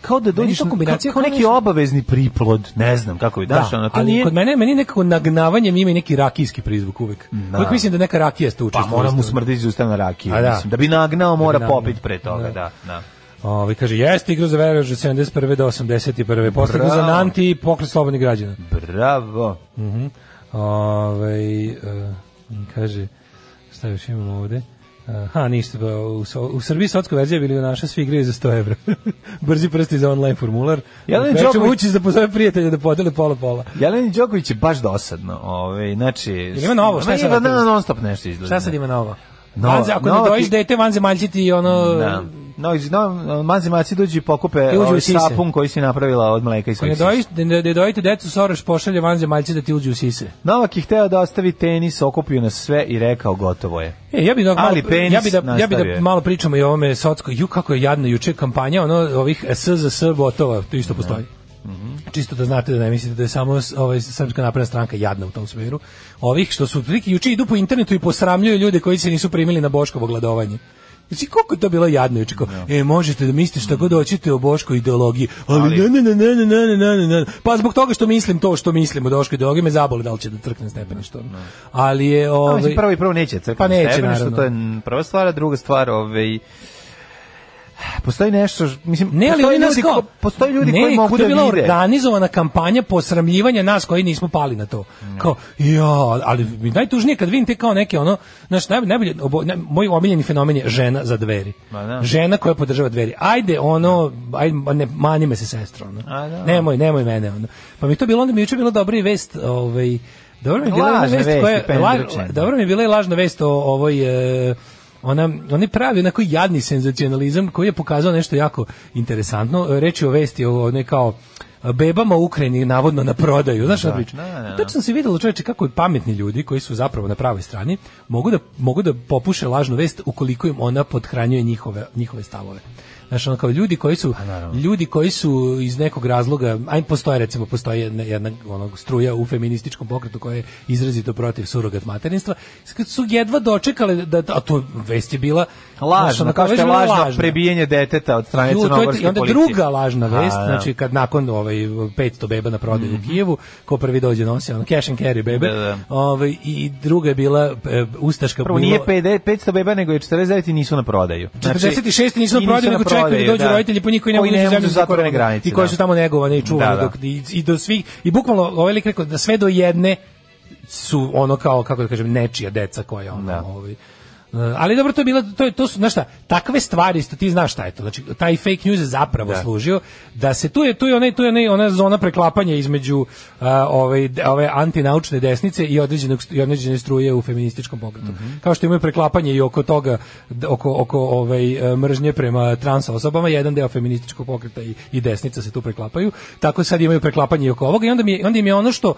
Speaker 6: kao da dođeš,
Speaker 7: to
Speaker 6: na-
Speaker 7: kombinacija
Speaker 6: kao, kao
Speaker 7: kao
Speaker 6: neki
Speaker 7: nešto-
Speaker 6: obavezni priplod, ne znam kako bi, daš, ono, to
Speaker 7: ali
Speaker 6: nije,
Speaker 7: kod mene meni nekako nagnavanjem ima i neki rakijski prizvuk uvek. Da. Uvek mislim da neka rakija ste
Speaker 6: pa
Speaker 7: učestvuje.
Speaker 6: mora mu smrditi iz usta na rakiju,
Speaker 7: A da.
Speaker 6: mislim, da bi nagnao mora
Speaker 7: nagnao.
Speaker 6: popiti pre toga, da, da.
Speaker 7: Ovi Ovaj, kaže jeste igrao za Verež od 71. do 81. Posle za
Speaker 6: Bravo.
Speaker 7: Nanti i pokret slobodnih građana.
Speaker 6: Bravo.
Speaker 7: Mhm. Ovaj, e, kaže, šta još imamo ovde? Aha, ništa, pa u, so- u Srbiji sotska verzija bili naša, svi igraju za 100 evra. Brzi prsti za online formular.
Speaker 6: Jelen
Speaker 7: Večer
Speaker 6: Đoković-
Speaker 7: ući da pozove prijatelja da podele pola-pola.
Speaker 6: Jeleni Đoković je baš dosadno, ovaj, znači...
Speaker 7: Jel ima novo? Šta je sad
Speaker 6: ima
Speaker 7: na
Speaker 6: non stop nešto izgleda.
Speaker 7: Šta sad ima novo?
Speaker 6: No-
Speaker 7: vanze, ako
Speaker 6: novo
Speaker 7: ne dojiš
Speaker 6: ti-
Speaker 7: dete, vanze maljčiti i ono...
Speaker 6: Da. No, iz, no, mazi maci dođu i pokupe
Speaker 7: I uđu u
Speaker 6: ovaj
Speaker 7: sise.
Speaker 6: sapun koji si napravila od mleka i
Speaker 7: Ako ne
Speaker 6: svojih
Speaker 7: dojiš, ne, ne dojite decu, Soroš pošalje vanze maljče da ti uđe u sise.
Speaker 6: Novak je hteo da ostavi tenis, okupio nas sve i rekao gotovo je.
Speaker 7: E, ja bi da malo,
Speaker 6: Ali penis
Speaker 7: ja bi da, ja bi
Speaker 6: nastavio je.
Speaker 7: da malo pričamo i o ovome Socko. Ju kako je jadna juče kampanja ono ovih SZS botova, to isto postoji. Čisto da Mhm. znate da ne mislite da je samo s- ovaj Srpska napredna stranka jadna u tom smeru. Ovih što su prilike juče idu po internetu i posramljuju ljude koji se nisu primili na Boškovo gladovanje. Znači, koliko je to bilo jadno juče, kao, e, možete da mislite šta god hoćete o Boškoj ideologiji, ali,
Speaker 6: Ali-
Speaker 7: ne, ne, ne, ne, ne, ne, ne, ne, ne, ne. Pa zbog toga što mislim to što mislim o Boškoj ideologiji, me zaboli da li će da trknem stepeništom. Ali je,
Speaker 6: Ovaj,
Speaker 7: ovaj...
Speaker 6: mislim, prvo i prvo neće crkveni
Speaker 7: Pa neće,
Speaker 6: stepen, što
Speaker 7: naravno.
Speaker 6: to je mm, prva stvar, a druga stvar, ovaj, postoji nešto, š- mislim,
Speaker 7: Ne, ali
Speaker 6: postoji,
Speaker 7: oni nas
Speaker 6: ljudi,
Speaker 7: kao,
Speaker 6: ko, postoji ljudi
Speaker 7: ne,
Speaker 6: koji mogu
Speaker 7: to
Speaker 6: da
Speaker 7: je
Speaker 6: vide.
Speaker 7: bila organizovana kampanja posramljivanja nas koji nismo pali na to. Kao, ja, ali mi najtužnije kad vidim te kao neke ono, znaš, naj, najbolje, obo, naj, moj omiljeni fenomen je žena za dveri.
Speaker 6: Ma da.
Speaker 7: Žena koja podržava dveri. Ajde, ono, ajde, ma ne, mani me se sestro, ono.
Speaker 6: A da.
Speaker 7: Nemoj, nemoj mene, ono. Pa mi to bilo, onda mi je juče bila dobra i vest, ovaj, dobro mi je bila
Speaker 6: Lažne
Speaker 7: jedna vest
Speaker 6: vesti,
Speaker 7: koja,
Speaker 6: pendrečenje.
Speaker 7: la- dobro mi je bila i lažna vest o ovoj e, ona oni pravi onako jadni senzacionalizam koji je pokazao nešto jako interesantno. E, Reč je o vesti o onoj kao e, bebama u Ukrajini navodno na prodaju. Znaš šta priča?
Speaker 6: da, da, da.
Speaker 7: Tačno se videlo čoveče kako i pametni ljudi koji su zapravo na pravoj strani mogu da mogu da popuše lažnu vest ukoliko im ona podhranjuje njihove njihove stavove. Znaš, ono kao ljudi koji su ljudi koji su iz nekog razloga, aj postoje recimo postoji jedna, jedna onog struja u feminističkom pokretu koja je izrazito protiv surogat materinstva, s- kad su jedva dočekale da da- a to vest je bila znaš,
Speaker 6: Lažno,
Speaker 7: ono
Speaker 6: kao
Speaker 7: vest
Speaker 6: što je
Speaker 7: je bila
Speaker 6: lažno, prebijenje deteta od strane
Speaker 7: Ju, to je-
Speaker 6: crnogorske
Speaker 7: I onda
Speaker 6: policije.
Speaker 7: druga lažna vest,
Speaker 6: A, da. Mhm.
Speaker 7: znači kad nakon ovaj 500 beba na prodaju u Kijevu, ko prvi dođe nosi ono cash and carry bebe.
Speaker 6: Da, da.
Speaker 7: Ovaj i druga je bila e, ustaška
Speaker 6: Prvo
Speaker 7: bilo-
Speaker 6: nije 50 500 beba, nego je 49 i nisu na prodaju. Znači,
Speaker 7: 46 nisu na
Speaker 6: i
Speaker 7: prodaju, nego čekaju da dođu roditelji po njih koji ne mogu da izađu
Speaker 6: mogu
Speaker 7: iz
Speaker 6: zatvorene
Speaker 7: korone.
Speaker 6: granice.
Speaker 7: I koji su
Speaker 6: da.
Speaker 7: tamo negovane i čuvane
Speaker 6: Da, da.
Speaker 7: dok i, i do svih i bukvalno ovaj lik rekao da sve do jedne su ono kao kako da kažem nečija deca koja ono
Speaker 6: Da.
Speaker 7: ovaj e, ali dobro to je bilo to je to su znaš šta takve stvari isto ti znaš šta je to znači taj fake news je zapravo
Speaker 6: Da.
Speaker 7: služio da se tu je tu je onaj tu je onaj ona zona preklapanja između a, ove ove antinaučne desnice i određenog i određene struje u feminističkom pokretu
Speaker 6: Mhm.
Speaker 7: kao što imaju preklapanje i oko toga d- oko oko ovaj e, mržnje prema trans osobama jedan deo feminističkog pokreta i, i desnica se tu preklapaju tako sad imaju preklapanje i oko ovoga i onda mi je- onda im je ono što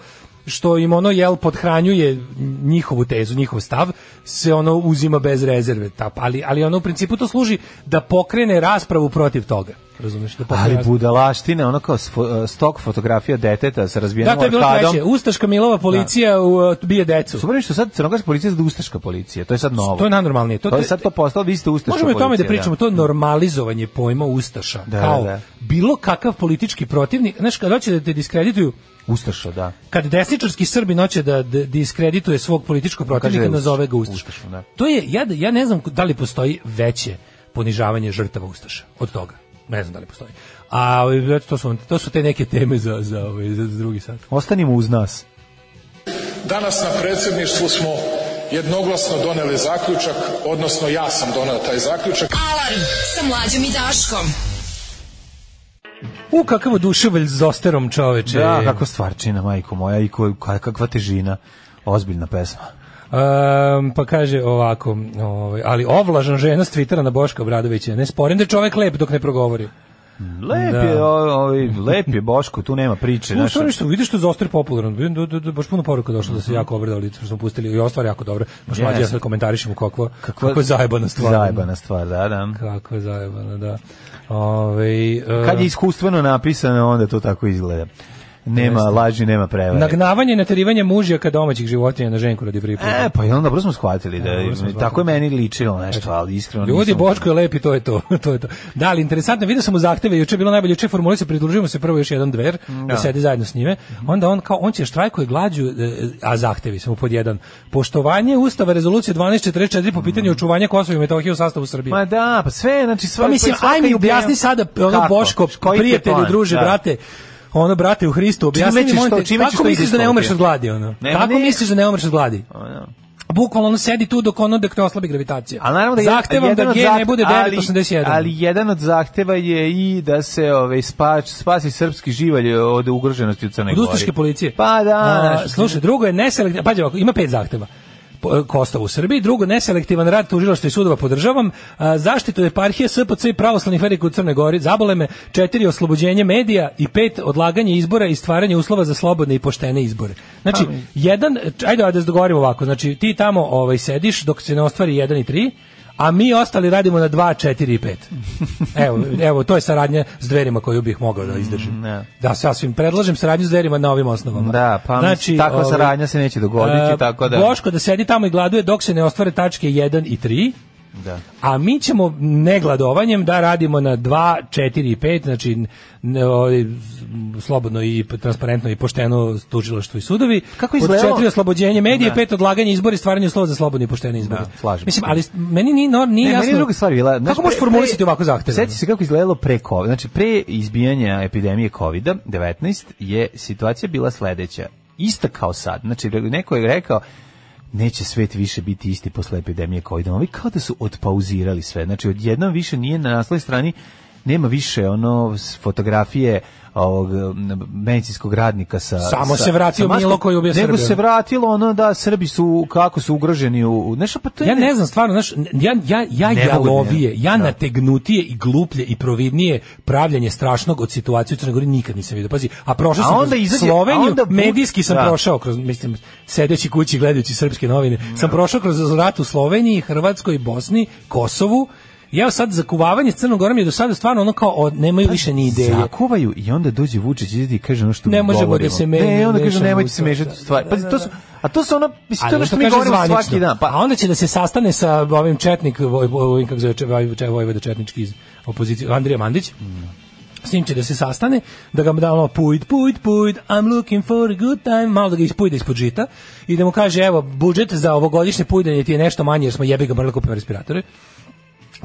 Speaker 7: što im ono jel podhranjuje njihovu tezu, njihov stav, se ono uzima bez rezerve. Ta, ali, ali ono u principu to služi da pokrene raspravu protiv toga. Razumeš? Da pokrene
Speaker 6: Ali
Speaker 7: raspravu.
Speaker 6: budalaštine, ono kao sfo- stok fotografija deteta sa razbijenom
Speaker 7: Da, to je bilo
Speaker 6: arkadom.
Speaker 7: treće. Ustaška Milova policija u, uh, bije decu.
Speaker 6: Super je što sad crnogorska policija je da ustaška policija, to je sad novo.
Speaker 7: To je najnormalnije. To,
Speaker 6: To je sad to postalo, vi ste ustaška
Speaker 7: Možemo i o tome da
Speaker 6: policija,
Speaker 7: pričamo, to je normalizovanje pojma ustaša
Speaker 6: Da,
Speaker 7: kao
Speaker 6: da.
Speaker 7: bilo kakav politički protivnik, znaš, kad hoće da te diskredituju,
Speaker 6: Ustaša, da.
Speaker 7: kad desničarski Srbin hoće da d- diskredituje svog političkog protivnika,
Speaker 6: Kaže,
Speaker 7: nazove ga Ustaš.
Speaker 6: Ustašom, da.
Speaker 7: To je, ja, ja ne znam da li postoji veće ponižavanje žrtava Ustaša od toga. Ne znam da li postoji. A ovaj, eto, to su, to su te neke teme za, za, ovaj, za drugi sat.
Speaker 6: Ostanimo uz nas.
Speaker 11: Danas na predsjedništvu smo jednoglasno doneli zaključak, odnosno ja sam donao taj zaključak.
Speaker 5: Alarm sa mlađom i Daškom.
Speaker 7: U, kakav oduševalj s zosterom čoveče.
Speaker 6: Da, kako stvarčina, majko moja, i ko- ka- kakva težina. Ozbiljna pesma.
Speaker 7: Um, pa kaže ovako, ovaj, ali ovlažan žena s Twittera na Boška Obradovića. Ne sporim da je čovek lep dok ne progovori.
Speaker 6: E, Lep
Speaker 7: Da.
Speaker 6: je, o- ovaj, lep je Boško, tu nema priče.
Speaker 7: No,
Speaker 6: znaš.
Speaker 7: stvarno što vidiš što je Zoster popularan. Vidim Da, da, da, baš puno poruka došlo da se jako obradovali, što smo pustili i ova stvar je jako dobro. Baš
Speaker 6: Mhm. Yes.
Speaker 7: mlađe ja sad komentarišemo kako kako je zajebana stvar.
Speaker 6: Zajebana stvar, da, da.
Speaker 7: Kako je zajebana, da. Ovaj
Speaker 6: Kad je
Speaker 7: eh,
Speaker 6: iskustveno napisano, onda to tako izgleda. Nema
Speaker 7: Jeste.
Speaker 6: laži, nema prevare.
Speaker 7: nagnavanje i naterivanje mužjaka domaćih životinja na ženku radi pripada.
Speaker 6: E, pa i onda dobro smo shvatili da
Speaker 7: E, dobro smo
Speaker 6: je,
Speaker 7: shvatili.
Speaker 6: tako je meni ličilo nešto, ali iskreno
Speaker 7: Ljudi,
Speaker 6: nisam-
Speaker 7: Boško je lepi, to je to. to je to. Da, ali interesantno, vidio sam u zahteve, juče je bilo najbolje, juče formule se pridružujemo se prvo još jedan dver, da. sedi zajedno s njime. Onda on kao on će štrajkuje glađu, e, a zahtevi su mu pod jedan. Poštovanje ustava rezolucije 1244 po pitanju očuvanja Kosova i Metohije u sastavu Srbije.
Speaker 6: Ma da, pa sve, znači sve.
Speaker 7: pa mislim,
Speaker 6: svaka
Speaker 7: aj mi
Speaker 6: ideja-
Speaker 7: objasni sada, ono
Speaker 6: Kako?
Speaker 7: Boško,
Speaker 6: Koji ti je
Speaker 7: prijatelju,
Speaker 6: plan?
Speaker 7: druže,
Speaker 6: Da.
Speaker 7: brate, ono brate u Hristu, objasni
Speaker 6: ćeš
Speaker 7: mi, molim
Speaker 6: to-
Speaker 7: te,
Speaker 6: čime ćeš
Speaker 7: kako
Speaker 6: to
Speaker 7: misliš da ne umreš
Speaker 6: izdiskutirati?
Speaker 7: od gladi, ono?
Speaker 6: Ne, ma
Speaker 7: Kako
Speaker 6: ne.
Speaker 7: misliš da ne umreš od gladi?
Speaker 6: Ono.
Speaker 7: Bukvalno ono sedi tu dok ono dok te oslabi gravitacija.
Speaker 6: Ali naravno da jedan-
Speaker 7: Zahtevam
Speaker 6: jedan
Speaker 7: da
Speaker 6: od
Speaker 7: G
Speaker 6: zaht-
Speaker 7: ne bude
Speaker 6: ali-
Speaker 7: 981.
Speaker 6: Ali jedan od zahteva je i da se ovaj spač, spasi srpski živalj od ugroženosti u Crnoj
Speaker 7: Od
Speaker 6: Gori.
Speaker 7: ustaške policije.
Speaker 6: Pa da,
Speaker 7: A,
Speaker 6: znaš,
Speaker 7: slušaj, drugo je neselektivan, pađe ovako, ima pet zahteva. Po- Kostava u Srbiji, drugo neselektivan rad tužilaštva i sudova podržavam, a, zaštitu eparhije SPC i pravoslavnih verika u Crnoj Gori, zabole me, četiri oslobođenje medija i pet odlaganje izbora i stvaranje uslova za slobodne i poštene izbore. Znači, jedan, č- ajde ajde da se dogovorimo ovako, znači ti tamo ovaj sediš dok se ne ostvari 1 i 3, a mi ostali radimo na 2, 4 i 5. Evo, evo, to je saradnja s dverima koju bih mogao da izdržim.
Speaker 6: ne.
Speaker 7: Da, sasvim. Predlažem saradnju s dverima na ovim osnovama.
Speaker 6: Da, pa mislim, takva
Speaker 7: ovaj,
Speaker 6: saradnja se neće dogoditi,
Speaker 7: e,
Speaker 6: tako da-
Speaker 7: Boško da sedi tamo i gladuje dok se ne ostvare tačke 1 i 3,
Speaker 6: Da.
Speaker 7: a mi ćemo negladovanjem da radimo na 2, 4 i 5, znači ne, ovaj, slobodno i transparentno i pošteno tužilaštvo i sudovi.
Speaker 6: Kako
Speaker 7: Pod
Speaker 6: izgledalo?
Speaker 7: četiri oslobođenje medija,
Speaker 6: Da.
Speaker 7: pet odlaganje izbora i stvaranje uslova za slobodne i poštene izbore.
Speaker 6: Da, slažem se.
Speaker 7: Mislim, ali meni ni no, nije
Speaker 6: Ne,
Speaker 7: jasno.
Speaker 6: meni je druga stvar bila, znaš,
Speaker 7: kako možeš
Speaker 6: pre- pre-
Speaker 7: formulisati ovako zahtev?
Speaker 6: Sećaš se kako izgledalo pre COVID, znači pre izbijanja epidemije COVID-19 je situacija bila sledeća. Ista kao sad. Znači neko je rekao neće svet više biti isti posle epidemije COVID-a. Ovi kao da su odpauzirali sve. Znači odjednom više nije na naslovnoj strani nema više ono s fotografije ovog m, medicinskog radnika sa
Speaker 7: Samo
Speaker 6: sa-
Speaker 7: se vratio
Speaker 6: sa maskom,
Speaker 7: Milo koji je ubio
Speaker 6: nego
Speaker 7: Srbe,
Speaker 6: se
Speaker 7: ono.
Speaker 6: vratilo ono da Srbi su kako su ugroženi u, u nešto pa to je
Speaker 7: Ja ne znam, stvarno, znaš, n- ja, ja, ja
Speaker 6: Ne mogu da
Speaker 7: jalovije,
Speaker 6: ne-
Speaker 7: ja
Speaker 6: da.
Speaker 7: nategnutije i gluplje i providnije pravljanje strašnog od situacije u Crnoj Gori nikad nisam vidio. Pazi, a prošao
Speaker 6: A
Speaker 7: sam
Speaker 6: onda
Speaker 7: kroz
Speaker 6: izađe- a
Speaker 7: Sloveniju,
Speaker 6: onda bu-
Speaker 7: medijski sam
Speaker 6: da.
Speaker 7: prošao kroz, mislim, sedeći kući i gledajući srpske novine, sam prošao kroz rat u Sloveniji, Hrvatskoj, Bosni, Kosovu, I evo sad zakuvavanje s Crnom Gorom je do sada stvarno ono kao o,
Speaker 6: Pa
Speaker 7: nemaju više ni ideje.
Speaker 6: Zakuvaju i onda dođe Vučić i izdi kaže ono što
Speaker 7: Ne
Speaker 6: mi
Speaker 7: možemo
Speaker 6: govorimo.
Speaker 7: da se me-
Speaker 6: Ne, onda kaže
Speaker 7: mešamo
Speaker 6: nemojte
Speaker 7: u
Speaker 6: se
Speaker 7: to.
Speaker 6: mešati u stvari.
Speaker 7: Da,
Speaker 6: Pazi,
Speaker 7: da,
Speaker 6: to
Speaker 7: da,
Speaker 6: su
Speaker 7: da.
Speaker 6: a to su ono mislim to je ono
Speaker 7: ono
Speaker 6: što mi
Speaker 7: kaže
Speaker 6: govorimo
Speaker 7: zvanično.
Speaker 6: svaki dan.
Speaker 7: a
Speaker 6: Pa
Speaker 7: onda će da se sastane sa ovim četnik, voj, voj, kako zove, Če- Voj- Če- Vojvoda Četnički iz opozicije, Andrija Mandić, s njim će da se sastane, da ga da malo pujd, pujd, pujd, I'm looking for a good time, malo da ga ispujde ispod žita i da mu kaže, evo, budžet za ovogodišnje pujdanje ti je nešto manje jer smo jebi ga morali da kupimo respiratore.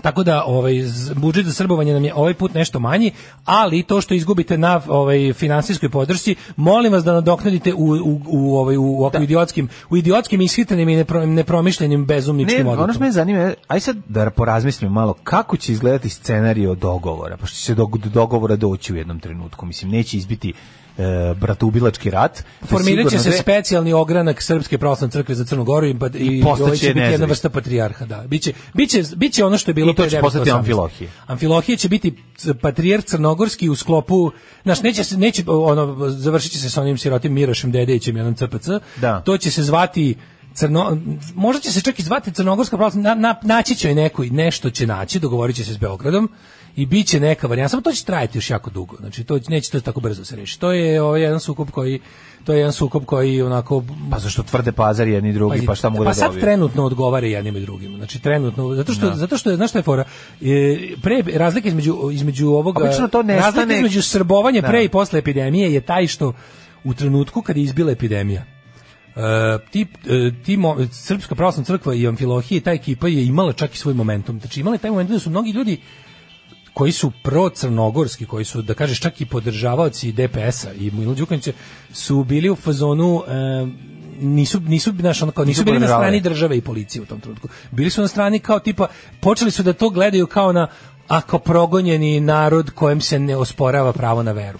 Speaker 7: Tako da ovaj z- budžet za srbovanje nam je ovaj put nešto manji, ali to što izgubite na ovaj finansijskoj podršci, molim vas da nadoknadite u u u ovaj u, u, idiotskim u idiotskim ishitrenim i nepro, nepromišljenim bezumničkim
Speaker 6: ne,
Speaker 7: odlukama.
Speaker 6: ono što me zanima, je, aj sad da porazmislim malo kako će izgledati scenario dogovora, pošto će se do, do dogovora doći u jednom trenutku. Mislim neće izbiti e, bratubilački rat. To je
Speaker 7: Formirat će
Speaker 6: sigurno
Speaker 7: se
Speaker 6: da-
Speaker 7: specijalni ogranak Srpske pravoslavne crkve za Crnu Goru i, pa- i,
Speaker 6: I postaće
Speaker 7: ovaj će biti jedna
Speaker 6: nezavisni.
Speaker 7: vrsta patrijarha, da. Biće, biće, biće ono što je bilo
Speaker 6: I to će
Speaker 7: pre
Speaker 6: postati
Speaker 7: 918.
Speaker 6: Amfilohije.
Speaker 7: Amfilohije će biti c- patrijarh crnogorski u sklopu, znaš, neće, se, neće ono, završit će se sa onim sirotim Mirašem Dedejićem, jednom CPC,
Speaker 6: Da.
Speaker 7: to će se zvati Crno, možda će se čak i zvati Crnogorska pravoslavna, na, na, naći će joj neko i nešto će naći, dogovorit će se s Beogradom i bit će neka varijanta. Samo to će trajati još jako dugo. Znači to neće to tako brzo se reši. To je ovaj jedan sukob koji to je jedan sukob koji onako
Speaker 6: pa zašto tvrde pazar jedni i drugi,
Speaker 7: Pazi,
Speaker 6: pa šta mogu da
Speaker 7: sad
Speaker 6: dobiju?
Speaker 7: trenutno odgovara jednim i drugim. Znači trenutno zato što
Speaker 6: Da.
Speaker 7: zato što je znaš šta je fora? E, pre razlika između između ovoga
Speaker 6: Obično to nestane-
Speaker 7: razlika između srbovanja
Speaker 6: Da.
Speaker 7: pre i posle epidemije je taj što u trenutku kad je izbila epidemija e, ti, e, ti mo- Srpska pravoslavna crkva i Amfilohije, ta ekipa je imala čak i svoj momentum. Znači imala je taj momentum da su mnogi ljudi koji su pro-crnogorski, koji su, da kažeš, čak i podržavaoci DPS-a i Milo Đukanića, su bili u fazonu e, nisu nisu znaš, ono kao, nisu,
Speaker 6: Nisu
Speaker 7: bili na
Speaker 6: podržavali.
Speaker 7: strani države i policije u tom trenutku. Bili su na strani kao tipa počeli su da to gledaju kao na ako progonjeni narod kojem se ne osporava pravo na veru.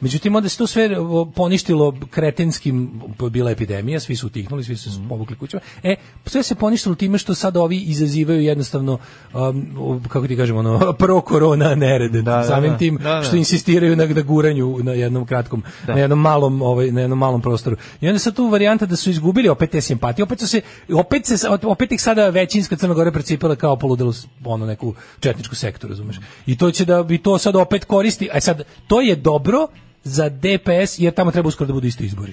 Speaker 7: Međutim, onda se to sve o, poništilo kretenskim, p- bila je epidemija, svi su utihnuli, svi su se povukli kućama. E, sve se poništilo time što sad ovi izazivaju jednostavno, um, o, kako ti kažem, ono, pro-korona nerede.
Speaker 6: da,
Speaker 7: Samim
Speaker 6: da.
Speaker 7: tim
Speaker 6: Da, da.
Speaker 7: što insistiraju na, na guranju na jednom kratkom,
Speaker 6: Da.
Speaker 7: na jednom malom, ovaj, na jednom malom prostoru. I onda sad tu varijanta da su izgubili opet te simpatije, opet su se, opet se, opet ih sada većinska Crna Gora precipila kao poludelu ono neku četničku sektu, razumeš. I to će da bi to sad opet koristi, a sad to je dobro za DPS jer tamo treba uskoro da budu isto izbori.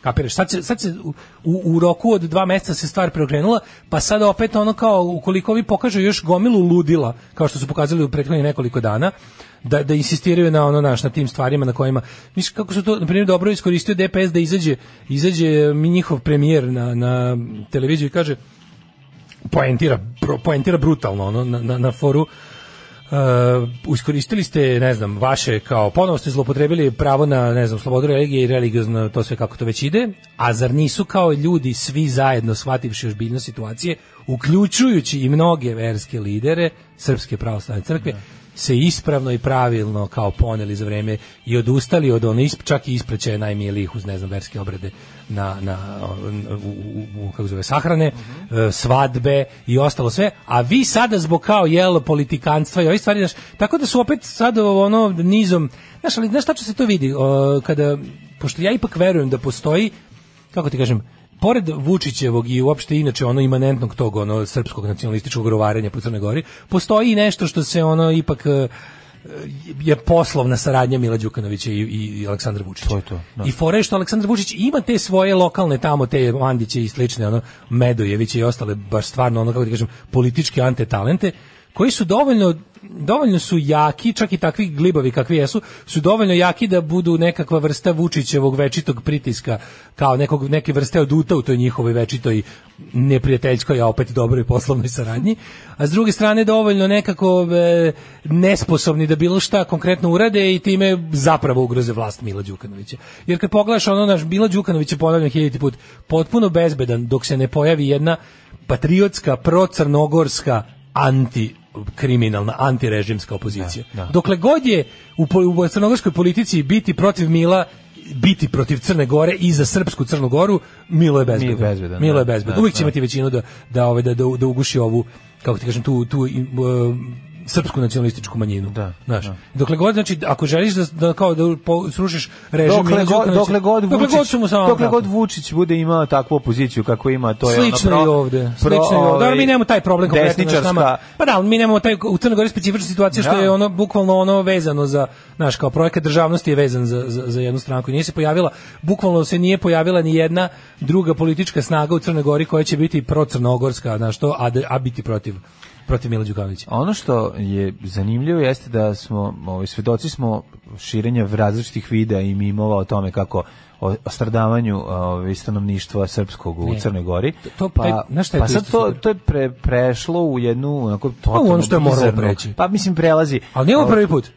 Speaker 7: Kapiraš, sad se, sad se u, u, u roku od dva meseca se stvar preokrenula, pa sad opet ono kao, ukoliko vi pokažu još gomilu ludila, kao što su pokazali u prethodnih nekoliko dana, da, da insistiraju na ono naš, na tim stvarima na kojima, misliš kako su to, na primjer, dobro iskoristio DPS da izađe, izađe mi njihov premijer na, na televiziju i kaže, poentira, pro- poentira brutalno ono, na, na, na foru Uh, iskoristili ste, ne znam, vaše kao, ponovo ste zlopotrebili pravo na, ne znam, slobodu religije i religiozno to sve kako to već ide, a zar nisu kao ljudi svi zajedno shvativši ozbiljnost situacije, uključujući i mnoge verske lidere Srpske pravoslavne crkve, se ispravno i pravilno kao poneli za vreme i odustali od ono isp, čak i ispreće najmilijih uz ne znam verske obrede na, na o, u, u, u, kako se zove sahrane e, svadbe i ostalo sve a vi sada zbog kao jel politikanstva i ovih stvari znaš, tako da su opet sad ono nizom znaš ali znaš tačno se to vidi o, kada pošto ja ipak verujem da postoji kako ti kažem pored Vučićevog i uopšte inače ono imanentnog tog ono srpskog nacionalističkog rovarenja po Crnoj Gori postoji i nešto što se ono ipak e, je poslovna saradnja Mila Đukanovića i, i, i Aleksandra Vučića.
Speaker 6: da.
Speaker 7: I fore što Aleksandar Vučić ima te svoje lokalne tamo te Mandiće i slične ono Medojeviće i ostale baš stvarno ono kako ti kažem politički antetalente koji su dovoljno dovoljno su jaki, čak i takvi glibavi kakvi jesu, su dovoljno jaki da budu nekakva vrsta Vučićevog večitog pritiska, kao nekog, neke vrste oduta u toj njihovoj večitoj neprijateljskoj, a opet dobroj poslovnoj saradnji, a s druge strane dovoljno nekako e, nesposobni da bilo šta konkretno urade i time zapravo ugroze vlast Mila Đukanovića. Jer kad pogledaš ono naš Mila Đukanović je ponavljam hiljati put potpuno bezbedan dok se ne pojavi jedna patriotska, procrnogorska anti kriminalna, antirežimska opozicija.
Speaker 6: Da, da.
Speaker 7: Dokle god je u, po- u crnogorskoj politici biti protiv Mila biti protiv Crne Gore i za srpsku Crnu Goru, Milo je bezbedan.
Speaker 6: Milo je bezbedan,
Speaker 7: Milo je
Speaker 6: da,
Speaker 7: bezbedan.
Speaker 6: da,
Speaker 7: Uvijek će
Speaker 6: da.
Speaker 7: imati većinu da, da, ove, da, da, da uguši ovu, kako ti kažem, tu, tu i, e, srpsku nacionalističku manjinu.
Speaker 6: Da,
Speaker 7: Znaš.
Speaker 6: da.
Speaker 7: Dokle god, znači, ako želiš da, da kao da po- srušiš režim Mila
Speaker 6: Dokle god,
Speaker 7: Đukanovića-
Speaker 6: dokle god
Speaker 7: dokle
Speaker 6: Vučić,
Speaker 7: god su mu samo
Speaker 6: dokle
Speaker 7: tako.
Speaker 6: god Vučić bude imao takvu opoziciju kako ima, to je
Speaker 7: Slično
Speaker 6: ono
Speaker 7: i
Speaker 6: pro-
Speaker 7: ovde.
Speaker 6: pro-
Speaker 7: Slično i ovde. Dobro, mi
Speaker 6: ovaj,
Speaker 7: nemamo taj problem konkretno znaš,
Speaker 6: desničarska-
Speaker 7: nama. Pa da, ali mi nemamo taj u Crnoj Gori specifična situacija što
Speaker 6: Da.
Speaker 7: je ono bukvalno ono vezano za naš kao projekat državnosti je vezan za, za, za jednu stranku. Nije se pojavila bukvalno se nije pojavila ni jedna druga politička snaga u Crnoj Gori koja će biti pro crnogorska, znaš što, a, da- a biti protiv protiv Mila Đukanovića.
Speaker 6: Ono što je zanimljivo jeste da smo, ovaj, svedoci smo širenja različitih videa i mimova o tome kako o, o stradavanju ovaj, stanovništva srpskog u
Speaker 7: Ne.
Speaker 6: Crnoj Gori.
Speaker 7: to- taj-
Speaker 6: pa,
Speaker 7: znaš šta je
Speaker 6: pa
Speaker 7: to
Speaker 6: sad
Speaker 7: isto
Speaker 6: to,
Speaker 7: super?
Speaker 6: to je pre- prešlo u jednu onako totalno
Speaker 7: ono što je moralo
Speaker 6: bizarnu-
Speaker 7: preći.
Speaker 6: Pa mislim prelazi.
Speaker 7: Ali nije ovo
Speaker 6: Ovaj,
Speaker 7: prvi put.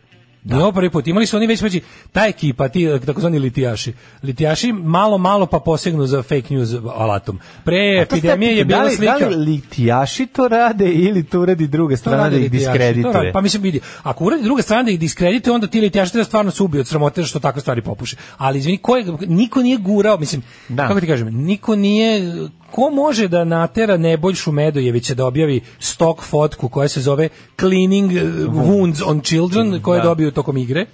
Speaker 7: Nije ovo prvi put. Imali su oni već već ta ekipa, ti eh, takozvani litijaši. Litijaši malo, malo pa posegnu za fake news alatom. Pre
Speaker 6: A to ste
Speaker 7: epidemije je
Speaker 6: pitali,
Speaker 7: bila
Speaker 6: da li-
Speaker 7: slika.
Speaker 6: Da li litijaši to rade ili to uradi druga
Speaker 7: To
Speaker 6: strana da
Speaker 7: rade
Speaker 6: ih
Speaker 7: litijaši, to
Speaker 6: diskredituje?
Speaker 7: rade. Pa mislim vidi, ako uradi druga strana da ih diskredituje, onda ti litijaši treba stvarno se ubiju od sramote što takve stvari popuše. Ali izvini, ko je, niko nije gurao, mislim,
Speaker 6: Da.
Speaker 7: kako ti kažem, niko nije ko može da natera Nebojšu Medojevića da objavi stok fotku koja se zove Cleaning eh, Wounds on Children, koju je
Speaker 6: Da.
Speaker 7: dobio tokom igre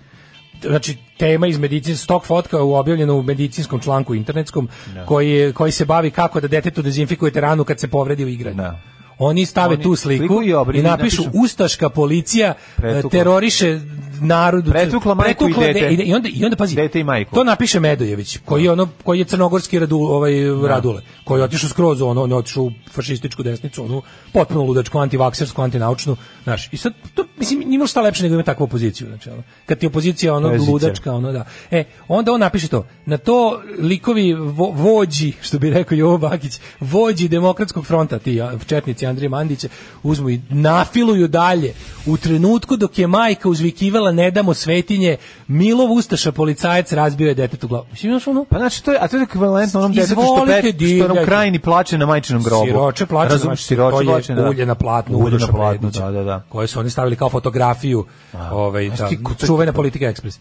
Speaker 7: znači tema iz medicinskog stok fotka u objavljena u medicinskom članku internetskom koji, je- koji se bavi kako da detetu dezinfikujete ranu kad se povredi u igranju.
Speaker 6: Da.
Speaker 7: Oni stave
Speaker 6: Oni
Speaker 7: tu sliku,
Speaker 6: sliku i obrid-
Speaker 7: i napišu
Speaker 6: napišu-
Speaker 7: ustaška policija eh,
Speaker 6: Pretukla.
Speaker 7: teroriše narod
Speaker 6: Pretukla majku i dete.
Speaker 7: i onda i onda pazi
Speaker 6: Dete i majku.
Speaker 7: to napiše Medojević koji je ono koji je crnogorski radu, ovaj radule koji je otišao skroz u ono on je otišao u fašističku desnicu onu potpuno ludačku antivaksersku antinaučnu znaš i sad to mislim nije šta lepše nego ima takvu opoziciju znači ono kad ti je opozicija ono
Speaker 6: Prezice.
Speaker 7: ludačka ono da e onda on napiše to na to likovi vo, vođi što bi rekao Jovo Bakić vođi demokratskog fronta ti a, četnici Andrije Mandića uzmu i nafiluju dalje u trenutku dok je majka uzvikivala ne damo svetinje Milov Ustaša policajac razbio je detetu glavu mislim znaš ono
Speaker 6: Pa znači to je, a to je ekvivalentno onom detetu što,
Speaker 7: Izvolite,
Speaker 6: pe, što na
Speaker 7: divljajte.
Speaker 6: Ukrajini plače na majčinom grobu.
Speaker 7: Siroče plače,
Speaker 6: Razum,
Speaker 7: znači,
Speaker 6: siroče
Speaker 7: to je
Speaker 6: plače, da.
Speaker 7: ulje na platnu,
Speaker 6: Ulje na
Speaker 7: Uroša
Speaker 6: platnu,
Speaker 7: Predića,
Speaker 6: da, da, da.
Speaker 7: Koje su oni stavili kao fotografiju, ovaj,
Speaker 6: znaš
Speaker 7: da,
Speaker 6: ti ko-
Speaker 7: čuvena politika ekspres.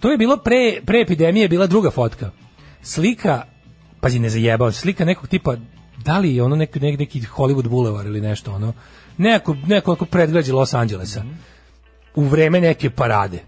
Speaker 7: To je bilo pre, pre epidemije, je bila druga fotka. Slika, pazi, ne zajebao, slika nekog tipa, da li je ono neki, neki, neki Hollywood Boulevard ili nešto, ono, neko, neko ako predgrađe Los Angelesa, u vreme neke parade.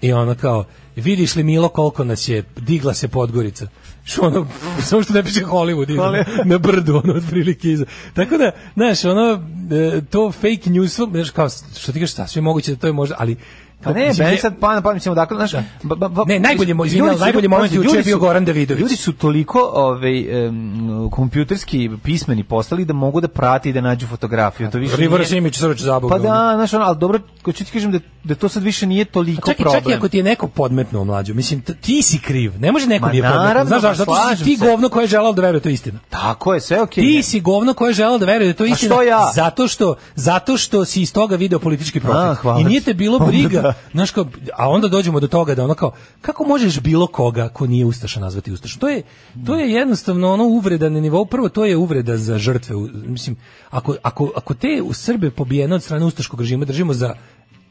Speaker 7: I ono kao, vidiš li Milo koliko nas je, digla se Podgorica. Što ono, samo što ne piše Hollywood iza,
Speaker 6: Ali-
Speaker 7: na brdu, ono, otprilike iza. Tako da, znaš, ono, e, to fake news, znaš, kao, što ti kažeš, šta, sve moguće da to je možda, ali...
Speaker 6: Pa ne,
Speaker 7: mislim,
Speaker 6: meni sad pa na pamet ćemo dakle, znaš, ba- ba- ba-
Speaker 7: Ne, najbolji mo-
Speaker 6: ljudi
Speaker 7: izvinjavam,
Speaker 6: su-
Speaker 7: najbolji moment
Speaker 6: pazi,
Speaker 7: juče
Speaker 6: ljudi
Speaker 7: je bio
Speaker 6: su-
Speaker 7: Goran Davidović.
Speaker 6: Ljudi su toliko ovaj em, kompjuterski pismeni postali da mogu da prate i da nađu fotografiju. To više
Speaker 7: Reverse
Speaker 6: nije-
Speaker 7: image search zaboga.
Speaker 6: Pa
Speaker 7: ono.
Speaker 6: da, znaš, ono, ali dobro, ko ću ti kažem da, da to sad više nije toliko
Speaker 7: čak i,
Speaker 6: problem.
Speaker 7: čak i Pa ako ti je neko podmetnuo mlađu, mislim, t- ti si kriv, ne može neko
Speaker 6: Ma
Speaker 7: ti je podmetnuo,
Speaker 6: naravno,
Speaker 7: znaš,
Speaker 6: ma
Speaker 7: zašto? zato što si
Speaker 6: slažem
Speaker 7: ti
Speaker 6: se.
Speaker 7: govno koje je želao da veruje da je to istina.
Speaker 6: Tako je, sve je okej. Pa
Speaker 7: Ti si govno koje je želeo da veruje da je to istina.
Speaker 6: što ja?
Speaker 7: Zato što, zato što si iz toga video politički
Speaker 6: A,
Speaker 7: profit.
Speaker 6: hvala
Speaker 7: I nije
Speaker 6: ti.
Speaker 7: te bilo
Speaker 6: Onda
Speaker 7: briga.
Speaker 6: da.
Speaker 7: Znaš kao, a onda dođemo do toga da ono kao, kako možeš bilo koga ko nije Ustaša nazvati Ustaša? To je, to je jednostavno ono uvreda na nivou. Prvo, to je uvreda za žrtve. U- Mislim, ako, ako, ako te u Srbe pobijene od strane Ustaškog režima držimo za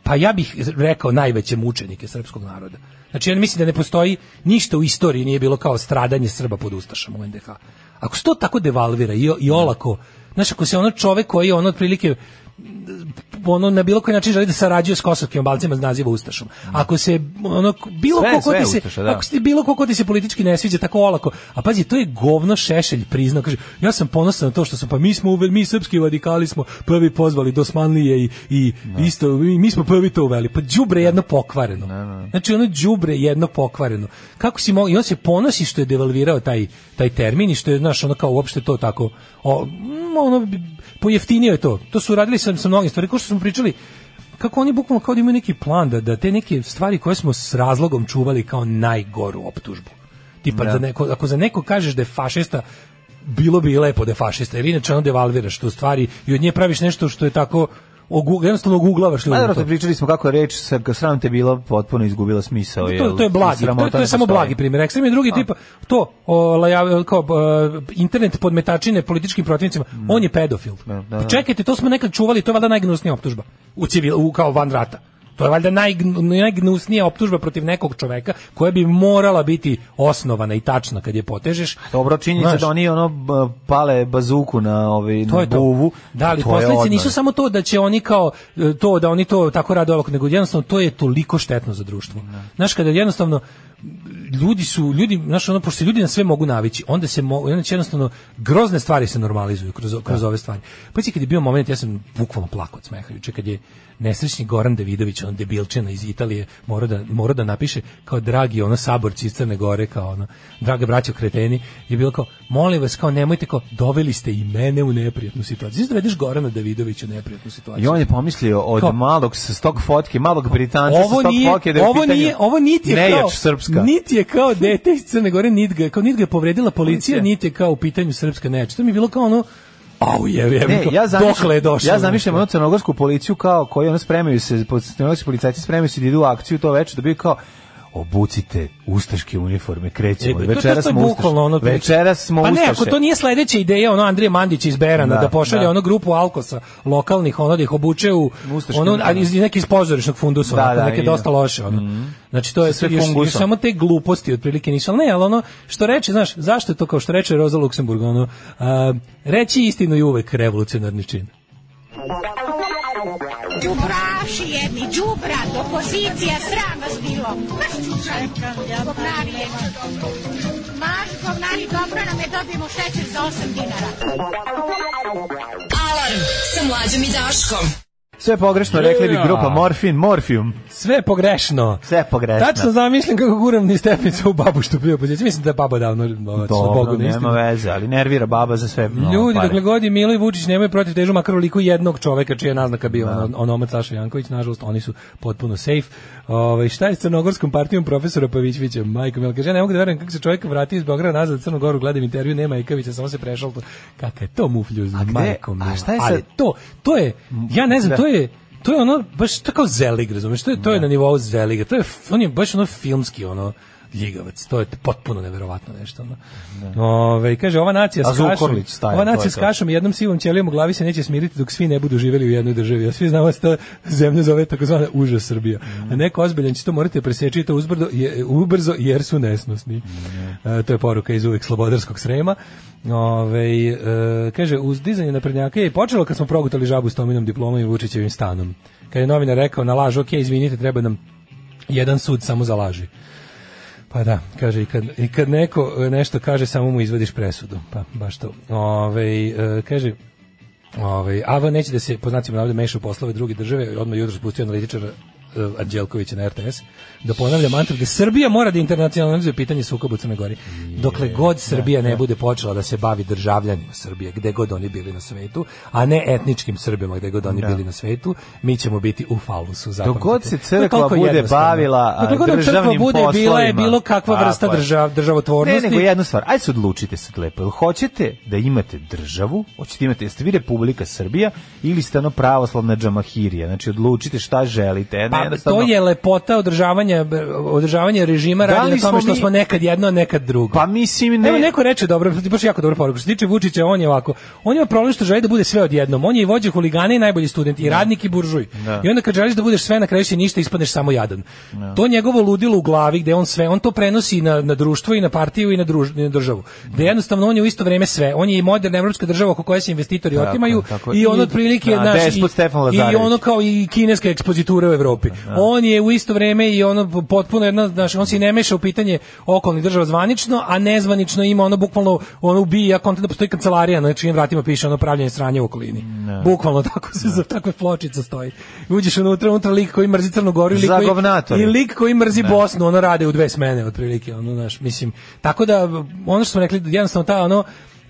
Speaker 7: pa ja bih rekao najveće mučenike srpskog naroda. Znači, ja mislim da ne postoji ništa u istoriji nije bilo kao stradanje Srba pod Ustašama u NDH. Ako se to tako devalvira i, i olako, znaš, ako se ono čovek koji je ono otprilike ono na bilo koji način želi da sarađuje s kosovskim albancima iz naziva ustašom. Ako se ono bilo
Speaker 6: Sve-
Speaker 7: ko ko
Speaker 6: sve
Speaker 7: ti
Speaker 6: je
Speaker 7: se
Speaker 6: ustaša, da.
Speaker 7: ako se ti bilo ko ko ti se politički ne sviđa tako olako, a pazi to je govno šešelj priznao kaže ja sam ponosan na to što sam pa mi smo uveli mi srpski radikali smo prvi pozvali dosmanlije i i isto mi, mi smo prvi to uveli. Pa đubre jedno pokvareno. Znači ono đubre jedno pokvareno. Kako si mogao i on se ponosi što je devalvirao taj taj termin i što je znaš ono kao uopšte to tako o, mm, ono bi- pojeftinio je to. To su radili sa, sa mnogim stvarima, kao što smo pričali, kako oni bukvalno kao da imaju neki plan da, da te neke stvari koje smo s razlogom čuvali kao najgoru optužbu. Tipa, za neko, ako za neko kažeš da je fašista, bilo bi i lepo da je fašista, jer inače ono devalviraš tu stvari i od nje praviš nešto što je tako ogu, jednostavno oguglavaš
Speaker 6: Pa
Speaker 7: ljudi.
Speaker 6: dobro,
Speaker 7: to.
Speaker 6: to pričali smo kako je reč sa sram te bilo potpuno izgubila smisao.
Speaker 7: To,
Speaker 6: jel?
Speaker 7: to je blagi, to,
Speaker 6: Sramota
Speaker 7: je- to je
Speaker 6: ne
Speaker 7: samo
Speaker 6: postoji.
Speaker 7: blagi primjer. Ekstrem je drugi tip, to, o, laja- kao, e, internet podmetačine političkim protivnicima, on je pedofil.
Speaker 6: Mm.
Speaker 7: Pa
Speaker 6: da, da.
Speaker 7: Čekajte, to smo nekad čuvali, to je valjda najgnusnija optužba, u civil, u, kao van rata. To je valjda najgnu- najgnusnija optužba protiv nekog čoveka koja bi morala biti osnovana i tačna kad je potežeš.
Speaker 6: Dobro, činjenica
Speaker 7: Znaš,
Speaker 6: da oni ono b- pale bazuku na ovaj
Speaker 7: to
Speaker 6: na
Speaker 7: je to.
Speaker 6: buvu.
Speaker 7: Da, ali
Speaker 6: to je
Speaker 7: posledice
Speaker 6: odmah.
Speaker 7: nisu samo to da će oni kao e, to da oni to tako rade ovako, nego jednostavno to je toliko štetno za društvo. Znaš, kada jednostavno ljudi su ljudi znaš ono pošto se ljudi na sve mogu navići onda se mo, onda će jednostavno grozne stvari se normalizuju kroz kroz ove stvari pa si kad je bio moment ja sam bukvalno plakao od smeha juče kad je nesrećni Goran Davidović on debilčina iz Italije mora da mora da napiše kao dragi ono saborci iz Crne Gore kao ono draga braćo kreteni je bilo kao molim vas kao nemojte kao doveli ste i mene u neprijatnu situaciju znači dovedeš Gorana Davidovića u neprijatnu situaciju
Speaker 6: I on je pomislio od
Speaker 7: Kao-
Speaker 6: malog s stok fotke, malog Britanca sa
Speaker 7: ovo
Speaker 6: stok
Speaker 7: nije,
Speaker 6: fotke da je u
Speaker 7: ovo
Speaker 6: pitanju
Speaker 7: nije, ovo niti je
Speaker 6: nejač
Speaker 7: kao,
Speaker 6: srpska.
Speaker 7: niti je kao dete iz Crne Gore, niti ga, kao niti ga je povredila policija, niti je kao u pitanju srpska nejač. To mi je bilo kao ono, au je, je,
Speaker 6: Ne, ja zamišljam,
Speaker 7: E, dokle je došlo.
Speaker 6: ja zamišljam ono crnogorsku policiju kao koji ono spremaju se, po- crnogorski policajci spremaju se da idu u akciju to večer, da bi kao obucite ustaške uniforme, krećemo.
Speaker 7: E, to- to-
Speaker 6: večeras
Speaker 7: to je
Speaker 6: smo ustaše.
Speaker 7: bukvalno ono-
Speaker 6: Večeras smo
Speaker 7: pa ne,
Speaker 6: ustaše.
Speaker 7: ako to nije sledeća ideja, ono Andrije Mandić iz Berana, da,
Speaker 6: Da,
Speaker 7: pošalje
Speaker 6: da.
Speaker 7: onu grupu Alkosa lokalnih, ono da ih obuče u,
Speaker 6: Ustaške
Speaker 7: ono,
Speaker 6: uniforme.
Speaker 7: ali iz neki iz pozorišnog fundusa,
Speaker 6: Da,
Speaker 7: onako,
Speaker 6: da,
Speaker 7: neke
Speaker 6: i- Mhm.
Speaker 7: dosta loše, ono. Znači, to je
Speaker 6: sve
Speaker 7: još, još
Speaker 6: fungusom.
Speaker 7: samo te gluposti otprilike nisu, ali ne, ali ono, što reče, znaš, zašto je to kao što reče Roza Luksemburg, ono, a, reći istinu je uvek revolucionarni čin.
Speaker 12: Đubraši jedni, đubrat, opozicija, sram vas bilo. Maš čučaj, govnari je. Maš govnari, dobro nam je, dobijemo šećer za 8 dinara.
Speaker 5: Alarm sa mlađom i Daškom.
Speaker 6: Sve pogrešno, rekli bi
Speaker 7: Ja.
Speaker 6: grupa Morfin, Morfium.
Speaker 7: Sve pogrešno.
Speaker 6: Sve pogrešno.
Speaker 7: Tačno zamišljam kako guram ni stepnicu u babu što bio pozicija. Mislim da je baba davno ova,
Speaker 6: Dobro,
Speaker 7: sa Bogu na
Speaker 6: nema
Speaker 7: istinu.
Speaker 6: veze, ali nervira baba za sve. no, pa
Speaker 7: Ljudi,
Speaker 6: pare.
Speaker 7: dokle god je Milo i Vučić nemaju protiv težu makar u liku jednog čoveka čija je naznaka bio on, onomad Saša Janković, nažalost oni su potpuno safe. Ovaj šta je s crnogorskom partijom profesora Pavićvića? Majko Milo kaže ja ne mogu da verujem kako se čovjek vrati iz Beograda nazad u Crnu Goru, gledam intervju, nema Ikavića, samo se prešao. Kakav je to mufljuz, majko Milo.
Speaker 6: a šta je
Speaker 7: Ali
Speaker 6: sad-
Speaker 7: to, to je, ja ne znam,
Speaker 6: Da.
Speaker 7: to je To je ono baš to kao Zelig, razumeš? To je to je na nivou Zeliga. To je f- on je baš ono filmski ono ljigavac. To je potpuno neverovatno nešto. Ono. Ove, kaže, ova nacija
Speaker 6: A
Speaker 7: s kašom,
Speaker 6: Zukorlić style,
Speaker 7: ova
Speaker 6: to
Speaker 7: nacija
Speaker 6: je
Speaker 7: s
Speaker 6: to.
Speaker 7: kašom i jednom sivom ćelijom u glavi se neće smiriti dok svi ne budu živjeli u jednoj državi. A svi znamo da se ta zemlja zove takozvana uža Srbija. A neko ozbiljan će to morate preseći i to uzbrdo, je, ubrzo jer su nesnosni. E, to je poruka iz uvek slobodarskog srema. Ove, e, kaže, uzdizanje naprednjaka je počelo kad smo progutali žabu s Tominom diplomom i Vučićevim stanom. Kad je novinar rekao na laž, ok, izvinite, treba nam jedan sud samo za laži. Pa da, kaže, i kad, i kad neko e, nešto kaže, samo mu izvadiš presudu. Pa, baš to. Ove, e, kaže, ove, Ava Ovaj, neće da se, po znacima navode, meša u poslove druge države, odmah jutro spustio analitičara e, Anđelkovića na RTS, da ponavlja mantru da Srbija mora da internacionalizuje pitanje sukoba u Crnoj Gori. Dokle god Srbija ne bude počela da se bavi državljanima Srbije, gde god oni bili na svetu, a ne etničkim Srbima gde god oni bili na svetu, mi ćemo biti u falusu.
Speaker 6: Dok god se
Speaker 7: zapamtite. To je
Speaker 6: crkva
Speaker 7: toliko
Speaker 6: bude
Speaker 7: jednostavno.
Speaker 6: bavila a,
Speaker 7: Dokle god nam crkva
Speaker 6: državnim
Speaker 7: bude, bila je
Speaker 6: poslovima.
Speaker 7: bilo kakva
Speaker 6: Tako
Speaker 7: vrsta
Speaker 6: je.
Speaker 7: držav, državotvornosti.
Speaker 6: Ne, nego jednu stvar. Ajde se odlučite sad lepo. Jel hoćete da imate državu? Hoćete imate, jeste vi Republika Srbija ili ste ono pravoslavna džamahirija? Znači, odlučite šta želite. Ne,
Speaker 7: Pa, to
Speaker 6: jednostavno-
Speaker 7: je lepota održavanja održavanja režima
Speaker 6: Da
Speaker 7: radi
Speaker 6: li
Speaker 7: na tome
Speaker 6: smo
Speaker 7: što
Speaker 6: mi-
Speaker 7: smo nekad jedno, a nekad drugo.
Speaker 6: Pa mislim, ne-
Speaker 7: Evo neko reče dobro, baš jako dobro poruku. Što se tiče Vučića, on je ovako. On ima problem što želi da bude sve odjednom. On je i vođa huligana i najbolji student i radnik i buržuj.
Speaker 6: Da.
Speaker 7: I onda kad želiš da budeš sve na kraju si ništa, ispadneš samo jadan. To njegovo ludilo u glavi gde on sve, on to prenosi i na, na društvo i na partiju i na, druž, i na državu. Da jednostavno on je u isto vrijeme sve. On je i moderna evropska država oko koje se investitori
Speaker 6: Tako je,
Speaker 7: otimaju
Speaker 6: tako je.
Speaker 7: i on
Speaker 6: I-
Speaker 7: otprilike
Speaker 6: da,
Speaker 7: naš
Speaker 6: despot Stefan
Speaker 7: i, i
Speaker 6: Lazarević.
Speaker 7: ono kao i kineska ekspozitura u Evropi. On je u isto vrijeme i ono potpuno jedna, znaš, on se i ne meša u pitanje okolnih država zvanično, a nezvanično ima ono bukvalno ono ubija kontent da postoji kancelarija na čijim vratima piše ono pravljenje sranja u okolini. Bukvalno tako se za takve pločica stoji. Uđeš ono unutra, unutra lik koji mrzi Crnu Goru i lik
Speaker 6: Za
Speaker 7: koji,
Speaker 6: govnatore.
Speaker 7: i lik koji mrzi Bosnu, ono rade u dve smene otprilike, ono znaš, mislim. Tako da ono što smo rekli jednostavno ta ono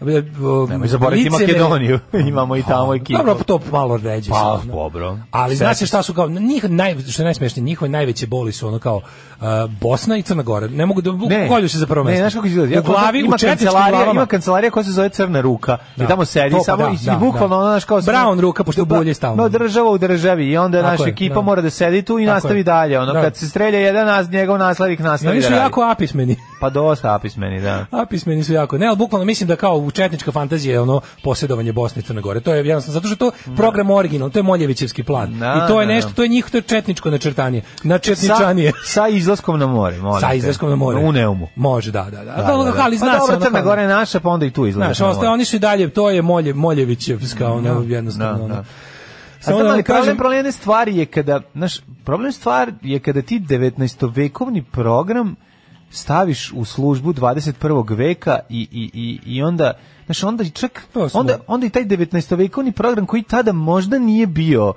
Speaker 6: Nemoj zaboraviti
Speaker 7: licemerje-
Speaker 6: Makedoniju. Imamo i tamo ekipu.
Speaker 7: dobro, pa to malo ono. ređe.
Speaker 6: Pa,
Speaker 7: sad, no.
Speaker 6: dobro.
Speaker 7: Ali
Speaker 6: Sve-
Speaker 7: znaš se šta su kao njih naj što je najsmešnije, njihove najveće boli su ono kao uh, Bosna i Crna Gora. Ne mogu da
Speaker 6: Ne.
Speaker 7: kolju se za prvo mesto.
Speaker 6: Ne, znaš kako izgleda? Ja,
Speaker 7: u glavi
Speaker 6: ima
Speaker 7: u četničkim
Speaker 6: kancelarija,
Speaker 7: glavama.
Speaker 6: ima kancelarija koja se zove Crna ruka.
Speaker 7: Da.
Speaker 6: I tamo sedi
Speaker 7: To pa
Speaker 6: samo
Speaker 7: da,
Speaker 6: i,
Speaker 7: da,
Speaker 6: i bukvalno
Speaker 7: da.
Speaker 6: ono naš kao
Speaker 7: Brown ruka, pošto bulje stalno.
Speaker 6: No država u državi i onda
Speaker 7: Tako
Speaker 6: naša
Speaker 7: je,
Speaker 6: ekipa
Speaker 7: da.
Speaker 6: mora da sedi tu i
Speaker 7: Tako
Speaker 6: nastavi
Speaker 7: je.
Speaker 6: dalje. Ono
Speaker 7: Da.
Speaker 6: kad se strelja jedan nas njegov naslednik
Speaker 7: I
Speaker 6: nastavi
Speaker 7: oni
Speaker 6: da
Speaker 7: su
Speaker 6: radi.
Speaker 7: jako apismeni.
Speaker 6: Pa dosta apismeni, da.
Speaker 7: Apismeni su jako. Ne, ali bukvalno mislim da kao u četnička fantazija je ono posjedovanje Bosne i Crne Gore. To je jednostavno zato što je to program original, to je Moljevićevski plan.
Speaker 6: Da,
Speaker 7: I to je
Speaker 6: da,
Speaker 7: nešto,
Speaker 6: da.
Speaker 7: to je njih to je četničko načrtanje.
Speaker 6: Sa,
Speaker 7: Načetničanije.
Speaker 6: sa izlaskom na more, molim
Speaker 7: Sa
Speaker 6: te.
Speaker 7: izlaskom na more.
Speaker 6: U Neumu.
Speaker 7: Može, da, da, da.
Speaker 6: Da, da, da.
Speaker 7: Ali
Speaker 6: Pa
Speaker 7: zna se
Speaker 6: dobro,
Speaker 7: ono
Speaker 6: Crna
Speaker 7: kao-
Speaker 6: Gora je naša, pa onda i tu izlaziš
Speaker 7: Znaš,
Speaker 6: na more.
Speaker 7: ostaje oni su i dalje, to je Molje, Moljevićevska, ono, jednostavno.
Speaker 6: da,
Speaker 7: ono.
Speaker 6: da.
Speaker 7: Samo
Speaker 6: Samo
Speaker 7: da vam
Speaker 6: ali
Speaker 7: kažem-
Speaker 6: problem, problem jedne stvari je kada, znaš, problem stvar je kada ti 19. vekovni program staviš u službu 21. veka i, i, i, i onda, znaš, onda i čak,
Speaker 7: To smo-
Speaker 6: onda, onda i taj 19. vekovni program koji tada možda nije bio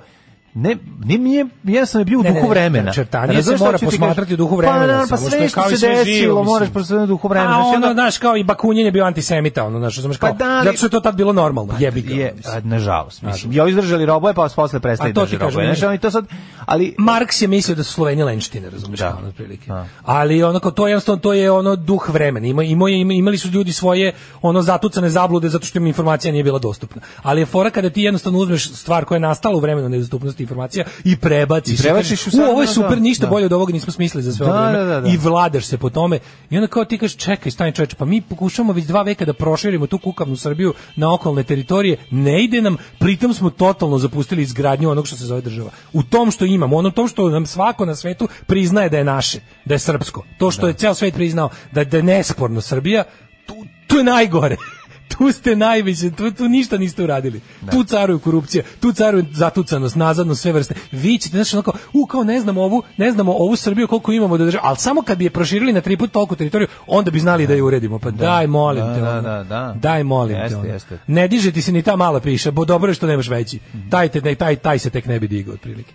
Speaker 6: Ne, ne mi je, jednostavno je bio u
Speaker 7: Ne, ne,
Speaker 6: duhu
Speaker 7: ne,
Speaker 6: vremena.
Speaker 7: čertanje se
Speaker 6: Razumeš šta
Speaker 7: mora
Speaker 6: ću ti kažem?
Speaker 7: posmatrati u duhu
Speaker 6: Pa,
Speaker 7: vremena,
Speaker 6: naravno, pa
Speaker 7: samo što je
Speaker 6: sve što
Speaker 7: kao i
Speaker 6: se
Speaker 7: sve živo,
Speaker 6: desilo
Speaker 7: mislim.
Speaker 6: moraš posmatrati u duhu vremena.
Speaker 7: A
Speaker 6: Znaš,
Speaker 7: ono,
Speaker 6: onda-
Speaker 7: znaš, kao i Bakunin je bio antisemita, ono, znaš, znaš, kao,
Speaker 6: Pa da, ali- Pa
Speaker 7: zato što je to tad bilo normalno, jebi ga. ono,
Speaker 6: je,
Speaker 7: mislim.
Speaker 6: a, nažalost, mislim. Ja izdržali roboje, pa posle prestali
Speaker 7: A to ti
Speaker 6: držati
Speaker 7: kažem,
Speaker 6: roboje. E, Znaš,
Speaker 7: ne.
Speaker 6: oni to sad, ali
Speaker 7: Marks je mislio da su Sloveni lenštine, razumiješ,
Speaker 6: Da.
Speaker 7: kao ono, otprilike.
Speaker 6: Da.
Speaker 7: Ali onako to je jednostavno to je ono duh vremena. Ima, ima, ima- imali su ljudi svoje ono zatucane zablude zato što im informacija nije bila dostupna. Ali je fora kada ti jednostavno uzmeš stvar koja je nastala u vremenu nedostupnosti informacija i prebaciš.
Speaker 6: I prebaciš
Speaker 7: u
Speaker 6: u sad,
Speaker 7: ovo je
Speaker 6: da,
Speaker 7: super,
Speaker 6: da,
Speaker 7: ništa
Speaker 6: da.
Speaker 7: bolje od ovoga nismo smislili za sve
Speaker 6: Da,
Speaker 7: ovo vreme.
Speaker 6: da, da, da.
Speaker 7: I vladaš se po tome. I onda kao ti kažeš čekaj, stani čoveče, pa mi pokušavamo već dva veka da proširimo tu kukavnu Srbiju na okolne teritorije, ne ide nam, pritom smo totalno zapustili izgradnju onog što se zove država. U tom što imamo, ono tom što nam svako na svetu priznaje da je naše, da je srpsko. To što je ceo svet priznao da, da je nesporno Srbija, tu, tu je najgore. tu ste najveće, tu, tu ništa niste uradili. Tu caruju korupcija, tu caruju zatucanost, nazadnost, sve vrste. Vi ćete, znaš, onako, u, kao ne znamo ovu, ne znamo ovu Srbiju koliko imamo da država, ali samo kad bi je proširili na tri put toliko teritoriju, onda bi znali da, je uredimo. Pa daj, molim
Speaker 6: Da,
Speaker 7: te.
Speaker 6: da,
Speaker 7: ono.
Speaker 6: da, da.
Speaker 7: Daj, molim te.
Speaker 6: Jeste,
Speaker 7: ono.
Speaker 6: jeste. Mhm.
Speaker 7: Ne diže ti se ni ta mala piša, bo dobro je što nemaš veći. Taj, te, ne, taj, taj se tek ne bi digao, otprilike.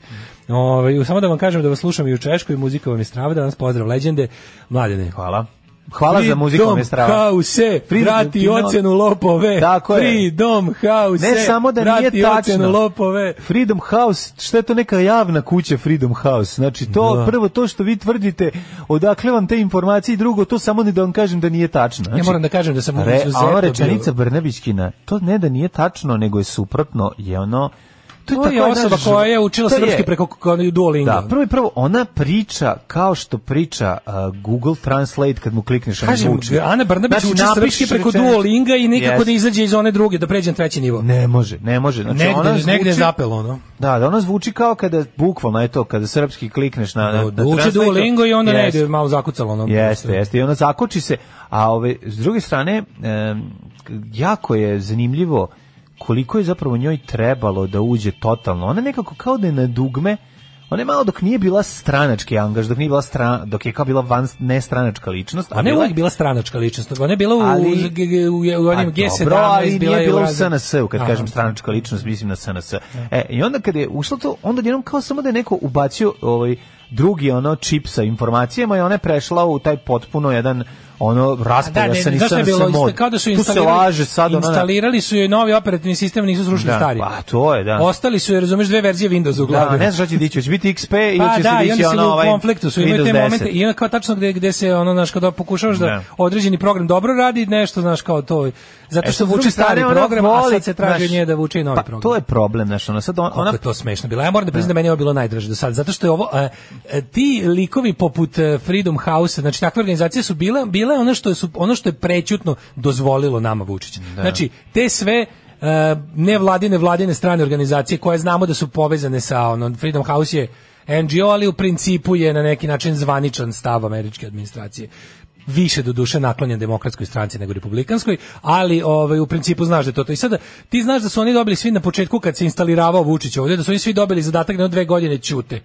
Speaker 7: Ovaj, samo da vam kažem da vas slušam i u Češkoj, muzika vam je strava, danas pozdrav leđende, mladene.
Speaker 6: Hvala. Hvala za muziku vam je strava.
Speaker 7: Hause,
Speaker 6: Freedom
Speaker 7: vrati
Speaker 6: Kino.
Speaker 7: ocenu lopove.
Speaker 6: Tako je.
Speaker 7: Freedom House.
Speaker 6: Ne samo da nije
Speaker 7: vrati ocenu
Speaker 6: tačno.
Speaker 7: lopove.
Speaker 6: Freedom House, šta je to neka javna kuća Freedom House? Znači to
Speaker 7: Da.
Speaker 6: prvo to što vi tvrdite, odakle vam te informacije i drugo to samo ni da vam kažem da nije tačno. Znači,
Speaker 7: ja moram da kažem da sam
Speaker 6: Re, a
Speaker 7: izuzetno
Speaker 6: ona
Speaker 7: bio-
Speaker 6: rečenica Brnebićkina, to ne da nije tačno, nego je suprotno, je ono...
Speaker 7: To
Speaker 6: tako
Speaker 7: je
Speaker 6: jedna
Speaker 7: osoba
Speaker 6: ž-
Speaker 7: koja je učila
Speaker 6: to je-
Speaker 7: srpski preko kao Duolingo.
Speaker 6: Da, prvo i prvo, ona priča kao što priča a, Google Translate kad mu klikneš na
Speaker 7: Kažem,
Speaker 6: zvučnik.
Speaker 7: Ana Brnabić
Speaker 6: Znači,
Speaker 7: uči
Speaker 6: napišeš
Speaker 7: srpski preko
Speaker 6: rečenicu.
Speaker 7: Duolinga i nikako
Speaker 6: Yes.
Speaker 7: da izađe iz one druge, da pređe na treći nivo.
Speaker 6: Ne može, ne može. Znači,
Speaker 7: Negde-
Speaker 6: ona
Speaker 7: negde je zapelo, ono.
Speaker 6: Da, da ona zvuči kao kada, bukvalno je to, kada srpski klikneš na... na,
Speaker 7: Da
Speaker 6: na
Speaker 7: uči
Speaker 6: translate-u.
Speaker 7: Duolingo i onda ne
Speaker 6: Jeste.
Speaker 7: ide, malo zakucalo. Ono,
Speaker 6: Jeste, jeste. I ona zakoči se. A ove, s druge strane, em, jako je zanimljivo koliko je zapravo njoj trebalo da uđe totalno. Ona nekako kao da je na dugme Ona je malo dok nije bila stranački angaž, dok nije bila stra, dok je kao bila van nestranačka ličnost, a
Speaker 7: Ona je
Speaker 6: bila
Speaker 7: uvijek bila stranačka ličnost. Ona je bila u,
Speaker 6: Ali-
Speaker 7: g- g- u, u onim
Speaker 6: A
Speaker 7: G17.
Speaker 6: dobro, ali
Speaker 7: bila
Speaker 6: nije
Speaker 7: je
Speaker 6: bila u
Speaker 7: raznim-
Speaker 6: SNS-u, kad
Speaker 7: Aha.
Speaker 6: kažem stranačka ličnost, mislim na SNS. E, I onda kad je ušlo to, onda jednom kao samo da je neko ubacio ovaj, drugi ono čip sa informacijama i ona je prešla u taj potpuno jedan ono raspajasan i
Speaker 7: znaš šta je
Speaker 6: SNS
Speaker 7: bilo?
Speaker 6: mod.
Speaker 7: Kao da su
Speaker 6: tu se
Speaker 7: instalirali,
Speaker 6: laže sad ona...
Speaker 7: instalirali su joj novi operativni sistem, nisu srušili
Speaker 6: Da,
Speaker 7: stari.
Speaker 6: pa to je, da.
Speaker 7: Ostali su, jer razumeš, dve verzije Windowsa u glavi.
Speaker 6: Da, ne znaš šta će dići, će biti XP ili
Speaker 7: Pa
Speaker 6: će
Speaker 7: da,
Speaker 6: se
Speaker 7: i oni
Speaker 6: dići
Speaker 7: su
Speaker 6: ono ovaj
Speaker 7: u konfliktu su imaju te
Speaker 6: Windows
Speaker 7: momente
Speaker 6: 10.
Speaker 7: i onda kao tačno gde, gde se ono znaš kada pokušavaš da,
Speaker 6: Da.
Speaker 7: određeni program dobro radi nešto znaš kao to zato
Speaker 6: E,
Speaker 7: što
Speaker 6: sad, s
Speaker 7: vuče
Speaker 6: druge
Speaker 7: stari
Speaker 6: strane, ona
Speaker 7: program a
Speaker 6: voli,
Speaker 7: sad se traži
Speaker 6: znaš,
Speaker 7: od nje da vuče i novi
Speaker 6: pa,
Speaker 7: program.
Speaker 6: To je problem, znaš, ona sad on-
Speaker 7: Kako
Speaker 6: ona
Speaker 7: je to smešno bilo. Ja moram da priznam da meni je ovo bilo najdraže do sada, zato što je ovo e, e, ti likovi poput e, Freedom House, znači takve organizacije su bile bile ono što su ono što je prećutno dozvolilo nama Vučić. Znači te sve e, nevladine vladine strane organizacije koje znamo da su povezane sa ono Freedom House je NGO, ali u principu je na neki način zvaničan stav američke administracije više do duše naklonjen demokratskoj stranci nego republikanskoj, ali ovaj u principu znaš da je to to. I sada ti znaš da su oni dobili svi na početku kad se instaliravao Vučić ovdje, da su oni svi dobili zadatak da na dve godine ćute.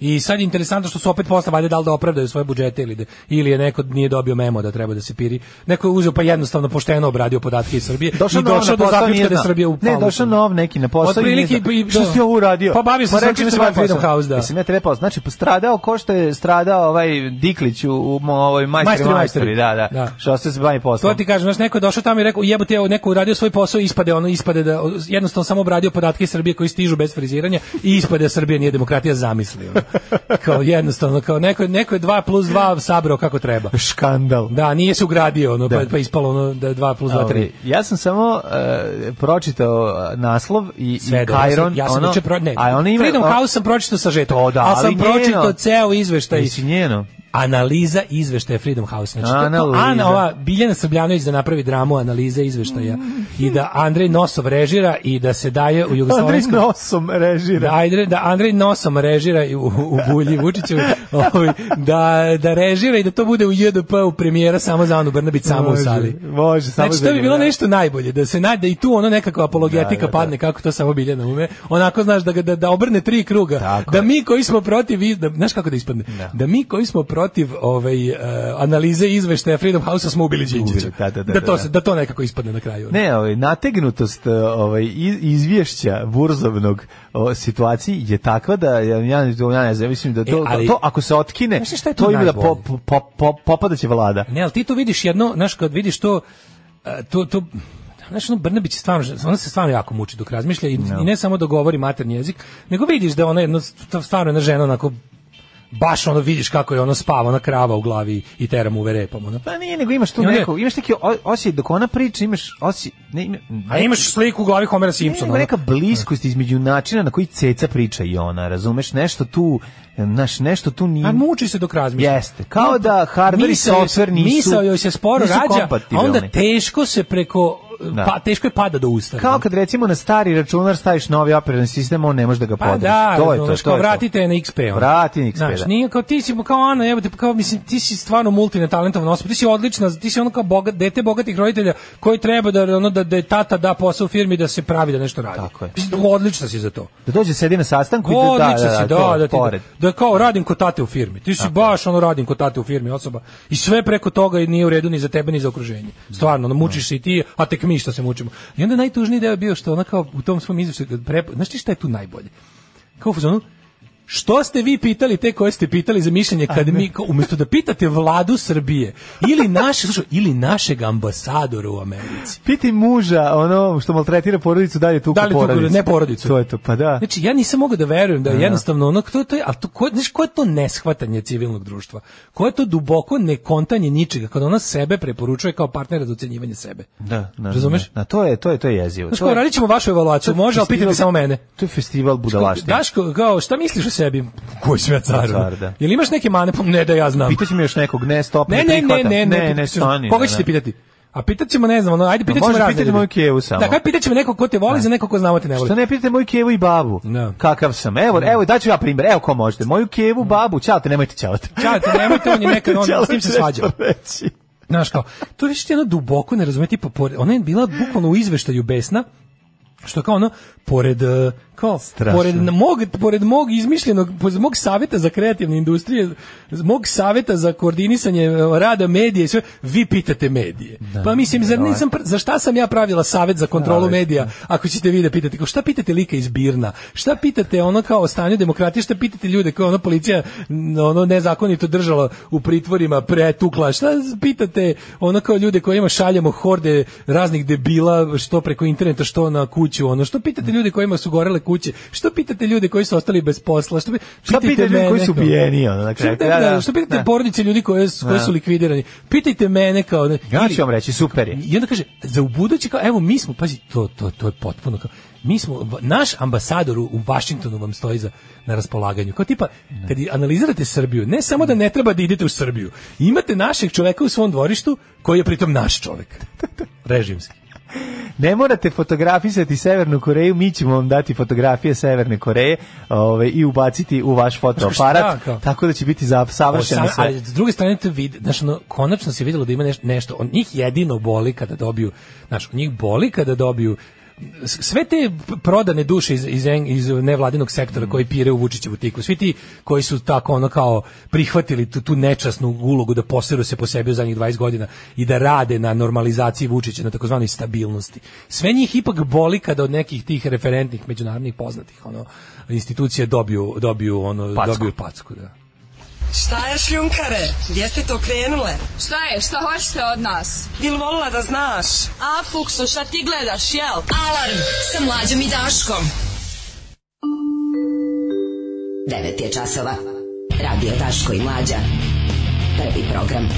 Speaker 7: I sad je interesantno što su opet posle valjda dal da opravdaju svoje budžete ili da, ili je neko nije dobio memo da treba da se piri. Neko je uzeo pa jednostavno pošteno obradio podatke iz Srbije
Speaker 6: Došao
Speaker 7: i
Speaker 6: nov
Speaker 7: došao
Speaker 6: na
Speaker 7: do
Speaker 6: posao,
Speaker 7: zaključka
Speaker 6: nije
Speaker 7: da je
Speaker 6: znao.
Speaker 7: Srbija u
Speaker 6: Ne,
Speaker 7: falu.
Speaker 6: došao nov neki na posao i nije
Speaker 7: Otprilike
Speaker 6: znao.
Speaker 7: i- i-
Speaker 6: Što
Speaker 7: da.
Speaker 6: si ovo uradio?
Speaker 7: Pa bavio sam
Speaker 6: Ma
Speaker 7: se
Speaker 6: rekli
Speaker 7: čime
Speaker 6: ste
Speaker 7: se bavi
Speaker 6: bavio
Speaker 7: Freedom
Speaker 6: sam.
Speaker 7: House, da.
Speaker 6: Jesam ja trebao, znači postradao ko što je stradao ovaj Diklić u, u mo- ovoj majstri,
Speaker 7: Majstri,
Speaker 6: majstri,
Speaker 7: majstri.
Speaker 6: da, da.
Speaker 7: Da.
Speaker 6: Što ste se bavi
Speaker 7: To
Speaker 6: poslom.
Speaker 7: ti kažem, znaš, neko je došao tamo i rekao, jebote, evo, neko je uradio svoj posao i ispade, ono, ispade da, jednostavno samo obradio podatke iz Srbije koji stižu bez friziranja i ispade da Srbija nije demokratija, zamisli. ono. Kao jednostavno, kao neko, je- neko je 2 plus 2 sabrao kako treba.
Speaker 6: Škandal.
Speaker 7: Da, nije se ugradio, ono, pa, pa ispalo ono da je 2 plus 2, 3.
Speaker 6: Ovaj, ja sam samo e, pročitao e, naslov i, i Kajron.
Speaker 7: ja sam
Speaker 6: ono,
Speaker 7: juče pro, ne,
Speaker 6: a ona ima,
Speaker 7: Freedom
Speaker 6: o-
Speaker 7: House sam pročitao sažetak,
Speaker 6: To da,
Speaker 7: ali
Speaker 6: ali
Speaker 7: sam
Speaker 6: ono- njeno.
Speaker 7: pročitao ceo izveštaj.
Speaker 6: Nisi njeno.
Speaker 7: Analiza izveštaja Freedom House. Znači, to- to,
Speaker 6: Analiza.
Speaker 7: Ana, ova Biljana Srbljanović da napravi dramu analize izveštaja i da Andrej Nosov režira i da se daje u
Speaker 6: Andrej
Speaker 7: jugoslovenskom...
Speaker 6: nosom režira.
Speaker 7: Da, Andrej, da Andrej Nosom režira i u, u bulji Vučićevi, ovaj, da, da režira i da to bude u JDP u premijera samo za Anu Brnabić samo u
Speaker 6: Može,
Speaker 7: sali.
Speaker 6: Može, samo
Speaker 7: Znači,
Speaker 6: za
Speaker 7: to bi
Speaker 6: nju,
Speaker 7: bilo
Speaker 6: da.
Speaker 7: nešto najbolje, da se najde i tu ono nekakva apologetika
Speaker 6: Da, da, da.
Speaker 7: padne kako to samo Biljana ume. Onako, znaš, da, ga- da, da obrne tri kruga.
Speaker 6: Tako
Speaker 7: da mi koji smo protiv, i- da, znaš kako da ispadne? Da, mi koji smo protiv ovaj, e, analize izveštaja Freedom House-a smo ubili Đinđića.
Speaker 6: Ubili, da, da, da,
Speaker 7: to,
Speaker 6: da,
Speaker 7: se-
Speaker 6: da.
Speaker 7: da to nekako ispadne na kraju.
Speaker 6: Ne, ovaj, nategnutost eh, ovaj, iz- izvješća burzovnog o, situaciji je takva da ja, ja, ja ne znam, ja mislim da to,
Speaker 7: E, ali-
Speaker 6: to ako se otkine,
Speaker 7: Znaš šta je tu
Speaker 6: to ima da
Speaker 7: najbolje?
Speaker 6: pop, pop, pop, popadaće vlada.
Speaker 7: Ne, ali ti to vidiš jedno, znaš, kad vidiš to, e, to, to Znaš, ono, Brnabić je stvarno, ona se stvarno jako muči dok razmišlja i, i ne samo da govori materni jezik, nego vidiš da je ona jedno, stvarno jedna žena onako baš ono vidiš kako je ono spava, ona krava u glavi i tera mu uve repom. Ono.
Speaker 6: Pa nije, nego imaš tu
Speaker 7: I onda-
Speaker 6: neko, imaš neki o- osjećaj dok ona priča, imaš osjećaj, ne, ima-
Speaker 7: A imaš sliku u glavi Homera
Speaker 6: ne, nego
Speaker 7: Simpsona. ono.
Speaker 6: neka bliskost između načina na koji ceca priča i ona, razumeš, nešto tu, naš, nešto tu nije...
Speaker 7: A muči se dok razmišlja. Ono,
Speaker 6: Jeste, kao da hardware i
Speaker 7: Misao joj se-
Speaker 6: software nisu
Speaker 7: Misao joj se sporo
Speaker 6: nisu
Speaker 7: rađa, a
Speaker 6: kompatibilni.
Speaker 7: onda teško se preko
Speaker 6: Da.
Speaker 7: pa, teško je pada do usta. ono.
Speaker 6: Kao kad recimo na stari računar staviš novi operativni sistem, on ne može da ga
Speaker 7: Pa
Speaker 6: podrži.
Speaker 7: da,
Speaker 6: to je to,
Speaker 7: razumeš,
Speaker 6: to
Speaker 7: kao
Speaker 6: je to.
Speaker 7: vratite na XP. ono.
Speaker 6: Vrati na XP,
Speaker 7: Znaš,
Speaker 6: da.
Speaker 7: nije kao ti si kao Ana, evo te, kao, mislim, ti si stvarno multinatalentovan osoba, ti si odlična, ti si ono kao bogat, dete bogatih roditelja koji treba da, ono, da, da je tata da posao u firmi da se pravi da nešto radi. Tako je. Mislim, odlična si za to.
Speaker 6: Da dođe sedi na sastanku i da, da,
Speaker 7: Odlična
Speaker 6: da,
Speaker 7: si,
Speaker 6: to,
Speaker 7: da, da, ti-
Speaker 6: pored.
Speaker 7: da kao radim kod tate u firmi. Ti si baš ono radim kod tate u firmi osoba i sve preko toga i nije u redu ni za tebe ni za okruženje. Stvarno, ono, mučiš se i ti, a tek mi što se mučimo. I onda najtužniji deo je bio što ona kao u tom svom izveštaju, kad prepo- znaš ti šta je tu najbolje? Kao u fazonu, Što ste vi pitali te koje ste pitali za mišljenje kad mi kao, umjesto da pitate vladu Srbije ili naše slušaj, ili našeg ambasadora u Americi.
Speaker 6: Piti muža, ono što maltretira porodicu, da li je tuku
Speaker 7: Da li tuku,
Speaker 6: porodicu.
Speaker 7: ne porodicu.
Speaker 6: To je to, pa da.
Speaker 7: Znači ja nisam mogao da verujem da je
Speaker 6: Da.
Speaker 7: jednostavno ono to to je, ali to ko znaš ko je to neshvatanje civilnog društva? Ko je to duboko nekontanje ničega kad ona sebe preporučuje kao partnera za ocenjivanje sebe?
Speaker 6: Da, da,
Speaker 7: Razumeš?
Speaker 6: Da, da, to je, to je, to je jezivo.
Speaker 7: Znaš
Speaker 6: To
Speaker 7: kao,
Speaker 6: je-
Speaker 7: radit ćemo vašu evaluaciju,
Speaker 6: to je
Speaker 7: može, ali pitajte
Speaker 6: festival-
Speaker 7: samo mene.
Speaker 6: To je festival budalaštine.
Speaker 7: Daško, kao, šta misliš o sebi? Koji sam ja car? ono?
Speaker 6: Car, da.
Speaker 7: Jel imaš neke mane? Pa ne da ja znam.
Speaker 6: Pitaće mi još nekog, ne, stop,
Speaker 7: Ne, ne, ne,
Speaker 6: prihvatam.
Speaker 7: ne,
Speaker 6: ne, ne, stani.
Speaker 7: ono, Koga
Speaker 6: da,
Speaker 7: ćete
Speaker 6: da.
Speaker 7: pitati? A pitat ćemo, ne znam, ono, ajde
Speaker 6: Ma,
Speaker 7: pitat ćemo
Speaker 6: može
Speaker 7: razne
Speaker 6: pitati
Speaker 7: ljude.
Speaker 6: moju Kevu samo.
Speaker 7: Da, kaj pitat ćemo neko ko te voli za neko ko znamo te ne voli.
Speaker 6: Što ne pitate moju kevu i babu? Kakav sam? Evo, evo, daću ja primjer. Evo ko možete. Moju kevu, babu, čao te, nemojte čao te.
Speaker 7: Čao te, nemojte, on je nekad, on- s tim se svađao.
Speaker 6: Reći.
Speaker 7: Znaš kao, to je više jedno duboko ne razume, tipa, pored- ona je bila bukvalno u izveštaju besna, što kao ono, pored, e, kao, pored na- mog, pored mog izmišljenog, pored mog savjeta za kreativne industrije, z- mog savjeta za koordinisanje e, rada medija i sve, vi pitate medije. pa mislim, zar, nisam, pr- za šta sam ja pravila savjet za kontrolu
Speaker 6: Da,
Speaker 7: medija, ako ćete vi da pitate, kao šta pitate lika iz Birna, šta pitate ono kao o stanju demokratije, šta pitate ljude koje ono policija n- ono nezakonito držala u pritvorima, pretukla, šta pitate ono kao ljude kojima šaljamo horde raznih debila, što preko interneta, što na kuću, ono, što pitate ljude kojima su gorele kuće, što pitate ljude koji su ostali bez posla, što, pi-
Speaker 6: Šta
Speaker 7: pitajte
Speaker 6: pitate ljude koji
Speaker 7: mene,
Speaker 6: su
Speaker 7: kao.
Speaker 6: ubijeni, ono, na
Speaker 7: Šta
Speaker 6: kraju?
Speaker 7: pitate-
Speaker 6: Da, da,
Speaker 7: Što pitate
Speaker 6: da.
Speaker 7: porodice ljudi koje, su- koje
Speaker 6: Da.
Speaker 7: su likvidirani, pitajte mene kao... ne,
Speaker 6: Ja
Speaker 7: ili-
Speaker 6: ću vam reći, super je.
Speaker 7: i onda kaže za ubuduće kao evo mi smo pazi to to to je potpuno kao mi smo va- naš ambasador u, u Vašingtonu vam stoji za na raspolaganju kao tipa kad i analizirate Srbiju ne samo da ne treba da idete u Srbiju imate našeg čoveka u svom dvorištu koji je pritom naš čovek režimski
Speaker 6: Ne morate fotografisati Severnu Koreju, mi ćemo vam dati fotografije Severne Koreje ove, i ubaciti u vaš
Speaker 7: Znaš
Speaker 6: fotoaparat,
Speaker 7: šta, kao?
Speaker 6: tako da će biti za, savršeno
Speaker 7: Osam-
Speaker 6: sve.
Speaker 7: Ali s druge strane to vidi, znaš, ono, konačno se vidjelo da ima neš- nešto. On njih jedino boli kada dobiju, znaš, njih boli kada dobiju s- sve te p- prodane duše iz, iz, en- iz nevladinog sektora koji pire u Vučićevu tiku, svi ti koji su tako ono kao prihvatili tu, tu nečasnu ulogu da posiru se po sebi u zadnjih 20 godina i da rade na normalizaciji Vučića, na takozvanoj stabilnosti. Sve njih ipak boli kada od nekih tih referentnih međunarodnih poznatih ono institucije dobiju dobiju ono
Speaker 13: Packu.
Speaker 7: dobiju packu da.
Speaker 13: Šta je šljunkare? Gdje ste to krenule? Šta je? Šta hoćete od nas? Bil volila da znaš? A, Fuksu, šta ti gledaš, jel? Alarm sa mlađom i Daškom.
Speaker 14: 9 je časova. Radio Daško i Mlađa. Prvi program.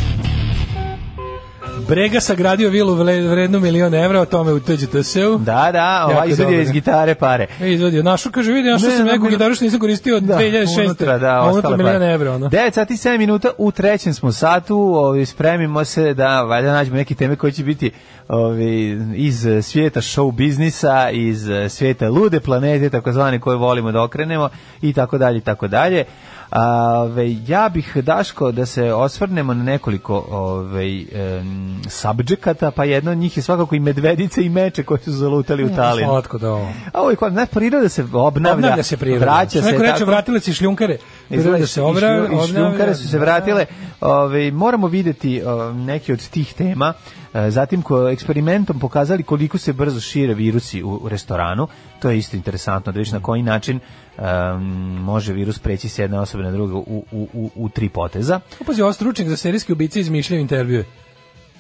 Speaker 7: Brega sagradio vilu vle- vrednu milion evra, o tome u TGTS-u.
Speaker 6: Da, da,
Speaker 7: Jako
Speaker 6: ovaj izvedio
Speaker 7: dobro.
Speaker 6: iz gitare pare.
Speaker 7: Izvodio našu, kaže, vidi, našu
Speaker 6: Ne,
Speaker 7: sam
Speaker 6: ne,
Speaker 7: neku
Speaker 6: ne.
Speaker 7: gitaru što nisam koristio od 2006.
Speaker 6: unutra, da,
Speaker 7: a unutra
Speaker 6: ostale
Speaker 7: milion
Speaker 6: pare.
Speaker 7: evra, ono.
Speaker 6: 9 sati 7 minuta, u trećem smo satu, ovi, spremimo se da valjda nađemo neke teme koje će biti ovi, iz eh, svijeta show biznisa, iz eh, svijeta lude planete, takozvane koje volimo da okrenemo i tako dalje, i tako dalje. A, ove, ja bih, Daško, da se osvrnemo na nekoliko ove, em, subjekata, pa jedno od njih je svakako i medvedice i meče koji su zalutali u Talinu.
Speaker 7: Mm, Slatko da ovo.
Speaker 6: A ovo je kod, znaš, priroda se obnavlja,
Speaker 7: Obnavlja se priroda.
Speaker 6: vraća
Speaker 7: Što
Speaker 6: se.
Speaker 7: Neko reče,
Speaker 6: tako-
Speaker 7: vratile se i šljunkare. Priroda
Speaker 6: Izgleda
Speaker 7: se
Speaker 6: i
Speaker 7: obra,
Speaker 6: šlju- i šljunkare
Speaker 7: obnavlja.
Speaker 6: su se vratile. Ove, moramo videti o, neke od tih tema. E, Zatim ko eksperimentom pokazali koliko se brzo šire virusi u, u restoranu. To je isto interesantno da vidiš na koji način em, može virus preći s jedne osobe na drugu u, u, u, u tri poteza.
Speaker 7: Opazi, ovo stručnik za serijske ubice izmišljaju intervjue.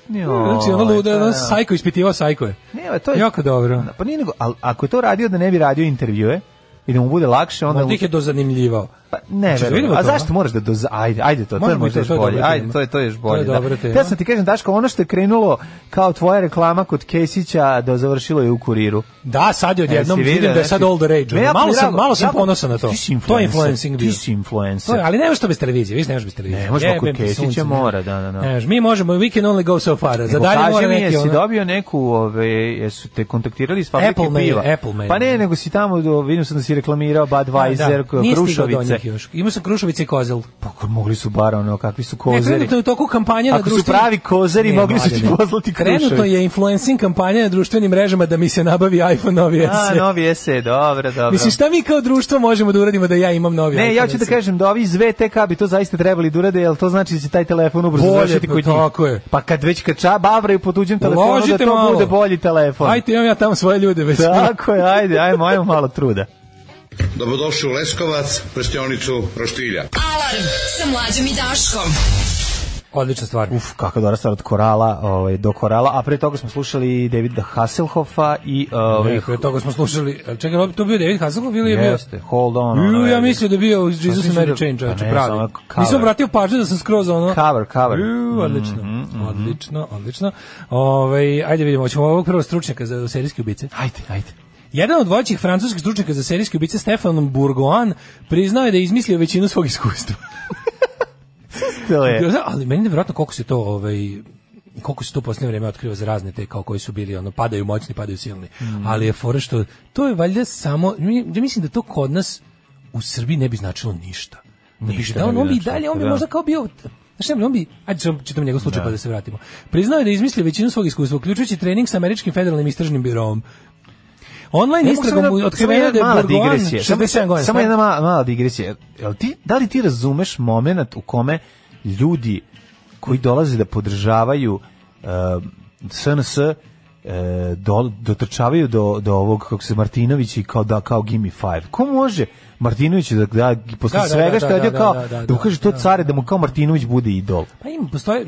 Speaker 7: Znači, ono
Speaker 6: Joj,
Speaker 7: luda,
Speaker 6: pa
Speaker 7: ono
Speaker 6: da.
Speaker 7: sajko ispitivao sajkoje.
Speaker 6: Ne, to je
Speaker 7: Jako dobro.
Speaker 6: Pa nije nego, ali ako je to radio da ne bi radio intervjue i da mu bude lakše, onda...
Speaker 7: Onda ih je dozanimljivao.
Speaker 6: Pa ne,
Speaker 7: Hoćeš da
Speaker 6: verujem.
Speaker 7: vidimo
Speaker 6: A
Speaker 7: to,
Speaker 6: zašto
Speaker 7: a?
Speaker 6: moraš da doz... Ajde, ajde, to, to je
Speaker 7: Možemo i to,
Speaker 6: možda još
Speaker 7: to je
Speaker 6: bolje.
Speaker 7: dobra
Speaker 6: Ajde,
Speaker 7: tema.
Speaker 6: to je, to je još bolje.
Speaker 7: To je dobra tema.
Speaker 6: Ja sam ti kažem, Daško, ono što je krenulo kao tvoja reklama kod Kesića, da završilo je u kuriru.
Speaker 7: Da, sad je odjednom,
Speaker 6: E, Jesi vidio,
Speaker 7: vidim da je sad
Speaker 6: znači,
Speaker 7: all the rage.
Speaker 6: me
Speaker 7: ono.
Speaker 6: jako
Speaker 7: Malo sam,
Speaker 6: drago,
Speaker 7: malo sam
Speaker 6: jako-
Speaker 7: ponosan na to.
Speaker 6: Ti si
Speaker 7: To je
Speaker 6: influencer,
Speaker 7: influencing
Speaker 6: ti
Speaker 7: bio.
Speaker 6: si influencer.
Speaker 7: To je, ali ne možeš to bez televizije, viš ne možeš bez televizije.
Speaker 6: Ne možemo kod
Speaker 7: Jebem ti
Speaker 6: Kesića
Speaker 7: sunce, ne.
Speaker 6: mora, da, da, da.
Speaker 7: Ne možeš, mi možemo, we can only go so far. Za
Speaker 6: Nego
Speaker 7: dalje
Speaker 6: kaži
Speaker 7: mora
Speaker 6: mi,
Speaker 7: neki
Speaker 6: jesi
Speaker 7: ono.
Speaker 6: dobio neku, ove, jesu te kontaktirali iz fabrike
Speaker 7: Apple mail,
Speaker 6: piva?
Speaker 7: Apple mail.
Speaker 6: Pa ne, nego si tamo, do, vidim sam da si reklamirao Budweiser,
Speaker 7: Da, da. Nije stigao do
Speaker 6: Krušovice.
Speaker 7: njih još. Imao sam Krušovice i Kozel.
Speaker 6: Pa ko- mogli su bar ono, kakvi su
Speaker 7: Ne,
Speaker 6: kozeri.
Speaker 7: trenutno je u toku kampanja na
Speaker 6: Ako su
Speaker 7: društvenim...
Speaker 6: pravi kozeri, mogli su ti
Speaker 7: mladene.
Speaker 6: poslati
Speaker 7: Trenutno
Speaker 6: Krušovice.
Speaker 7: je influencing kampanja na društvenim mrežama da mi se nabavi iPhone novi
Speaker 6: A,
Speaker 7: SE.
Speaker 6: novi SE, dobro, dobro.
Speaker 7: Mislim, šta mi kao društvo možemo da uradimo da ja imam novi
Speaker 6: Ne,
Speaker 7: iPhone
Speaker 6: ja ću da
Speaker 7: SE?
Speaker 6: kažem da ovi iz VTK bi to zaista trebali da urade, jer to znači da će taj telefon ubrzo
Speaker 7: Bolje,
Speaker 6: završiti kod njih.
Speaker 7: tako je.
Speaker 6: Pa kad već kača bavraju po tuđem telefonu,
Speaker 7: Uložite
Speaker 6: da to
Speaker 7: malo.
Speaker 6: bude bolji telefon.
Speaker 7: Ajde, imam ja tamo svoje ljude već.
Speaker 6: Tako je, ajde, ajmo, ajmo malo truda.
Speaker 15: Dobrodošli u Leskovac, prštionicu Roštilja.
Speaker 13: Alarm sa mlađom i Daškom.
Speaker 7: Odlična stvar.
Speaker 6: Uf, kako dobra stvar od Korala, ovaj, do Korala, a pre toga smo slušali Davida Hasselhoffa i... Ovaj,
Speaker 7: Ne, pre toga smo slušali, čekaj, to bio David Hasselhoff ili je bio?
Speaker 6: Jeste, hold on.
Speaker 7: Ju,
Speaker 6: ono,
Speaker 7: ja
Speaker 6: je-
Speaker 7: mislio da je bio iz Jesus
Speaker 6: mislio
Speaker 7: and
Speaker 6: da-
Speaker 7: Mary Chain,
Speaker 6: Pa
Speaker 7: čovječe,
Speaker 6: ne,
Speaker 7: pravi.
Speaker 6: samo cover.
Speaker 7: Nisam obratio pažnju da sam skroz ono...
Speaker 6: Cover, cover. Mm-hmm,
Speaker 7: Ju, odlično, odlično, odlično. Ovaj, ajde vidimo, hoćemo ovog prvog stručnjaka za serijske ubice.
Speaker 6: Ajde, ajde.
Speaker 7: Jedan od voćih francuskih stručnjaka za serijske ubice, Stefan Bourgoin, priznao je da je izmislio većinu svog iskustva.
Speaker 6: To je.
Speaker 7: Znaš, Ali meni je nevjerojatno koliko se to ovaj koliko se to u posljednje vreme otkriva za razne te kao koji su bili ono padaju moćni, padaju silni.
Speaker 6: Mm.
Speaker 7: Ali je fora što to je valjda samo mi- ja mislim da to kod nas u Srbiji ne bi značilo ništa. Da bi-
Speaker 6: Ništa
Speaker 7: da on,
Speaker 6: ne bi
Speaker 7: on bi i
Speaker 6: značilo,
Speaker 7: dalje, on bi
Speaker 6: da.
Speaker 7: možda kao bio Znaš šta, on bi, ajde ćemo čitam njegov slučaj pa da se vratimo. Priznao je da je izmislio većinu svog iskustva, uključujući trening sa američkim federalnim istražnim birom. Online
Speaker 6: Ne mogu
Speaker 7: istragom
Speaker 6: samo
Speaker 7: mu
Speaker 6: jedna-
Speaker 7: je otkriveno
Speaker 6: samo
Speaker 7: da je
Speaker 6: jedna mala
Speaker 7: Bourgoin
Speaker 6: digresija. Samo-
Speaker 7: 67 godina.
Speaker 6: Samo jedna mala, mala digresija. Jel ti, da li ti razumeš moment u kome ljudi koji dolaze da podržavaju eh, SNS eh, do, dotrčavaju do, do ovog kako se Martinović i kao da kao give me five. Ko može Martinoviću da, da posle
Speaker 7: Da, da,
Speaker 6: svega
Speaker 7: da,
Speaker 6: što
Speaker 7: da,
Speaker 6: je radio
Speaker 7: da,
Speaker 6: kao
Speaker 7: da, da,
Speaker 6: da mu kaže to
Speaker 7: da,
Speaker 6: care da mu kao Martinović bude idol.
Speaker 7: Pa ima, postoje...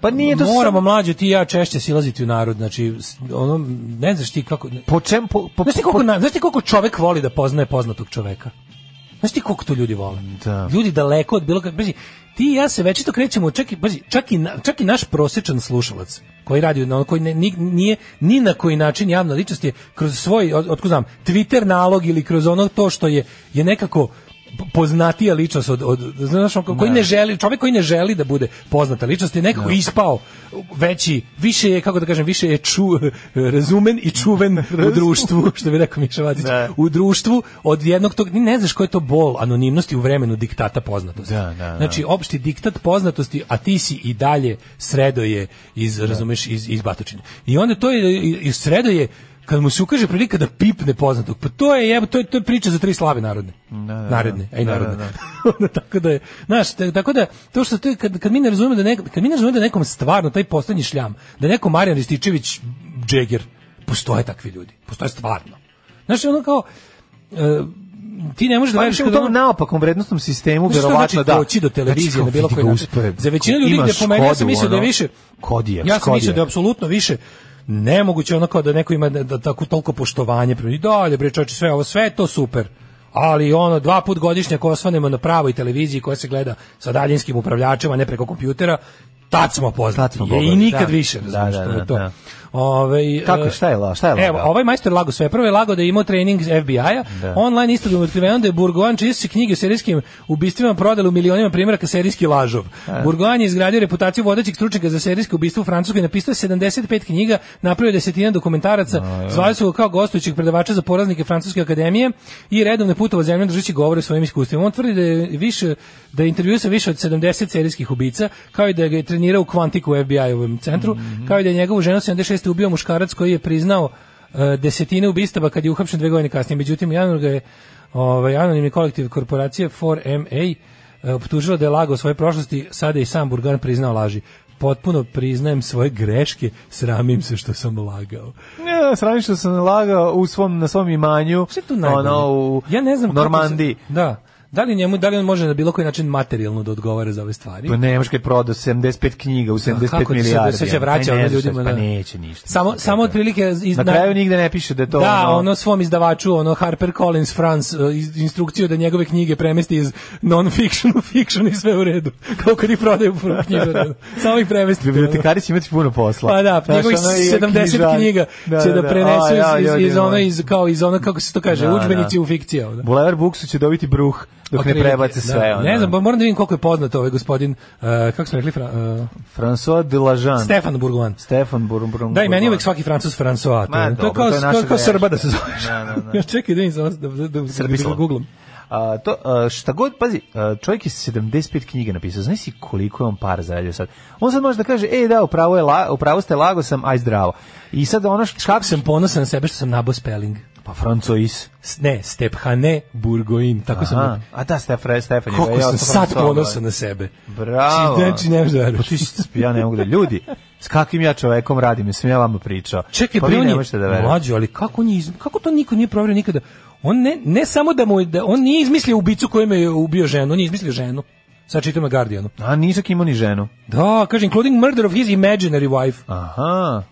Speaker 6: Pa nije to
Speaker 7: Moramo
Speaker 6: samo-
Speaker 7: mlađe ti i ja češće silaziti u narod, znači s- ono ne znaš ti kako
Speaker 6: Po čem po, po,
Speaker 7: Znaš ti koliko, na- znaš ti koliko čovek voli da poznaje poznatog čoveka? Znaš ti koliko to ljudi vole?
Speaker 6: Da.
Speaker 7: Ljudi daleko od bilo kak- pazi, ti i ja se večito krećemo, čak i, pazi, čak i, na- čak i naš prosječan slušalac koji radi na ono koji ne, ni- nije ni na koji način javna ličnost je kroz svoj, od- otkud znam, Twitter nalog ili kroz ono to što je, je nekako poznatija ličnost od, od znaš, on ko- koji ne želi, čovjek koji ne želi da bude poznata ličnost je nekako ispao veći, više je, kako da kažem, više je ču, razumen i čuven u društvu, što bi rekao Miša Vacić,
Speaker 6: Da.
Speaker 7: u društvu od jednog tog, ni ne znaš koji je to bol anonimnosti u vremenu diktata poznatosti.
Speaker 6: Da, da, da.
Speaker 7: Znači, opšti diktat poznatosti, a ti si i dalje sredoje iz, razumeš, iz, iz batočine. I onda to je, i- i sredoje, kad mu se ukaže prilika da pipne poznatog, pa to je, jebo, to je, to je priča za tri slave narodne.
Speaker 6: da,
Speaker 7: Naredne,
Speaker 6: da.
Speaker 7: ej,
Speaker 6: Da, da,
Speaker 7: narodne. Onda tako da je, znaš, t- tako da to što to kad kad mi ne razumemo da nek, kad mi ne razumemo da nekom stvarno taj poslednji šljam, da je neko Marijan Rističević Džeger, postoje takvi ljudi, postoje stvarno. Znaš, ono kao e, ti ne možeš da
Speaker 6: Pa
Speaker 7: veruješ
Speaker 6: mislim, u
Speaker 7: kad ono-
Speaker 6: tom naopakom vrednostnom sistemu
Speaker 7: Znaš šta
Speaker 6: verovatno
Speaker 7: znači
Speaker 6: da.
Speaker 7: doći do televizije
Speaker 6: Znači, kao
Speaker 7: na bilo
Speaker 6: vidi
Speaker 7: koji
Speaker 6: ga
Speaker 7: način?
Speaker 6: uspred.
Speaker 7: Za većinu ljudi
Speaker 6: Imaš
Speaker 7: gde pomenuo, ja sam
Speaker 6: Škodu,
Speaker 7: mislio da je
Speaker 6: ono,
Speaker 7: više-
Speaker 6: Kodiak,
Speaker 7: Ja sam mislio
Speaker 6: Kodiak.
Speaker 7: da je apsolutno više nemoguće ono kao da neko ima da, da tako toliko poštovanje prema i dalje bre čoveče sve ovo sve je to super ali ono dva put godišnje ko osvanemo na pravoj televiziji koja se gleda sa daljinskim upravljačima a ne preko kompjutera tad smo poznati
Speaker 6: Tad smo
Speaker 7: Je, i
Speaker 6: bogati,
Speaker 7: nikad
Speaker 6: da.
Speaker 7: više
Speaker 6: Da,
Speaker 7: razumeš,
Speaker 6: da,
Speaker 7: to je
Speaker 6: da,
Speaker 7: to.
Speaker 6: da.
Speaker 7: Ovaj,
Speaker 6: Kako,
Speaker 7: e,
Speaker 6: šta je la- šta je
Speaker 7: Evo,
Speaker 6: lagao?
Speaker 7: ovaj majstor lago sve. Prvo je lago da je imao trening iz FBI-a, online istragom je otkriveno da je Burgoan čije su se knjige o serijskim ubistvima prodale u milionima primjeraka serijski lažov. Burgoan je izgradio reputaciju vodećeg stručnjaka za serijsko ubistvo u Francuskoj, napisao je 75 knjiga, napravio je desetina dokumentaraca, zvali su ga kao gostujućeg predavača za poraznike Francuske akademije i redovne putova zemljom držići govore o svojim iskustvima. On tvrdi da je više da je intervju sa više od 70 serijskih ubica, kao i da ga je trenirao u kvantiku u FBI-ovom centru, kao i da je njegovu ženu 76. ubio muškarac koji je priznao e, desetine ubistava kad je uhapšen dve godine kasnije. Međutim, januar ga je ovaj, anonimni kolektiv korporacije 4MA e, optužila da je lagao o svojoj prošlosti, sada je i sam Burgan priznao laži. Potpuno priznajem svoje greške, sramim se što sam lagao.
Speaker 6: Ne, sramim što sam lagao u svom, na svom imanju,
Speaker 7: Šta je tu najbolje?
Speaker 6: ono, u
Speaker 7: ja ne znam kako
Speaker 6: Normandiji.
Speaker 7: se- da. Da li njemu, da li on može na bilo koji način materijalno da odgovara za ove stvari?
Speaker 6: Pa nemaš kad je prodao 75 knjiga u 75
Speaker 7: kako ti sad
Speaker 6: milijardi.
Speaker 7: se će
Speaker 6: ono,
Speaker 7: vraća
Speaker 6: pa ne
Speaker 7: ono
Speaker 6: znaš šta
Speaker 7: ljudima,
Speaker 6: će, Pa
Speaker 7: da.
Speaker 6: neće ništa.
Speaker 7: Samo, samo otprilike... Iz,
Speaker 6: Na kraju nigde ne piše da je to
Speaker 7: Da,
Speaker 6: ono-
Speaker 7: ono, svom izdavaču, ono Harper Collins France, eh, iz- instrukciju da njegove knjige premesti iz non-fiction u fiction i sve u redu. Kao kad ih prodaju prvu knjigu. ono. Samo ih premesti.
Speaker 6: Bibliotekari će imati puno posla.
Speaker 7: Pa da,
Speaker 6: Znaš,
Speaker 7: njegovih
Speaker 6: ono i
Speaker 7: 70
Speaker 6: knjižari.
Speaker 7: knjiga
Speaker 6: Da,
Speaker 7: će
Speaker 6: da,
Speaker 7: da,
Speaker 6: da.
Speaker 7: prenesu
Speaker 6: A,
Speaker 7: iz,
Speaker 6: ja,
Speaker 7: iz,
Speaker 6: ljudi
Speaker 7: iz, ono,
Speaker 6: moji.
Speaker 7: iz, kao iz ono, kako se to kaže,
Speaker 6: Da,
Speaker 7: udžbenici
Speaker 6: da.
Speaker 7: u fikcija. ono.
Speaker 6: Bulevar Buksu će dobiti bruh dok ne
Speaker 7: Otprilike,
Speaker 6: prebace
Speaker 7: da.
Speaker 6: sve. ono.
Speaker 7: Ne znam, pa moram da vidim koliko je poznat ovaj gospodin, eh, kako smo rekli, Fra, eh,
Speaker 6: François Delajan.
Speaker 7: Stefan Burgovan.
Speaker 6: Stefan Burun Burun.
Speaker 7: Da, i meni je uvek svaki francus François.
Speaker 6: Ma,
Speaker 7: to, je
Speaker 6: dobro,
Speaker 7: kao,
Speaker 6: to je
Speaker 7: to je
Speaker 6: naša
Speaker 7: kao
Speaker 6: greška.
Speaker 7: Srba da se zoveš.
Speaker 6: Da, da, da.
Speaker 7: Još čekaj da im zoveš, da, da, da, da
Speaker 6: Srbislav.
Speaker 7: googlam.
Speaker 6: A, to, a, šta god, pazi, a, čovjek je 75 knjiga napisao, znaš si koliko je on para zaradio sad. On sad može da kaže, e da, upravo, je la, upravo ste, lago sam, aj zdravo. I sad ono što... Kako
Speaker 7: sam ponosan na sebe što sam nabo spelling.
Speaker 6: Pa Francois.
Speaker 7: S- Ne, Stephane Burgoin, tako sam...
Speaker 6: Aha, A da, Stefan, Stefan. je-
Speaker 7: Koliko
Speaker 6: ja
Speaker 7: sam
Speaker 6: sam
Speaker 7: sad
Speaker 6: Francois,
Speaker 7: ponosan
Speaker 6: broj.
Speaker 7: na sebe.
Speaker 6: Bravo.
Speaker 7: Znači, ne možeš da veruješ.
Speaker 6: Pa ti si- ja ne mogu da ljudi. S kakvim ja čovekom radim, jesam ja vama pričao.
Speaker 7: Čekaj,
Speaker 6: pa
Speaker 7: bre,
Speaker 6: vi
Speaker 7: on
Speaker 6: ne
Speaker 7: je
Speaker 6: možete da verujete.
Speaker 7: mlađo, ali kako, on je iz- kako to niko nije provjerio nikada? On ne, ne samo da mu je- da on nije izmislio ubicu kojim je ubio ženu, on je izmislio ženu. Sad čitam na Guardianu.
Speaker 6: A nizak imao ni ženu.
Speaker 7: Da, kaže, including murder of his imaginary wife.
Speaker 6: Aha.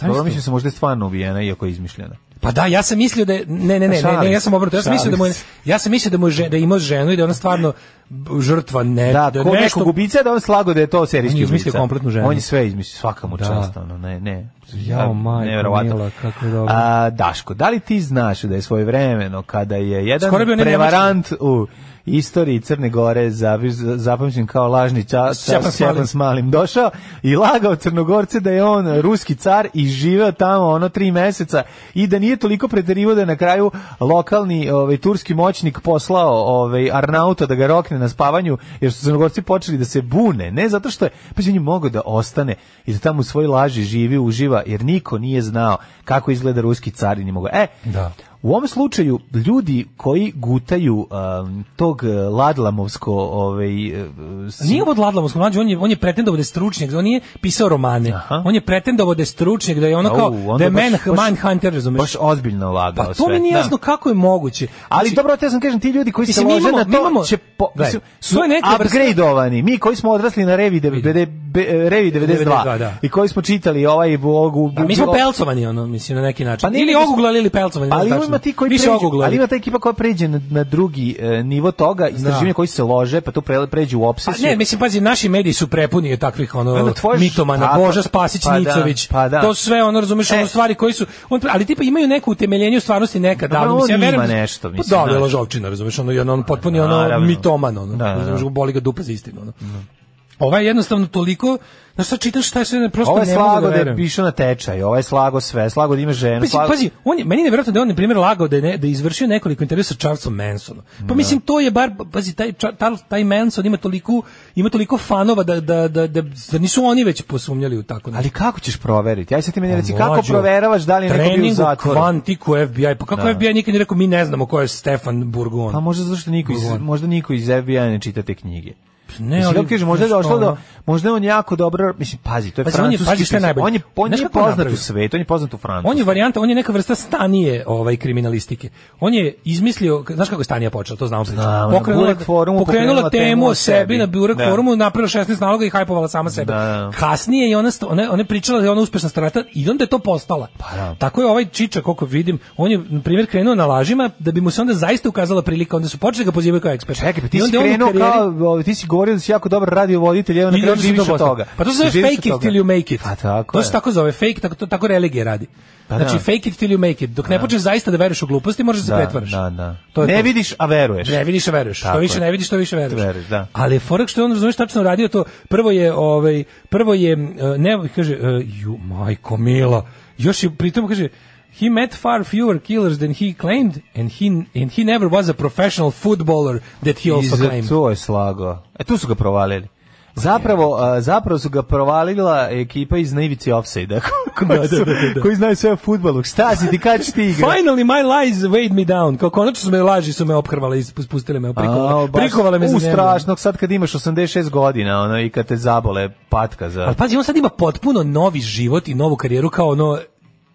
Speaker 6: Dobro, mislim se možda je stvarno ubijena, iako je izmišljena.
Speaker 7: Pa da, ja sam mislio da je, ne, ne, ne, ne,
Speaker 6: Šalim
Speaker 7: ne, ja
Speaker 6: se,
Speaker 7: sam obrnuto, ja sam
Speaker 6: šalim
Speaker 7: mislio da mu je,
Speaker 6: se.
Speaker 7: ja sam mislio da mu je že- da ima ženu i da je ona stvarno b- žrtva ne,
Speaker 6: Da,
Speaker 7: E, je
Speaker 6: ko nekog ubica da on slago da je to
Speaker 7: On
Speaker 6: serijski
Speaker 7: je
Speaker 6: ubica.
Speaker 7: izmislio kompletnu ženu.
Speaker 6: On je sve izmislio, svaka mu
Speaker 7: Da.
Speaker 6: čast, ono, ne, ne.
Speaker 7: Jao,
Speaker 6: Ja,
Speaker 7: majko
Speaker 6: nevjerovatno.
Speaker 7: mila, kako je dobro.
Speaker 6: A, Daško, da li ti znaš da je svoje vremeno, kada je jedan
Speaker 7: Skoro je bio onaj
Speaker 6: prevarant u istoriji Crne Gore za- zapamćen kao lažni ča,
Speaker 7: Stjepan
Speaker 6: ča,
Speaker 7: Smalim.
Speaker 6: Stjepan s malim došao i lagao Crnogorce da je on ruski car i živeo tamo ono tri meseca i da nije toliko preterivao da je na kraju lokalni ovaj, turski moćnik poslao ovaj, Arnauta da ga rokne na spavanju jer su Crnogorci počeli da se bune ne zato što je, pa on je mogao da ostane i da tamo u svoj laži živi, uživa jer niko nije znao kako izgleda ruski car i ni mogao. E,
Speaker 7: Da.
Speaker 6: u ovom slučaju ljudi koji gutaju um, tog eh, Ladlamovsko ovaj eh, s-
Speaker 7: Nije ovo odladla Moskva, mlađe, on je, on je pretendovao da je stručnjak, on nije pisao romane, on je pretendovao da je stručnjak, da je ono kao,
Speaker 6: Au, onda
Speaker 7: da je
Speaker 6: baš-
Speaker 7: man,
Speaker 6: baš-
Speaker 7: manhunter, razumeš?
Speaker 6: baš ozbiljno lagao
Speaker 7: Pa to
Speaker 6: sve.
Speaker 7: mi nije
Speaker 6: Da.
Speaker 7: jasno kako je moguće.
Speaker 6: Ali
Speaker 7: Znači,
Speaker 6: dobro, te sam kažem, ti ljudi koji se
Speaker 7: Mislim, mi
Speaker 6: lože
Speaker 7: imamo-
Speaker 6: na
Speaker 7: mi
Speaker 6: to
Speaker 7: imamo-
Speaker 6: će po,
Speaker 7: Gledaj,
Speaker 6: mislim, su
Speaker 7: to je neka vrsta-
Speaker 6: upgradeovani. Mi koji smo odrasli na Revi, de, de, be- Revi 92
Speaker 7: 92, da.
Speaker 6: i koji smo čitali ovaj bogu...
Speaker 7: Da, mi smo pelcovani, ono, mislim, na neki način. ili
Speaker 6: Pa nego smo-
Speaker 7: oguglali ili pelcovani. ne znam
Speaker 6: Ali
Speaker 7: tačno.
Speaker 6: ima ti koji
Speaker 7: Više
Speaker 6: pređu,
Speaker 7: oguglali.
Speaker 6: ali ima ta ekipa koja pređe na, na drugi eh, nivo toga, istraživanja koji se lože, pa tu pre- pređu u
Speaker 7: Pa
Speaker 6: obsesiju.
Speaker 7: ne, mislim, pazi, naši mediji su prepuni takvih ono,
Speaker 6: Ono, tvoje ž-
Speaker 7: mitomana,
Speaker 6: tako,
Speaker 7: Boža Spasić,
Speaker 6: pa da,
Speaker 7: Nicović,
Speaker 6: pa da. E.
Speaker 7: to su sve ono, razumeš, ono stvari koji su, on, pre- ali tipa imaju neko utemeljenje u stvarnosti nekad,
Speaker 6: Dobro,
Speaker 7: ali
Speaker 6: Pa on
Speaker 7: mislim, ja
Speaker 6: ima
Speaker 7: verujem,
Speaker 6: nešto,
Speaker 7: Pa
Speaker 6: mislim,
Speaker 7: da,
Speaker 6: znaš.
Speaker 7: je lažovčina, razumeš, ono, i ono, on potpuni ono,
Speaker 6: Naravno.
Speaker 7: mitoman, ono,
Speaker 6: Da, da, da.
Speaker 7: razumeš, boli ga dupa za istinu, ono. Ova je jednostavno toliko, znaš, sad čitaš šta je sve, ne, prosto
Speaker 6: Ovo je
Speaker 7: ne mogu da
Speaker 6: slago da je
Speaker 7: verujem.
Speaker 6: pišao na tečaj, ovo je slago sve, slago da ima ženu,
Speaker 7: Pazi,
Speaker 6: slago...
Speaker 7: pazi, on je, meni je nevjerojatno da je on, na primjer, lagao da je, ne, da je izvršio nekoliko intervjua sa Charlesom Mansonom. Pa mislim, to je bar, pazi, taj, Char- taj, taj Manson ima toliko, ima toliko fanova da, da, da, da, da nisu oni već posumnjali u tako nešto.
Speaker 6: Ali kako ćeš proveriti? Aj sad ti meni reci,
Speaker 7: Pa,
Speaker 6: kako
Speaker 7: mlađo,
Speaker 6: proveravaš da li je neko bio u
Speaker 7: trening u
Speaker 6: zatvoru?
Speaker 7: kvantiku FBI, pa kako
Speaker 6: Da.
Speaker 7: FBI nikad nije rekao, mi ne znamo ko je Stefan Burgon.
Speaker 6: Pa možda zato što niko iz,
Speaker 7: Burgon.
Speaker 6: možda niko iz FBI ne čita te knjige.
Speaker 7: Ne,
Speaker 6: Mislim,
Speaker 7: ali-
Speaker 6: ja kažem, možda je
Speaker 7: znaš
Speaker 6: došlo
Speaker 7: ono-
Speaker 6: do, možda je on jako dobro, mislim, pazi, to je
Speaker 7: Pazi, on je-
Speaker 6: francuski,
Speaker 7: pazi, šta je
Speaker 6: pisac.
Speaker 7: najbolje?
Speaker 6: on je, on
Speaker 7: Znaš
Speaker 6: je
Speaker 7: kako je
Speaker 6: poznat
Speaker 7: napravio?
Speaker 6: u svetu, on je poznat u Francusku.
Speaker 7: On je varijanta, on je neka vrsta stanije ovaj kriminalistike. On je izmislio, znaš kako je stanija počela, to znamo priču.
Speaker 6: Znam, na Burek forumu
Speaker 7: pokrenula temu o sebi na Burek
Speaker 6: Da.
Speaker 7: forumu, napravila 16 naloga i hajpovala sama sebe.
Speaker 6: Da.
Speaker 7: Kasnije je ona, sta- ona, ona je pričala da je ona uspešna starata i onda je to postala.
Speaker 6: Pa da.
Speaker 7: Tako je ovaj Čiča, koliko vidim, on je, na primjer, krenuo na lažima da bi mu se onda zaista ukazala prilika, onda su počeli ga pozivaju kao ekspert.
Speaker 6: Čekaj, pa ti
Speaker 7: I
Speaker 6: si
Speaker 7: onda je on u
Speaker 6: krenuo
Speaker 7: karijeri-
Speaker 6: kao, o, ti si govorio da si jako dobar radio voditelj, evo na
Speaker 7: I
Speaker 6: kraju
Speaker 7: onda sam
Speaker 6: živiš
Speaker 7: to
Speaker 6: od
Speaker 7: postao.
Speaker 6: toga.
Speaker 7: Pa to se zove
Speaker 6: Živiš od
Speaker 7: fake it
Speaker 6: toga.
Speaker 7: till you make it.
Speaker 6: Pa tako
Speaker 7: to
Speaker 6: je.
Speaker 7: se tako zove fake, tako, to tako religija radi.
Speaker 6: Pa
Speaker 7: znači
Speaker 6: da.
Speaker 7: fake it till you make it. Dok ne počneš zaista da veruješ u gluposti, možeš da se
Speaker 6: Da,
Speaker 7: pretvaraš.
Speaker 6: da, da.
Speaker 7: To je
Speaker 6: Ne
Speaker 7: to.
Speaker 6: vidiš, a veruješ.
Speaker 7: Ne vidiš, a veruješ. Što
Speaker 6: Tako
Speaker 7: više
Speaker 6: je.
Speaker 7: ne vidiš, to više veruješ.
Speaker 6: Veruješ, da.
Speaker 7: Ali je forak što je on razumeš tačno radio to. Prvo je ovaj prvo je e, ne kaže e, ju majko mila. Još je pritom kaže He met far fewer killers than he claimed and he and he never was a professional footballer that he
Speaker 6: I
Speaker 7: also
Speaker 6: za
Speaker 7: claimed.
Speaker 6: to je slago. E tu su ga provalili.
Speaker 7: Pa
Speaker 6: Zapravo, a, zapravo su ga provalila ekipa iz Naivici Offside-a, koji,
Speaker 7: Da, da,
Speaker 6: su-
Speaker 7: da, da.
Speaker 6: koji znaju sve o futbolu. Šta si ti, kad ćeš ti igrati?
Speaker 7: Finally my lies weighed me down. Kao konačno su me laži su me ophrvale i spus- pustile me,
Speaker 6: A,
Speaker 7: prikovale,
Speaker 6: baš
Speaker 7: prikovale me za
Speaker 6: u
Speaker 7: zemlju.
Speaker 6: strašnog sad kad imaš 86 godina ono, i kad te zabole patka za...
Speaker 7: Pa Ali pazi, on sad ima potpuno novi život i novu karijeru kao ono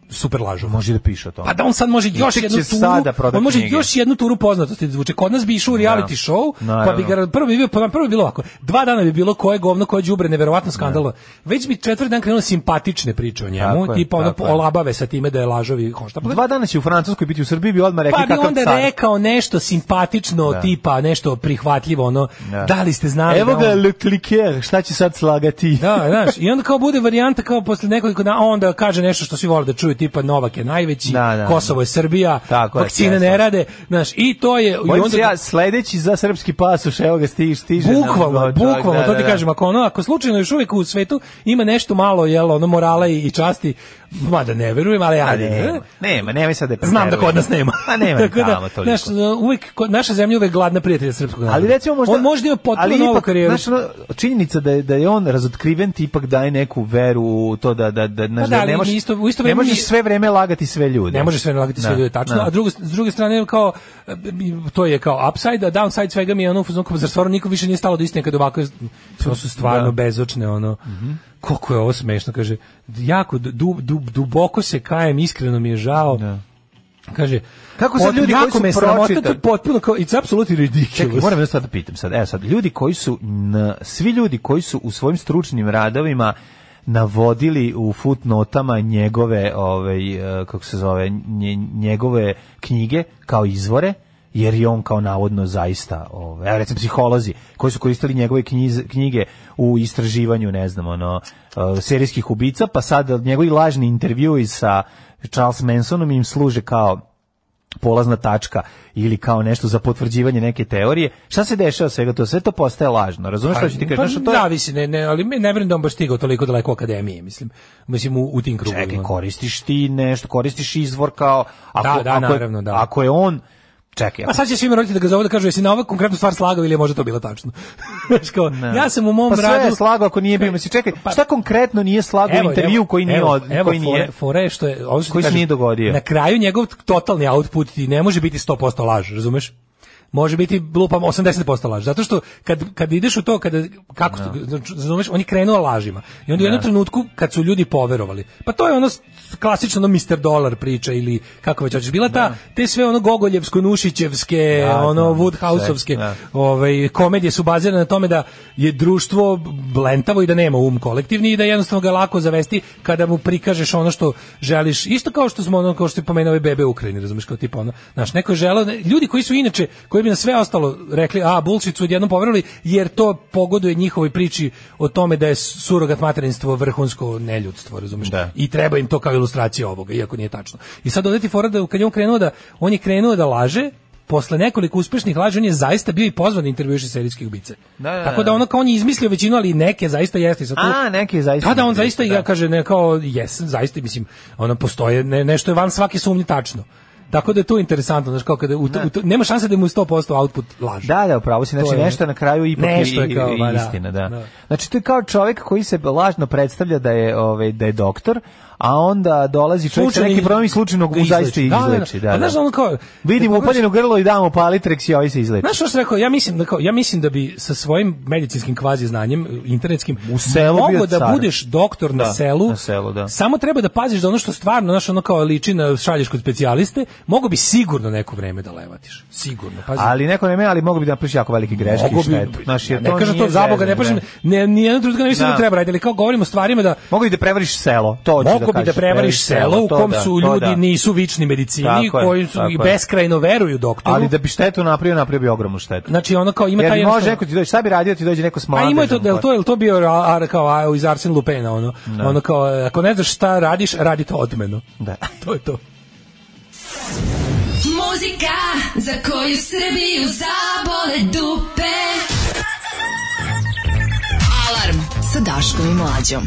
Speaker 7: super lažu.
Speaker 6: Može da piše o tome.
Speaker 7: Pa da on sad može
Speaker 6: I
Speaker 7: još
Speaker 6: tek
Speaker 7: jednu
Speaker 6: će
Speaker 7: turu,
Speaker 6: sada prodat
Speaker 7: on može
Speaker 6: knjige.
Speaker 7: još jednu turu poznatosti da zvuče. Kod nas bi išao u reality show,
Speaker 6: Naravno.
Speaker 7: pa bi ga prvo bi bio pa prvo bi bilo ovako. Dva dana bi bilo koje govno, koje đubre, neverovatno skandalo. Već bi četvrti dan krenulo simpatične priče o njemu,
Speaker 6: Tako je,
Speaker 7: tipa ono
Speaker 6: tako je.
Speaker 7: olabave sa time da je lažovi hoštapler.
Speaker 6: pa Dva dana će u Francuskoj biti u Srbiji, bi odmah rekli
Speaker 7: Pa bi
Speaker 6: kakav
Speaker 7: onda
Speaker 6: car.
Speaker 7: rekao nešto simpatično,
Speaker 6: Da.
Speaker 7: tipa nešto prihvatljivo, ono, da li ste znali
Speaker 6: Evo
Speaker 7: da
Speaker 6: ga
Speaker 7: on-
Speaker 6: Le Cliquer, šta će sad slagati?
Speaker 7: Da, znaš, i onda kao bude varijanta kao posle nekoliko dana, a onda kaže nešto što svi vole da čuju, tipa Novak je najveći,
Speaker 6: Da, da,
Speaker 7: Kosovo je Srbija,
Speaker 6: Tako je,
Speaker 7: vakcine
Speaker 6: sve, sve.
Speaker 7: ne rade, znaš, i to je... I
Speaker 6: Bojim se
Speaker 7: onda,
Speaker 6: ja, sledeći za srpski pasoš, evo ga stiže. stiže nam
Speaker 7: bukvalno,
Speaker 6: do- čovjek,
Speaker 7: bukvalno,
Speaker 6: da,
Speaker 7: to
Speaker 6: da,
Speaker 7: ti
Speaker 6: da.
Speaker 7: kažem, ako ono, ako slučajno još uvijek u svetu ima nešto malo, jel, ono, morala i, i časti, mada ne verujem, ali
Speaker 6: A
Speaker 7: ajde.
Speaker 6: Pa nema,
Speaker 7: eh?
Speaker 6: nema, nema sad da
Speaker 7: Znam da kod nas nema.
Speaker 6: A nema ni
Speaker 7: Tako da,
Speaker 6: tamo toliko.
Speaker 7: Znaš, uvijek, kod- naša zemlja uvijek gladna prijatelja srpskog naroda.
Speaker 6: Ali recimo možda
Speaker 7: On možda ima potpuno
Speaker 6: ali
Speaker 7: novu
Speaker 6: ipak,
Speaker 7: karijeru.
Speaker 6: Znaš, ono, činjenica da je, da je on razotkriven ti ipak daje neku veru u to da da da, znaš,
Speaker 7: Pa da, ali
Speaker 6: ne možeš
Speaker 7: isto- u isto
Speaker 6: ne
Speaker 7: vreme
Speaker 6: možeš
Speaker 7: nije-
Speaker 6: sve vreme lagati sve ljude.
Speaker 7: Ne može sve nalagati sve
Speaker 6: Da,
Speaker 7: ljude, tačno.
Speaker 6: da.
Speaker 7: A drugo, s druge strane, kao, e, to je kao upside, a downside svega mi je ono, u fazonu, kao, zar stvarno niko više nije stalo do istine kada ovako, to su stvarno
Speaker 6: Da.
Speaker 7: bezočne, ono, koliko je ovo smešno, kaže, jako, du, du, duboko se kajem, iskreno mi je žao, kaže,
Speaker 6: Kako sad
Speaker 7: pot-
Speaker 6: ljudi koji
Speaker 7: jako
Speaker 6: su
Speaker 7: me sramota,
Speaker 6: pročitali-
Speaker 7: to je potpuno kao, it's absolutely ridiculous.
Speaker 6: Čekaj, moram jednu stvar da pitam sad. Evo sad, ljudi koji su, na, svi ljudi koji su u svojim stručnim radovima navodili u footnotama njegove, ovaj, e, kako se zove, nje- njegove knjige kao izvore, jer je on kao navodno zaista, ovaj, evo recimo psiholozi koji su koristili njegove knjiz- knjige u istraživanju, ne znam, ono, e, serijskih ubica, pa sad njegovi lažni intervjui sa Charles Mansonom im služe kao polazna tačka ili kao nešto za potvrđivanje neke teorije. Šta se dešava svega to? Sve to postaje lažno. Razumeš što ću ti
Speaker 7: Pa,
Speaker 6: kažem? Znaš, to je-
Speaker 7: Zavisi, ne, ne, ali ne vjerujem da on baš stigao toliko daleko u akademije, mislim. Mislim, u, u tim krugovima.
Speaker 6: Čekaj, koristiš ti nešto, koristiš izvor kao... Ako,
Speaker 7: Da, da,
Speaker 6: ako je-
Speaker 7: naravno, da.
Speaker 6: Ako je on... Čekaj,
Speaker 7: Pa sad će svima roditelji da ga zovu da kažu jesi na ovu konkretnu stvar slagao ili je možda to bilo tačno. Znaš kao, ja sam u mom
Speaker 6: pa sve
Speaker 7: radu... Pa-
Speaker 6: je slagao ako nije bio. Mislim, čekaj, šta konkretno nije slagao u intervju koji nije...
Speaker 7: evo,
Speaker 6: od-
Speaker 7: evo
Speaker 6: koji nije
Speaker 7: fore, fore je što je, ovo što ti
Speaker 6: Koji se
Speaker 7: kažem,
Speaker 6: nije dogodio.
Speaker 7: Na kraju njegov totalni output ti ne može biti 100% laž, razumeš? Može biti lupam 80% laž. Zato što kad, kad ideš u to, kada, kako, to- znači, razumeš, on je krenuo lažima. I onda u jednom trenutku kad su ljudi poverovali. Pa to je ono s- klasično ono Mr. Dollar priča ili kako već hoćeš. Bila ta, te sve ono Gogoljevsko-Nušićevske,
Speaker 6: Da,
Speaker 7: ono
Speaker 6: da, sve,
Speaker 7: Woodhouseovske,
Speaker 6: da.
Speaker 7: ovaj komedije su bazirane na tome da je društvo blentavo i da nema um kolektivni i da jednostavno ga lako zavesti kada mu prikažeš ono što želiš isto kao što smo ono kao što je pomenuo ovaj bebe u Ukrajini razumeš kao tipa ono znaš neko je želeo ljudi koji su inače koji bi na sve ostalo rekli a bullshit su odjednom poverovali jer to pogoduje njihovoj priči o tome da je surogat materinstvo vrhunsko neljudstvo razumeš
Speaker 6: Da.
Speaker 7: i treba im to kao ilustracija ovoga, iako nije tačno. I sad odeti fora da kad je on krenuo da on je krenuo da laže, posle nekoliko uspešnih laži on je zaista bio i pozvan da intervjuiše serijske ubice.
Speaker 6: Da, da, da.
Speaker 7: Tako da ono kao on je izmislio većinu, ali neke zaista jeste. I sad tu-
Speaker 6: A, neki je zaista.
Speaker 7: da, da, on zaista
Speaker 6: Da.
Speaker 7: ja kaže ne kao jesam, zaista mislim, ono postoje ne, nešto je van svake sumnje tačno. Tako da je to interesantno, znači kao kada u, to- u to- nema šanse da mu je 100% output laže.
Speaker 6: Da, da, upravo si,
Speaker 7: To
Speaker 6: znači
Speaker 7: je-
Speaker 6: nešto na kraju ipak je,
Speaker 7: Nešto je kao,
Speaker 6: i-
Speaker 7: ba, da.
Speaker 6: istina, da.
Speaker 7: Da.
Speaker 6: Znači to je kao čovjek koji se lažno predstavlja da je ovaj da je doktor, a onda dolazi čovjek sa
Speaker 7: Slučajno
Speaker 6: nekim problemom i slučajno
Speaker 7: ga
Speaker 6: mu zaista
Speaker 7: izleči. Da, da, da.
Speaker 6: izleči, da.
Speaker 7: A znaš,
Speaker 6: da.
Speaker 7: ono kao-
Speaker 6: vidim
Speaker 7: da pogledaš-
Speaker 6: upaljeno grlo i damo palitreks i ovaj se izleči.
Speaker 7: Znaš što sam rekao, ja mislim da kao, ja mislim da bi sa svojim medicinskim kvazi znanjem internetskim
Speaker 6: U selu bio
Speaker 7: mogo da
Speaker 6: car.
Speaker 7: budeš doktor na
Speaker 6: Da,
Speaker 7: selu.
Speaker 6: na selu, da.
Speaker 7: Samo treba da paziš da ono što stvarno znaš ono kao liči na šalješ kod specijaliste, mogo bi sigurno neko vreme da levatiš. Sigurno, pazi.
Speaker 6: ali neko ne me, ali mogu bi da napraviš jako velike greške i
Speaker 7: Mogo bi-
Speaker 6: štetu. Znaš, jer
Speaker 7: ne
Speaker 6: to
Speaker 7: kažem
Speaker 6: nije
Speaker 7: to za boga, ne
Speaker 6: zezanje,
Speaker 7: kažem ne ni jednog trenutka ne mislim
Speaker 6: Da.
Speaker 7: da, treba raditi, ali kao govorimo o stvarima da
Speaker 6: Mogu bi da prevariš selo, to hoćeš da
Speaker 7: Mogu bi da
Speaker 6: kažeš,
Speaker 7: prevariš selo u
Speaker 6: to
Speaker 7: kom
Speaker 6: da,
Speaker 7: su
Speaker 6: to
Speaker 7: ljudi
Speaker 6: da.
Speaker 7: nisu vični medicini,
Speaker 6: Tako je,
Speaker 7: koji su
Speaker 6: tako
Speaker 7: i
Speaker 6: je.
Speaker 7: beskrajno veruju doktoru.
Speaker 6: Ali da bi štetu napravio, napravio bi ogromnu štetu.
Speaker 7: Znači ono kao ima
Speaker 6: Jer
Speaker 7: taj
Speaker 6: bi može
Speaker 7: jednostavno-
Speaker 6: neko ti dođe, šta bi radio ti dođe neko s
Speaker 7: A
Speaker 6: mladežom. pa-
Speaker 7: ima je to, jel
Speaker 6: koja-
Speaker 7: to, jel to bio ra- ar- kao a, iz Arsene Lupena, ono, ono kao, e, ako ne znaš šta radiš, radi to odmeno.
Speaker 6: Da.
Speaker 7: To je to.
Speaker 5: Muzika za koju Srbiju zabole dupe.
Speaker 13: Alarm sa Daškom i Mlađom.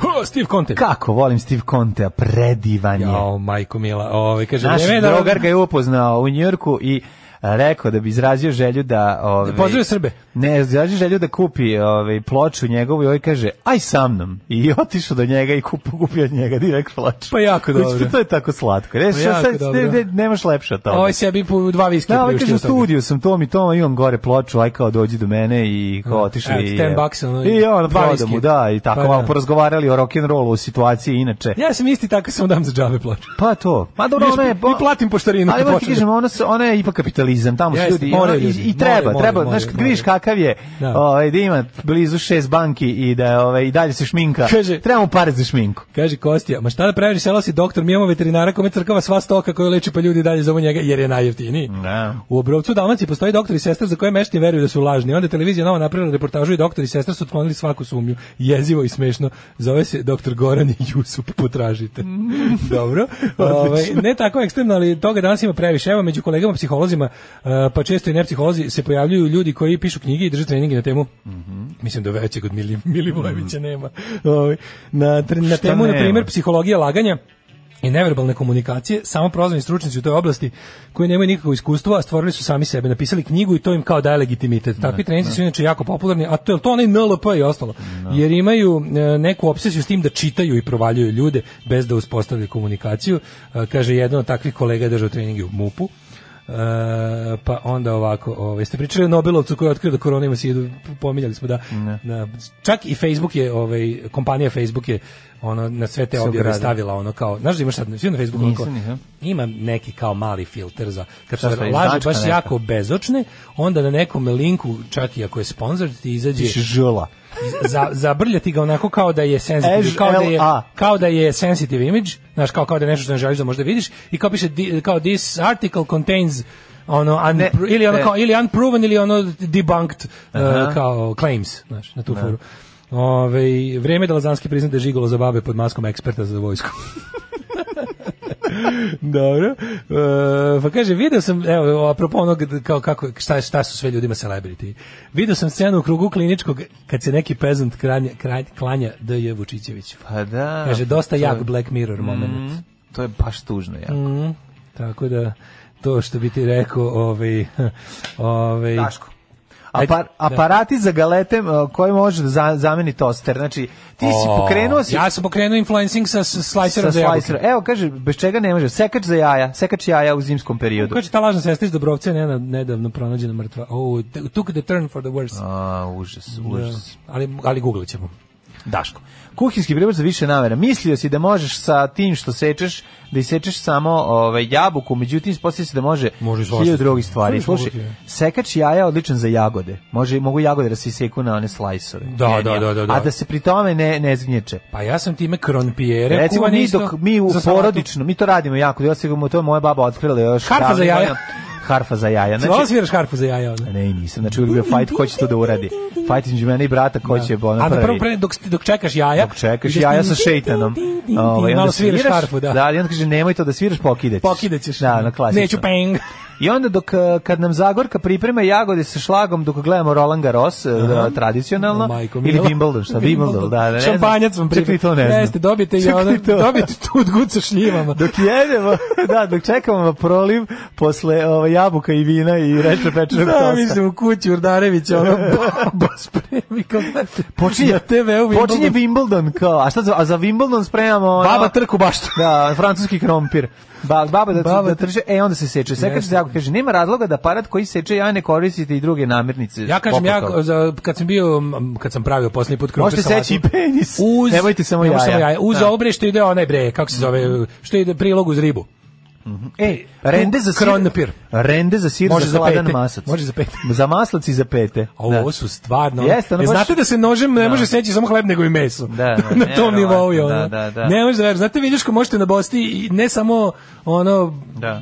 Speaker 7: Ho, Steve Conte.
Speaker 6: Kako volim Steve Contea, predivan je.
Speaker 7: Jao, majko mila, ovaj, kaže,
Speaker 6: Naš
Speaker 7: vreme je da-
Speaker 6: drogar ga je upoznao u Njorku i e, rekao da bi izrazio želju da... Ovaj,
Speaker 7: pozdravi Srbe.
Speaker 6: Ne, izrazio želju da kupi ovaj, ploču njegovu i ovaj kaže, aj sa mnom. I otišao do njega i kupu, kupio od njega direkt ploču.
Speaker 7: Pa jako
Speaker 6: Koji-
Speaker 7: dobro.
Speaker 6: To je tako slatko. Reš,
Speaker 7: Pa jako
Speaker 6: sad,
Speaker 7: dobro. Ovaj
Speaker 6: ne, ne, nemaš lepše od toga.
Speaker 7: Ovo je sebi po dva viske
Speaker 6: Da, ovaj
Speaker 7: priuštio
Speaker 6: kaže u
Speaker 7: od toga.
Speaker 6: studiju sam tom i tom, imam gore ploču, aj kao dođi do mene i kao
Speaker 7: Da.
Speaker 6: otišli.
Speaker 7: Evo ti
Speaker 6: i-
Speaker 7: 10 bucks, ono,
Speaker 6: I
Speaker 7: dva
Speaker 6: on prodao mu,
Speaker 7: viskija.
Speaker 6: da, i tako
Speaker 7: Pa
Speaker 6: malo
Speaker 7: da.
Speaker 6: porazgovarali o rock'n'rollu, u situaciji inače.
Speaker 7: Ja sam isti tako samo dam za džabe ploču.
Speaker 6: Pa to. Ma dobro,
Speaker 7: Još
Speaker 6: ona je...
Speaker 7: i platim poštarinu.
Speaker 6: Ali
Speaker 7: kad
Speaker 6: moram ti
Speaker 7: počne.
Speaker 6: kažem, ona, se- ona je ipak kapitalizam, tamo su
Speaker 7: Jeste,
Speaker 6: ljudi,
Speaker 7: moraju
Speaker 6: ono, i,
Speaker 7: ljudi,
Speaker 6: i treba,
Speaker 7: moraju,
Speaker 6: treba,
Speaker 7: moraju,
Speaker 6: znaš, kad
Speaker 7: moraju.
Speaker 6: vidiš kakav je,
Speaker 7: Da.
Speaker 6: ovaj, da ima blizu šest banki i da ovaj, i dalje se šminka,
Speaker 7: Kaže-
Speaker 6: treba mu pare za šminku.
Speaker 7: Kaže Kostija, ma šta da praviš, selo si doktor, mi imamo veterinara kome crkava sva stoka koju leči pa ljudi dalje zovu njega jer je najjeftiniji. U Obrovcu Dalmaciji postoji doktor i sestra za koje meštni veruju da su lažni. Onda je televizija nova napravila reportažu i doktor i sestra su otklonili svaku sumnju. Jezivo i smešno. Zove se doktor Goran i Jusup, potražite. Dobro. Ovaj, ne tako ekstremno, ali toga danas ima previše. Evo, među kolegama psiholozima, eh, pa često i ne psiholozi, se pojavljuju ljudi koji pišu knjige i drže treninge na temu. Mislim da većeg od Mili, Milivojevića nema. Ovaj, na, tre- na
Speaker 6: Mm. Šta
Speaker 7: temu, na
Speaker 6: nema?
Speaker 7: primjer, psihologija laganja i neverbalne komunikacije, samo prozvani stručnjaci u toj oblasti koji nemaju nikakvo iskustvo, a stvorili su sami sebe, napisali knjigu i to im kao daje legitimitet. Takvi treninci su inače jako popularni, a to je to onaj NLP i ostalo. Jer imaju e, neku obsesiju s tim da čitaju i provaljuju ljude bez da uspostavljaju komunikaciju. E, Kaže, jedan od takvih kolega je držao treninge u MUP-u. E, pa onda ovako, ovaj, ste pričali o Nobelovcu koji je otkrio da korona ima sidu, pominjali smo da, da čak i Facebook je, ovaj, kompanija Facebook je ono, na sve te
Speaker 6: Se
Speaker 7: objave
Speaker 6: ogradila.
Speaker 7: stavila ono kao, znaš da imaš sad, svi na Facebooku ono kao-
Speaker 6: Nisam, nisam.
Speaker 7: ima neki kao mali filter za, kad su
Speaker 6: Šta stoji,
Speaker 7: laže
Speaker 6: značka
Speaker 7: baš
Speaker 6: neka?
Speaker 7: jako bezočne, onda na nekom linku, čak i ako je sponsor, ti izađe
Speaker 6: Piše žula.
Speaker 7: za, zabrljati ga onako kao da je sensitive, kao da je,
Speaker 6: SLA.
Speaker 7: kao da je sensitive image, znaš, kao, kao da je nešto što ne želiš da možda vidiš, i kao piše, di- kao this article contains ono, un-
Speaker 6: Ne,
Speaker 7: ili ono
Speaker 6: ne.
Speaker 7: kao, ili unproven, ili ono debunked, uh,
Speaker 6: Aha.
Speaker 7: kao claims, znaš, na tu foru. Ove, vreme je da Lazanski prizna da je žigolo za babe pod maskom eksperta za vojsku. Dobro. E, pa kaže, video sam, evo, apropo onog, kao, kako, šta, šta su sve ljudima celebrity. Video sam scenu u krugu kliničkog kad se neki pezant kranja, kranja, klanja D.J. Vučićeviću.
Speaker 6: Pa da.
Speaker 7: Kaže, dosta
Speaker 6: to
Speaker 7: jak
Speaker 6: je-
Speaker 7: Black Mirror moment.
Speaker 6: Mm, to je baš tužno, jako.
Speaker 7: Mhm. tako da, to što bi ti rekao, ovaj, ovaj...
Speaker 6: Daško. Apar, aparati za galete uh, koji može da za- zameni toster. Znači, ti si
Speaker 7: O,
Speaker 6: pokrenuo si
Speaker 7: Ja sam pokrenuo influencing sa s- slicerom
Speaker 6: sa
Speaker 7: za jabuke.
Speaker 6: slicerom. Evo, kaže, bez čega ne može. Sekač za jaja, sekač jaja u zimskom periodu.
Speaker 7: Kaže ta lažna sestra iz Dobrovca je nena- nedavno pronađena mrtva. Oh, t- took the turn for the worse.
Speaker 6: A, užas, užas.
Speaker 7: Da. Ali, ali googlit ćemo.
Speaker 6: Daško. Kuhinski pribor za više namera. Mislio si da možeš sa tim što sečeš, da isečeš samo ovaj, jabuku, međutim, sposlije se da može,
Speaker 7: Može i svašta.
Speaker 6: hiljadu drugih stvari.
Speaker 7: Sve je
Speaker 6: Slušaj,
Speaker 7: moguće.
Speaker 6: sekač jaja je odličan za jagode. Može, mogu jagode da se iseku na one slajsove.
Speaker 7: Da, da, da, da, da.
Speaker 6: A da se pri tome ne, ne zgnječe.
Speaker 7: Pa ja sam time kronpijere.
Speaker 6: Recimo
Speaker 7: kuvane
Speaker 6: mi
Speaker 7: isto
Speaker 6: dok mi u
Speaker 7: za salatu.
Speaker 6: porodično, mi to radimo jako, ja se to je moja baba otkrila još.
Speaker 7: Harfa
Speaker 6: davnih
Speaker 7: za jaja.
Speaker 6: godina. Harfa za jaja.
Speaker 7: Znači,
Speaker 6: Znači,
Speaker 7: Hvala sviraš harfu za jaja. ono. Ona.
Speaker 6: ne, nisam. Znači, uvijek bio fight ko će to da uradi. Fight između mene i brata ko će ono
Speaker 7: A da prvo
Speaker 6: prvi.
Speaker 7: pre, dok, dok čekaš jaja. Dok
Speaker 6: Čekaš jaja sa šeitanom. Ovaj, onda
Speaker 7: Malo sviraš harfu, da.
Speaker 6: Da, i onda kaže, nemoj to da sviraš, pokidećeš.
Speaker 7: Pokidećeš.
Speaker 6: Da, na klasično.
Speaker 7: Neću peng.
Speaker 6: I onda dok eh, kad nam Zagorka priprema jagode sa šlagom dok gledamo Roland Garros eh, da, tradicionalno
Speaker 7: O, majko
Speaker 6: ili
Speaker 7: mila.
Speaker 6: Wimbledon, šta Wimbledon, da, da, ne znam.
Speaker 7: Šampanjac vam
Speaker 6: Čak ni to ne znam.
Speaker 7: Jeste, dobijete i
Speaker 6: Čak
Speaker 7: ono,
Speaker 6: ni to.
Speaker 7: dobijete tu odgud sa šljivama.
Speaker 6: Dok jedemo, da, dok čekamo na proliv posle ovaj, jabuka i vina i reče pečenog tosta.
Speaker 7: Da, mislim, u kući Urdarević, ono, baba spremi kao
Speaker 6: Počinje,
Speaker 7: na TV-u
Speaker 6: počinje
Speaker 7: Wimbledon.
Speaker 6: Wimbledon kao, a šta za, a za Wimbledon spremamo ono,
Speaker 7: Baba trku baštu.
Speaker 6: da, francuski krompir. Ba, baba da,
Speaker 7: Baba
Speaker 6: da
Speaker 7: tr-
Speaker 6: trže, e onda se seče. Sekač
Speaker 7: Jeste.
Speaker 6: se jako kaže, nema razloga da aparat koji seče jaja ne koristite i druge namirnice.
Speaker 7: Ja kažem,
Speaker 6: poput
Speaker 7: ja
Speaker 6: toga.
Speaker 7: za, kad sam bio, m, kad sam pravio posljednji put krompir
Speaker 6: Možete
Speaker 7: salatu,
Speaker 6: seći i penis.
Speaker 7: Uz,
Speaker 6: Nemojte samo
Speaker 7: nemoj
Speaker 6: jaja.
Speaker 7: Uz
Speaker 6: Da.
Speaker 7: ovo bre što ide onaj bre, kako se zove, što ide prilog uz ribu.
Speaker 6: E, rende za sir.
Speaker 7: Kronpir.
Speaker 6: Rende za sir
Speaker 7: Može
Speaker 6: za
Speaker 7: za
Speaker 6: hladan
Speaker 7: pete.
Speaker 6: masac.
Speaker 7: Može za pete.
Speaker 6: Za maslac i za pete.
Speaker 7: A ovo su stvarno...
Speaker 6: Jeste, ono
Speaker 7: Jel
Speaker 6: baš-
Speaker 7: Znate da se nožem ne
Speaker 6: Da.
Speaker 7: može seći samo hleb nego i meso.
Speaker 6: Da, da,
Speaker 7: na tom
Speaker 6: nevjerovatno,
Speaker 7: nivou je
Speaker 6: da,
Speaker 7: ono.
Speaker 6: da, da.
Speaker 7: Ne može da veruješ. Znate viljuško možete na bosti i ne samo ono,
Speaker 6: Da.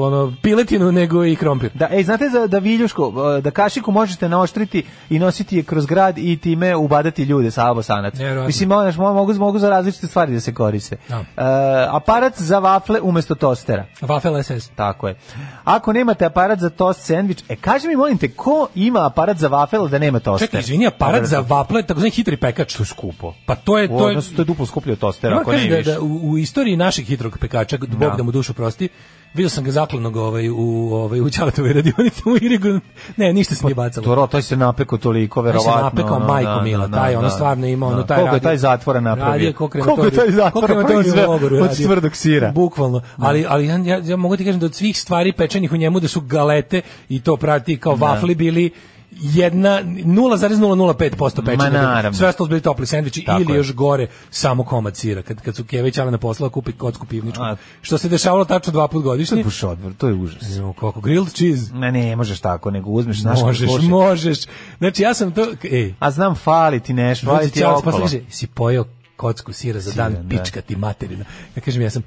Speaker 7: ono piletinu nego i krompir.
Speaker 6: Da, ej, znate za, da viljušku, e, da kašiku možete naoštriti i nositi je kroz grad i time ubadati ljude sa abosanac.
Speaker 7: Nevjerovatno.
Speaker 6: Mislim, ono, znaš, mo- mogu, mogu za različite stvari da se koriste.
Speaker 7: Da.
Speaker 6: E, aparat za vafle umesto tostera.
Speaker 7: Wafel SS.
Speaker 6: Tako je. Ako nemate aparat za tost sandvič, e, kaži mi, molim te, ko ima aparat za vafel da nema toster?
Speaker 7: Čekaj, izvini, aparat
Speaker 6: Dobro.
Speaker 7: za vaple, tako znači hitri pekač. To je skupo. Pa to je,
Speaker 6: U
Speaker 7: to je,
Speaker 6: odnosu, to je duplo skuplje od tostera,
Speaker 7: Moram
Speaker 6: ako ne
Speaker 7: kažem
Speaker 6: i više.
Speaker 7: da, da u, u istoriji naših hitrog pekača, Bog da mu dušu prosti, Vidio sam ga zaklonog ovaj, u, ovaj, u Čalatovoj radionici u Irigu. Ne, ništa se nije bacalo.
Speaker 6: Pa To, to se napeko toliko, verovatno.
Speaker 7: Taj se napekao,
Speaker 6: ono,
Speaker 7: majko
Speaker 6: da,
Speaker 7: mila,
Speaker 6: da,
Speaker 7: taj,
Speaker 6: da,
Speaker 7: ono
Speaker 6: da.
Speaker 7: stvarno ima, ono,
Speaker 6: Da,
Speaker 7: taj
Speaker 6: Koliko je
Speaker 7: radio-
Speaker 6: taj zatvora napravio?
Speaker 7: radio ko
Speaker 6: Koliko je
Speaker 7: krematorij-
Speaker 6: taj
Speaker 7: ko
Speaker 6: zatvora
Speaker 7: krematorij
Speaker 6: napravio sve
Speaker 7: u logoru
Speaker 6: od
Speaker 7: radio.
Speaker 6: tvrdog sira?
Speaker 7: Bukvalno. Ali, ali ja, ja, ja mogu ti kažem da od svih stvari pečenih u njemu da su galete i to prati kao
Speaker 6: Da.
Speaker 7: vafli bili jedna 0,005% pečenja.
Speaker 6: Ma, naravno.
Speaker 7: Sve ostalo su bili topli sendviči
Speaker 6: Tako
Speaker 7: ili
Speaker 6: je.
Speaker 7: još gore samo komad sira. Kad, kad su Kević Alena poslala kupi kocku pivničku. Što se dešavalo tačno dva put
Speaker 6: To je
Speaker 7: godišnje.
Speaker 6: buš odvor, to je užas.
Speaker 7: Jo, kako grilled cheese.
Speaker 6: Ne, ne, možeš tako, nego uzmeš naš
Speaker 7: Možeš, možeš. Znači ja sam to... Ej,
Speaker 6: A znam, fali ti nešto, fali ti
Speaker 7: Đalac
Speaker 6: okolo.
Speaker 7: posle kaže, si pa pojeo kocku sira za
Speaker 6: Sira,
Speaker 7: dan,
Speaker 6: da.
Speaker 7: pička ti materina. Ja kažem, ja sam...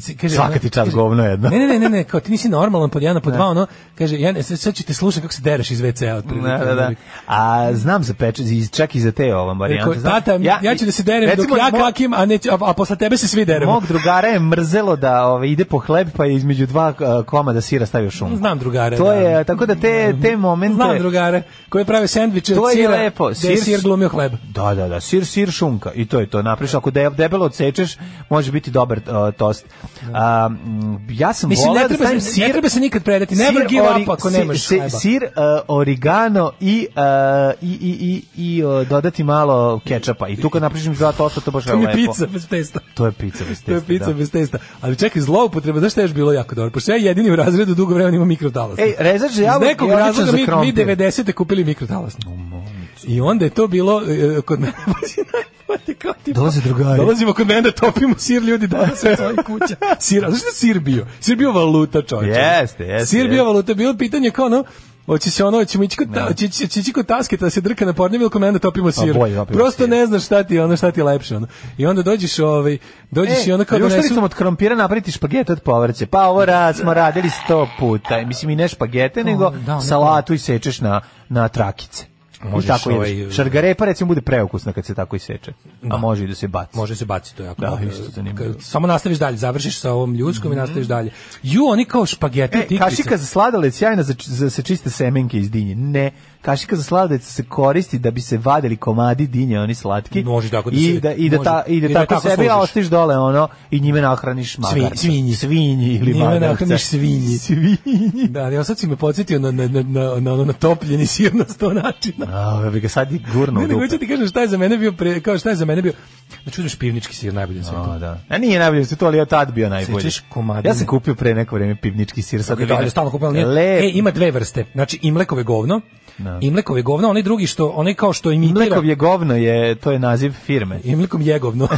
Speaker 7: se- Kaže,
Speaker 6: Svaka
Speaker 7: ona-
Speaker 6: ti čast,
Speaker 7: kaže,
Speaker 6: govno jedno.
Speaker 7: Ne, ne, ne, ne, ne, kao ti nisi normalan, pod jedan, pod
Speaker 6: Ne.
Speaker 7: dva, ono, kaže, ja ne, sad sad ću te slušati kako se dereš iz WC-a. otprilike. ono,
Speaker 6: Da, da, da. A znam za peče, iz- čak i za te ovam
Speaker 7: Rekao,
Speaker 6: varijante. Znam-
Speaker 7: tata, ja, ću da se derem
Speaker 6: recimo,
Speaker 7: dok ja
Speaker 6: mo-
Speaker 7: kakim, a, ne, a, a posle tebe se svi deremo.
Speaker 6: Mog drugara je mrzelo da ove, ide po hleb pa je između dva e, komada sira stavio šum.
Speaker 7: Znam drugare.
Speaker 6: To
Speaker 7: da. ono,
Speaker 6: je, tako da te, te momente...
Speaker 7: Znam drugare koji prave sendviče
Speaker 6: To
Speaker 7: od
Speaker 6: je
Speaker 7: sira.
Speaker 6: lepo.
Speaker 7: gde je
Speaker 6: Sir-
Speaker 7: sir glumio hleb.
Speaker 6: Da, da, da, sir, sir, šunka i to je to. Napriš, ako de- debelo odsečeš, može biti dobar e, tost. A, mm, ja sam
Speaker 7: Mislim,
Speaker 6: voleo
Speaker 7: ne
Speaker 6: da
Speaker 7: treba, se,
Speaker 6: stavim
Speaker 7: ne
Speaker 6: sir-
Speaker 7: treba se nikad predati. Never
Speaker 6: sir
Speaker 7: give
Speaker 6: ori-
Speaker 7: up ako
Speaker 6: si-
Speaker 7: nemaš
Speaker 6: si-
Speaker 7: hleba.
Speaker 6: Sir, e, oregano i, e, i, i, i, i e, dodati malo kečapa. I tu kad naprišim dva tosta, to baš je
Speaker 7: To mi
Speaker 6: lepo.
Speaker 7: je pizza bez testa.
Speaker 6: To je pizza bez
Speaker 7: To je
Speaker 6: testa,
Speaker 7: pizza
Speaker 6: da.
Speaker 7: bez testa. Ali čekaj, zloupotreba, znaš šta je još bilo jako dobro? Pošto ja jedini u razredu dugo vremena imam mikrotalas.
Speaker 6: Ej, rezač za jabuke
Speaker 7: Iz nekog
Speaker 6: je odličan
Speaker 7: razloga
Speaker 6: za
Speaker 7: mi, mi
Speaker 6: krompir.
Speaker 7: 90. kupili mikrotalasnu. I onda je to bilo e, kod mene baš je najbolje kao tipa.
Speaker 6: Dolaze drugari.
Speaker 7: Dolazimo kod mene da topimo sir ljudi da se svojih kuća. Sir, a znaš šta je sir bio? Sir bio valuta, čoveče.
Speaker 6: Jeste, jeste,
Speaker 7: Sir bio
Speaker 6: jeste.
Speaker 7: valuta, bilo pitanje kao ono Hoće se ono, hoćemo ići kod, ta, hoće, ići- hoće ići kod tasketa da se drka na pornjevi ili kod mene da topimo sir.
Speaker 6: Pa bolje topimo
Speaker 7: Prosto ne znaš šta ti je ono, šta ti je lepše. Ono. I onda dođeš, ovaj,
Speaker 6: E,
Speaker 7: dođeš i onda kao donesu...
Speaker 6: sam od krompira napraviti špagete od povrće. Pa ovo rad smo radili sto puta. Mislim i ne špagete, nego
Speaker 7: da, ono-
Speaker 6: salatu i sečeš na, na trakice.
Speaker 7: Možeš
Speaker 6: I tako
Speaker 7: ovaj-
Speaker 6: ideš. Šargarepa recimo bude preukusna kad se tako i seče. A može i da se baci.
Speaker 7: Može se baciti to je jako.
Speaker 6: Da,
Speaker 7: dobro.
Speaker 6: isto zanimljivo. Mhm.
Speaker 7: Ka- Samo nastaviš dalje, završiš sa ovom ljudskom i nastaviš dalje. Ju, oni kao špageti,
Speaker 6: E,
Speaker 7: tikvice.
Speaker 6: kašika za sladoled sjajna za, za se čiste semenke iz dinje. Ne, kašika za sladoled se koristi da bi se vadili komadi dinje, oni slatki.
Speaker 7: Može tako da
Speaker 6: I
Speaker 7: se-
Speaker 6: da, i da,
Speaker 7: može.
Speaker 6: ta, i da
Speaker 7: I da
Speaker 6: tako,
Speaker 7: tako
Speaker 6: sebi,
Speaker 7: služiš.
Speaker 6: a ostiš dole ono i njime nahraniš magarca.
Speaker 7: svinji.
Speaker 6: Svinji ili
Speaker 7: Njime
Speaker 6: magarca.
Speaker 7: nahraniš svinji.
Speaker 6: Svinji.
Speaker 7: Da, ali evo sad si me podsjetio na, na, na, na, na, ono, na topljeni sir na sto načina.
Speaker 6: A, ja bi ga sad i gurno
Speaker 7: Ne,
Speaker 6: u
Speaker 7: nego ću
Speaker 6: dupe.
Speaker 7: ti kažem šta je za mene bio, pre, kao šta je za mene bio, znači uzmeš pivnički sir najbolji na svetu.
Speaker 6: A, da. A nije najbolje, to ali je tad bio najbolji.
Speaker 7: Sečeš komadine.
Speaker 6: Ja sam kupio pre neko vreme pivnički sir. Sad
Speaker 7: Tako da, ali stalno kupujemo, ali nije-
Speaker 6: Lep.
Speaker 7: E, ima dve vrste. Znači, imlekove govno,
Speaker 6: Da.
Speaker 7: imlekove govno, onaj drugi što, onaj kao što imitira...
Speaker 6: Mlekov je govno, je, to je naziv firme.
Speaker 7: Imlekom jegovno.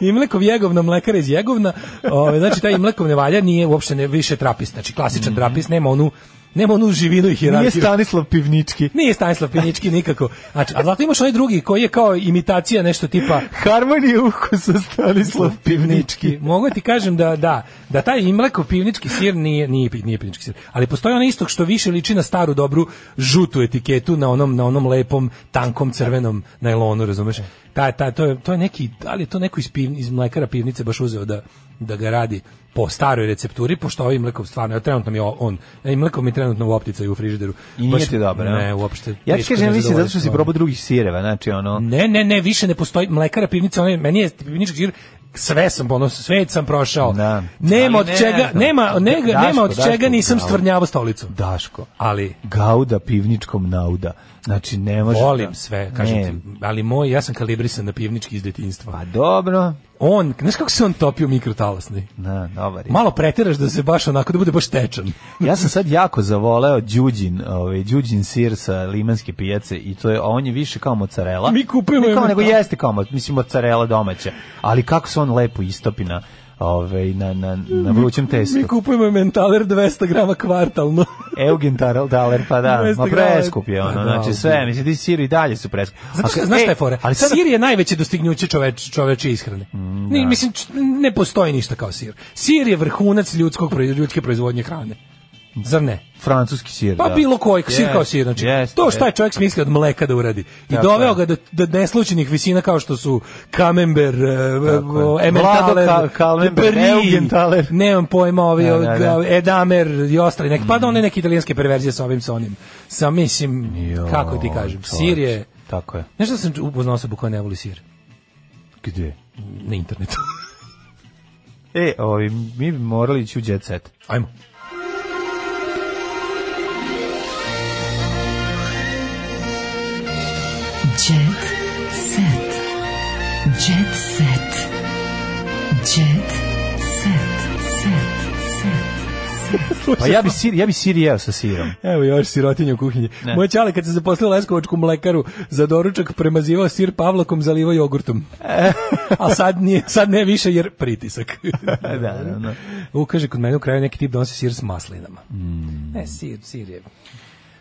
Speaker 7: Imlekov jegovno, mlekar iz jegovna. Ove, znači, taj imlekov ne valja, nije uopšte ne, više trapist. Znači, klasičan trapist, nema onu, nema onu živinu i
Speaker 6: Nije
Speaker 7: hirarhiju.
Speaker 6: Stanislav Pivnički.
Speaker 7: Nije Stanislav Pinički nikako. Znači, a zato imaš onaj drugi koji je kao imitacija nešto tipa
Speaker 6: Harmonija ukusa Stanislav Pivnički.
Speaker 7: Mogu ti kažem da da da taj imleko pivnički sir nije nije pi- nije pivnički sir, ali postoji onaj istog što više liči na staru dobru žutu etiketu na onom na onom lepom tankom crvenom najlonu, razumeš? Ta, ta, to, je, to je neki, da li je to neko iz, piv, iz mlekara pivnice baš uzeo da, da ga radi po staroj recepturi, pošto ovim mlekom stvarno, evo, trenutno mi je on, e, mleko mi je trenutno u opticaju u frižideru.
Speaker 6: I nije
Speaker 7: Baš-
Speaker 6: ti dobro,
Speaker 7: Ne,
Speaker 6: a?
Speaker 7: uopšte.
Speaker 6: Ja ti
Speaker 7: teško
Speaker 6: kažem,
Speaker 7: me
Speaker 6: mislim, zato što
Speaker 7: zadovoljiti,
Speaker 6: si
Speaker 7: ono.
Speaker 6: probao drugih sireva, znači ono...
Speaker 7: Ne, ne, ne, više ne postoji mlekara pivnica, onaj meni je pivnički sir sve sam ono sve sam prošao.
Speaker 6: Da.
Speaker 7: Nema
Speaker 6: Ali
Speaker 7: od
Speaker 6: ne
Speaker 7: čega,
Speaker 6: znam.
Speaker 7: nema, ne,
Speaker 6: Daško,
Speaker 7: nema od
Speaker 6: Daško,
Speaker 7: čega nisam
Speaker 6: bravo.
Speaker 7: stvrnjavao stolicu.
Speaker 6: Daško,
Speaker 7: Ali
Speaker 6: gauda pivničkom nauda. Znači, ne može...
Speaker 7: volim
Speaker 6: da-
Speaker 7: sve, kažem
Speaker 6: Ne.
Speaker 7: ti, ali moj ja sam kalibrisan na pivnički iz detinjstva.
Speaker 6: Pa dobro.
Speaker 7: On, znaš kako se on topio mikrotalasni?
Speaker 6: Na, dobar je.
Speaker 7: Malo preteraš da se baš onako da bude baš tečan.
Speaker 6: Ja sam sad jako zavoleo Đuđin, ovaj Đuđin sir sa limanske pijace i to je a on je više kao mozzarella.
Speaker 7: Mi kupujemo
Speaker 6: Ne kao,
Speaker 7: je
Speaker 6: nego
Speaker 7: mozzarella.
Speaker 6: jeste kao mo- mislim mozzarella domaća, ali kako se on lepo istopi na ovaj na na na vrućem testu.
Speaker 7: Mi kupujemo mentaler 200 grama kvartalno.
Speaker 6: Eugen Tarel Daler, pa da,
Speaker 7: 200
Speaker 6: ma preskup je
Speaker 7: grama.
Speaker 6: ono,
Speaker 7: Pa da,
Speaker 6: znači sve, mislim, ti sir i dalje su preskup.
Speaker 7: Zato
Speaker 6: A
Speaker 7: što,
Speaker 6: ka-
Speaker 7: znaš
Speaker 6: e,
Speaker 7: šta je fora?
Speaker 6: Ali sad,
Speaker 7: Sir je najveće dostignuće čoveč, čoveče ishrane. Ni, mislim, č- ne postoji ništa kao sir. Sir je vrhunac ljudskog, proiz- ljudske proizvodnje hrane. Zar ne?
Speaker 6: francuski sir,
Speaker 7: Pa
Speaker 6: da.
Speaker 7: bilo koji, sir
Speaker 6: Jest,
Speaker 7: kao sir. Znači,
Speaker 6: jest,
Speaker 7: to šta je
Speaker 6: jest.
Speaker 7: čovjek smislio od mleka da uradi. I
Speaker 6: Tako
Speaker 7: doveo
Speaker 6: je.
Speaker 7: ga do, do neslučenih visina kao što su kamember, e,
Speaker 6: Tako je.
Speaker 7: ementaler,
Speaker 6: Vlado Ka- Kalmember,
Speaker 7: brie,
Speaker 6: Eugenthaler.
Speaker 7: nemam pojma, ovi,
Speaker 6: Da, da, da.
Speaker 7: ga- edamer i ostali neki. Pa da one neke italijanske perverzije sa ovim, sa onim. Sa, mislim,
Speaker 6: Jo,
Speaker 7: kako ti kažem, sir
Speaker 6: čoveče,
Speaker 7: je...
Speaker 6: Tako je.
Speaker 7: Znaš da sam upoznao osobu koja ne voli sir?
Speaker 6: Gde?
Speaker 7: Na internetu.
Speaker 6: E, ovi, mi bi morali ići u jet set.
Speaker 7: Ajmo.
Speaker 5: Jet set. Jet set. Jet set. Set. Set.
Speaker 6: Pa ja bi sir, ja bi sir jeo sa sirom.
Speaker 7: Evo još sirotinje u kuhinji.
Speaker 6: Ne.
Speaker 7: Moj čale kad se zaposlio u Leskovačku mlekaru za doručak premazivao sir pavlakom, zalivao jogurtom. A sad, nije, sad ne više jer pritisak.
Speaker 6: Da, da, da.
Speaker 7: U, kaže, kod mene u kraju neki tip donosi sir s maslinama.
Speaker 6: Mm.
Speaker 7: Ne, sir, sir je.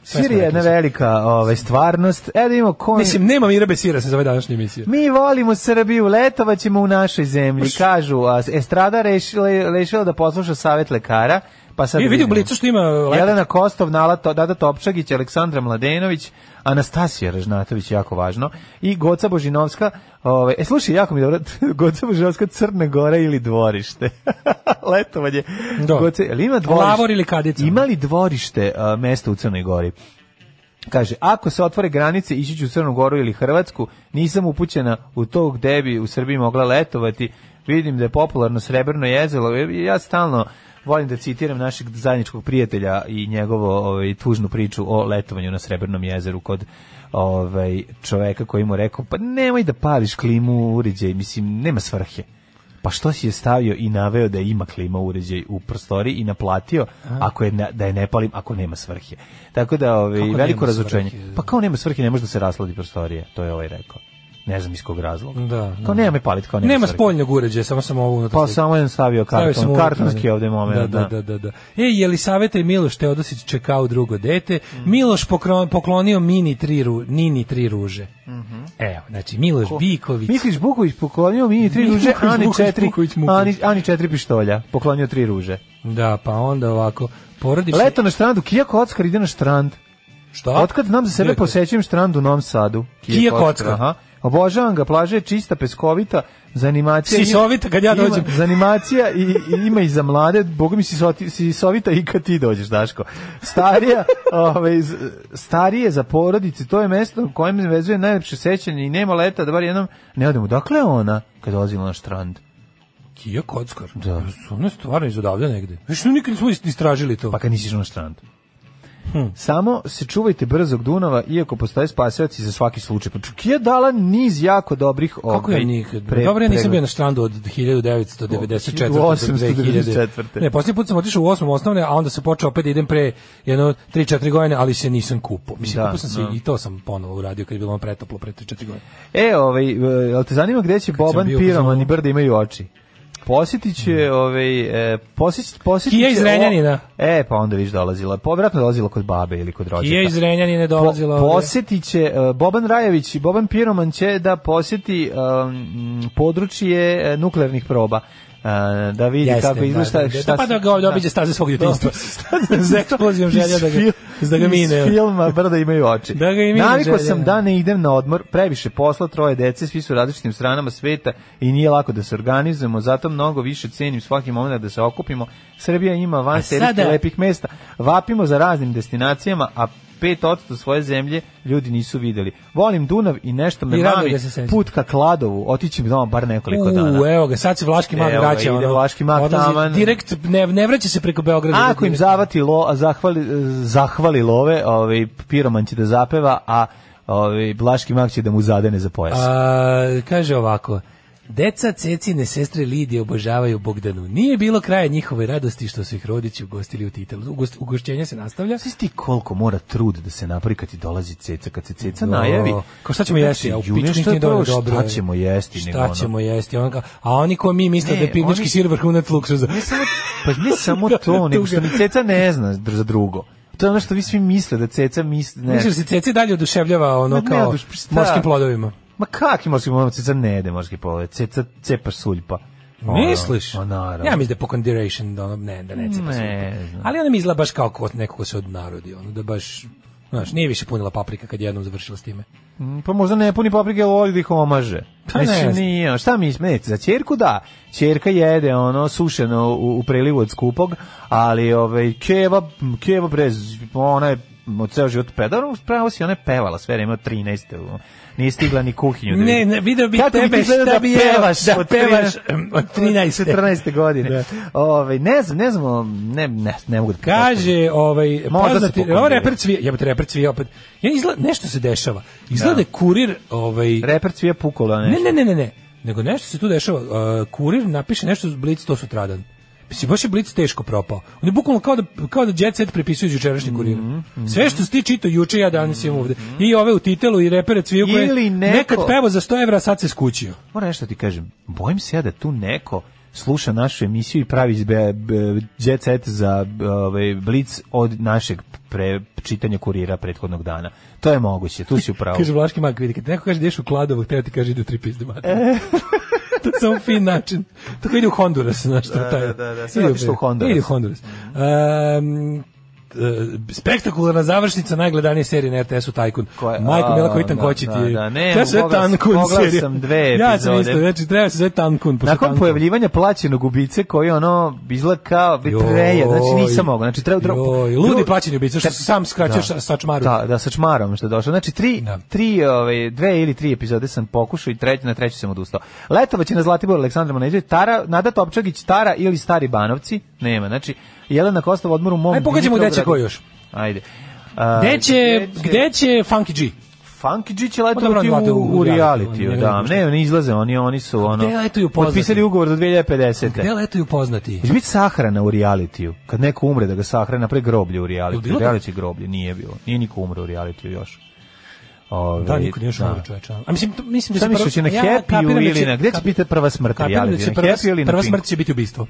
Speaker 6: Sir je jedna velika ovaj, stvarnost. E da imamo kon...
Speaker 7: Mislim, nema mira bez sira se zove današnja emisija.
Speaker 6: Mi volimo Srbiju, letovat ćemo u našoj zemlji, kažu. A Estrada rešila, rešila da posluša savet lekara, pa sad
Speaker 7: I vidi u
Speaker 6: vidimo.
Speaker 7: blicu što ima... lepo.
Speaker 6: Jelena Kostov, Nala To- Dada Topčagić, Aleksandra Mladenović, Anastasija Ražnatović, jako važno, i Goca Božinovska, ovaj, e, slušaj, jako mi je dobro, Goca Božinovska, Crna Gora ili dvorište. Letovanje.
Speaker 7: Da.
Speaker 6: Goca, jel ima dvorište?
Speaker 7: Lavor ili kadica?
Speaker 6: Ima li dvorište a, mesto u Crnoj Gori? Kaže, ako se otvore granice, ići ću u Crnu Goru ili Hrvatsku, nisam upućena u to gde bi u Srbiji mogla letovati, vidim da je popularno srebrno jezelo, ja stalno volim da citiram našeg zajedničkog prijatelja i njegovu ovaj, tužnu priču o letovanju na Srebrnom jezeru kod ovaj, čoveka koji mu rekao, pa nemoj da pališ klimu uređaj, mislim, nema svrhe. Pa što si je stavio i naveo da ima klima uređaj u prostori i naplatio ako je na- da je ne palim ako nema svrhe. Tako da ovaj
Speaker 7: Kako
Speaker 6: veliko
Speaker 7: nema
Speaker 6: razočenje.
Speaker 7: svrhe?
Speaker 6: Pa kao nema svrhe ne može da se rasladi prostorije, to je ovaj rekao. Ne znam iz kog razloga.
Speaker 7: Da, da.
Speaker 6: Kao nema me palit, kao nema,
Speaker 7: Nema
Speaker 6: svrhe.
Speaker 7: spoljnog uređaja, samo sam ovo unutra.
Speaker 6: Pa
Speaker 7: slikao.
Speaker 6: samo jedan stavio
Speaker 7: Stavio sam
Speaker 6: karton,
Speaker 7: unutra,
Speaker 6: kartonski
Speaker 7: da.
Speaker 6: ovde moment.
Speaker 7: Da, da, da, da. E, Jelisaveta i Miloš Teodosić čekao drugo dete.
Speaker 6: Mm.
Speaker 7: Miloš pokro- poklonio mini tri ru, nini tri ruže. Evo, znači Miloš Biković.
Speaker 6: Mhm. Misliš Buković poklonio mini tri
Speaker 7: Misliš
Speaker 6: ruže,
Speaker 7: Buković,
Speaker 6: Ani
Speaker 7: Buković,
Speaker 6: četiri,
Speaker 7: Buković, Muković.
Speaker 6: Ani, Ani četiri pištolja, poklonio tri ruže.
Speaker 7: Da, pa onda ovako, porodični...
Speaker 6: Leto na štrandu, Kija Kockar ide na štrand.
Speaker 7: Šta?
Speaker 6: Otkad znam za sebe
Speaker 7: Gdje je to?
Speaker 6: posećujem štrand u Novom Sadu.
Speaker 7: Kija
Speaker 6: Kockar,
Speaker 7: Kockar.
Speaker 6: Aha. Obožavam ga, plaža je čista, peskovita, za animacije... ima-
Speaker 7: Sisovita kad ja
Speaker 6: ima-
Speaker 7: dođem.
Speaker 6: za animacija i, i ima i za mlade, boga mi sisoti- sisovita i kad ti dođeš, Daško. Starija, ovaj, z- starije za porodice, to je mesto u kojem me vezuje najlepše sećanje i nema leta, da bar jednom ne odemo. Dakle je ona kad je dolazila na štrand?
Speaker 7: Kija Kockar. Da. Su ono stvarno iz odavde negde. Viš, no, nikad nismo ist- istražili to.
Speaker 6: Pa kad nisi išao na štrand.
Speaker 7: Hm.
Speaker 6: Samo se čuvajte brzog Dunava, iako postoje spasioci za svaki slučaj. Pa čak je dala niz jako dobrih... ovaj,
Speaker 7: Kako je nikad? Dobro, ja nisam bio na štrandu od 1994. do
Speaker 6: 894.
Speaker 7: 2000. Ne, posljednji put sam otišao u osmom osnovne, a onda sam počeo opet da idem pre jedno 3-4 godine, ali se nisam kupao. Mislim,
Speaker 6: Da,
Speaker 7: kupao sam se
Speaker 6: da.
Speaker 7: i to sam ponovo uradio kad je bilo ono pretoplo pre 3-4 godine.
Speaker 6: E, ovaj, e, jel te zanima gde će Boban
Speaker 7: bio u
Speaker 6: Piroman
Speaker 7: fazonu-
Speaker 6: i Brda imaju oči? Posjetit će, ovaj, e, posjet, posjetit
Speaker 7: Kija
Speaker 6: će
Speaker 7: iz
Speaker 6: o-
Speaker 7: Renjanina.
Speaker 6: E, pa onda viš dolazila. Povratno dolazila kod babe ili kod rođaka.
Speaker 7: Kija iz Renjanine dolazila
Speaker 6: Pa Po,
Speaker 7: ovde.
Speaker 6: posjetit će e, Boban Rajević i Boban Piroman će da posjeti um, područje e, nuklearnih proba. E, da vidi
Speaker 7: Jeste,
Speaker 6: kako izgleda šta,
Speaker 7: da, da, da, pa da ga ovdje obiđe staze svog djetinjstva. S eksplozijom želja da ga-
Speaker 6: Iz
Speaker 7: da ga mine. ono.
Speaker 6: Iz filma Brda imaju oči.
Speaker 7: Da ga i mine
Speaker 6: Navikao
Speaker 7: želja,
Speaker 6: sam
Speaker 7: da.
Speaker 6: da ne idem na odmor, previše posla, troje dece, svi su u različitim stranama sveta i nije lako da se organizujemo, zato mnogo više cenim svaki moment da se okupimo. Srbija ima van
Speaker 7: A
Speaker 6: serijski
Speaker 7: sada-
Speaker 6: lepih mesta. Vapimo za raznim destinacijama, a 5% svoje zemlje ljudi nisu vidjeli. Volim Dunav i nešto me
Speaker 7: I rado
Speaker 6: mami.
Speaker 7: ga se sećam.
Speaker 6: Put ka Kladovu, otići mi doma bar nekoliko dana.
Speaker 7: U, evo ga, sad se Vlaški mag
Speaker 6: Evo ga,
Speaker 7: vraća.
Speaker 6: ide
Speaker 7: ono,
Speaker 6: Vlaški mag
Speaker 7: odlazi
Speaker 6: taman.
Speaker 7: Direkt, ne, ne vraća se preko Beograda.
Speaker 6: A
Speaker 7: nego
Speaker 6: Ako im
Speaker 7: direkt.
Speaker 6: zavati lo, a zahvali, eh, zahvali love, ovaj, piroman će da zapeva, a ovaj, Blaški mak će da mu zadene za pojas.
Speaker 7: A, kaže ovako, Deca Cecine sestre Lidije obožavaju Bogdanu. Nije bilo kraja njihove radosti što su ih rodići ugostili u titelu. Ugost, ugošćenje se nastavlja.
Speaker 6: Znaš ti koliko mora trud da se napravi kad ti dolazi ceca, kad se ceca
Speaker 7: Do.
Speaker 6: najavi.
Speaker 7: Kao šta ćemo
Speaker 6: Znači,
Speaker 7: jesti? A u
Speaker 6: ju,
Speaker 7: pičku
Speaker 6: nešto
Speaker 7: ništa
Speaker 6: je
Speaker 7: nije dovoljno
Speaker 6: prvo,
Speaker 7: dobro.
Speaker 6: Šta ćemo jesti? nego
Speaker 7: Šta
Speaker 6: ono.
Speaker 7: ćemo jesti? On kao, a oni ko mi misle
Speaker 6: Ne,
Speaker 7: da je pivnički
Speaker 6: oni-
Speaker 7: sir vrhunac luksuza.
Speaker 6: Ne samo, pa ne samo to, nego što ni ceca ne zna dr- za drugo. To je ono što vi svi misle, da ceca misle... Ne.
Speaker 7: Misliš da se Ceci dalje oduševljava ono
Speaker 6: Ma ne
Speaker 7: kao
Speaker 6: oduš- šta?
Speaker 7: morskim plodovima?
Speaker 6: Ma kakvi morski plodove? ono, Ceca ne jede morski plodove. Ceca cepa suljpa. Ono,
Speaker 7: Misliš?
Speaker 6: Ma naravno.
Speaker 7: Ja mislim da je po condiration da ono, ne, da ne cepa
Speaker 6: Ne
Speaker 7: supa.
Speaker 6: znam.
Speaker 7: Ali ona mi izgleda baš kao kod nekog ko se odnarodi, ono da baš Znaš, nije više punila paprika kad je jednom završila s time.
Speaker 6: Mm, Pa možda ne puni paprike, ali voli da ih omaže.
Speaker 7: Pa ne
Speaker 6: Mislim,
Speaker 7: znam.
Speaker 6: nije, ono, šta mi ne, za ćerku da, ćerka jede ono sušeno u, u prelivu od skupog, ali ovaj keva keva brez ona je mu ceo život pedarom, pravo si ona je pevala sve vreme od 13. u- Nije stigla ni kuhinju. da
Speaker 7: Ne,
Speaker 6: vidi.
Speaker 7: ne, video bi
Speaker 6: Kako ti
Speaker 7: tebe
Speaker 6: izgledao
Speaker 7: šta
Speaker 6: da
Speaker 7: bi jeo,
Speaker 6: pevaš
Speaker 7: da
Speaker 6: od
Speaker 7: pevaš, um,
Speaker 6: 13
Speaker 7: od 13.
Speaker 6: 14. godine. Ovaj, ne znam, ne znam, o, ne, ne, ne mogu da
Speaker 7: Kaže, ovaj,
Speaker 6: Možda se
Speaker 7: poznati,
Speaker 6: pokudio.
Speaker 7: ovo reper cvije, jebote reper cvije opet. Ja izgleda, nešto se dešava. Izgleda
Speaker 6: Da.
Speaker 7: da. je kurir, ovaj...
Speaker 6: Reper cvije pukola,
Speaker 7: ne?
Speaker 6: nešto.
Speaker 7: Ne, ne, ne, ne, Nego nešto se tu dešava. Uh, kurir napiše nešto uz Blitz, to sutradan. Mislim, baš je Blitz teško propao. On je bukvalno kao da, kao da Jet Set prepisuje iz jučerašnjeg
Speaker 6: Mhm,
Speaker 7: kurira. Sve što si ti čitao juče, ja danas imam ovde. I ove u titelu i repere cviju koje
Speaker 6: Ili neko-
Speaker 7: nekad pevo za 100 evra, a sad se skućio.
Speaker 6: Moram nešto ti kažem. Bojim se ja da tu neko sluša našu emisiju i pravi izbe, b- jet set za b- ovaj blic od našeg pre, čitanja kurira prethodnog dana. To je moguće, tu si upravo.
Speaker 7: Kaže Vlaški mak, vidi, kad neko kaže da ješ u kladovu, hteo ti kaže ide u tri pizde mater.
Speaker 6: E.
Speaker 7: to je samo fin način. Tako ide u Honduras, znaš što
Speaker 6: Da,
Speaker 7: taj.
Speaker 6: da, da, da, sve
Speaker 7: Ide u-
Speaker 6: otišlo u Honduras.
Speaker 7: Ide u Honduras. Um, e, spektakularna završnica najgledanije serije na RTS-u Tajkun. Majko Mila koji
Speaker 6: da,
Speaker 7: tankoći ti je.
Speaker 6: da, da, ne,
Speaker 7: ja sam
Speaker 6: pogledao sam-
Speaker 7: Tankun
Speaker 6: pogledao
Speaker 7: serija.
Speaker 6: sam dve
Speaker 7: Ja sam
Speaker 6: epizode.
Speaker 7: isto, znači treba se zove Tankun. pošto
Speaker 6: Nakon
Speaker 7: Tankun.
Speaker 6: pojavljivanja plaćenog ubice koji ono izgleda kao
Speaker 7: Joj.
Speaker 6: betreja, znači nisam mogao. Znači treba treba-
Speaker 7: Joj, ludi plaćeni ubica, što
Speaker 6: Kad-
Speaker 7: si sam skratio sa- sa čmaru.
Speaker 6: Da, da sa čmarom što je došao. Znači tri, tri ovaj, dve ili tri epizode sam pokušao i treć, na treću sam odustao. Letovać je na Zlatibor Aleksandra Maneđević, Tara, Nada Topčagić, Tara ili Stari Banovci, nema. Znači Jelena Kostov odmor u mom.
Speaker 7: Aj, pogađamo
Speaker 6: Dimitrovgradu.
Speaker 7: gde će ko još.
Speaker 6: Ajde. A,
Speaker 7: Gde će, gde će Funky G?
Speaker 6: Funky G će
Speaker 7: Pa dobro,
Speaker 6: letovati
Speaker 7: on
Speaker 6: u,
Speaker 7: lete u-
Speaker 6: u
Speaker 7: u
Speaker 6: realitiju,
Speaker 7: realitiju,
Speaker 6: da.
Speaker 7: oni
Speaker 6: Ne, oni izlaze, oni, oni su ono...
Speaker 7: Gde letuju poznati?
Speaker 6: Potpisali ugovor do 2050.
Speaker 7: Gde letuju poznati?
Speaker 6: Će biti sahrana u realitiju. Kad neko umre da ga sahrana, napre groblje u
Speaker 7: Jel
Speaker 6: realitiju.
Speaker 7: bilo tako?
Speaker 6: Reality groblje nije bilo. Nije niko umre u realitiju još. Ove,
Speaker 7: Da, niko nije još umro, čoveče. A mislim, to- mislim da
Speaker 6: Šta
Speaker 7: će
Speaker 6: misliš, će na
Speaker 7: ja
Speaker 6: Happy-u
Speaker 7: kapiram da
Speaker 6: ili
Speaker 7: će-
Speaker 6: na... Gde će
Speaker 7: kapiram-
Speaker 6: biti prva smrt?
Speaker 7: Kapiram da
Speaker 6: reality?
Speaker 7: će
Speaker 6: Na
Speaker 7: prva,
Speaker 6: Happy ili na
Speaker 7: prva
Speaker 6: Pinku?
Speaker 7: smrt će biti ubistvo.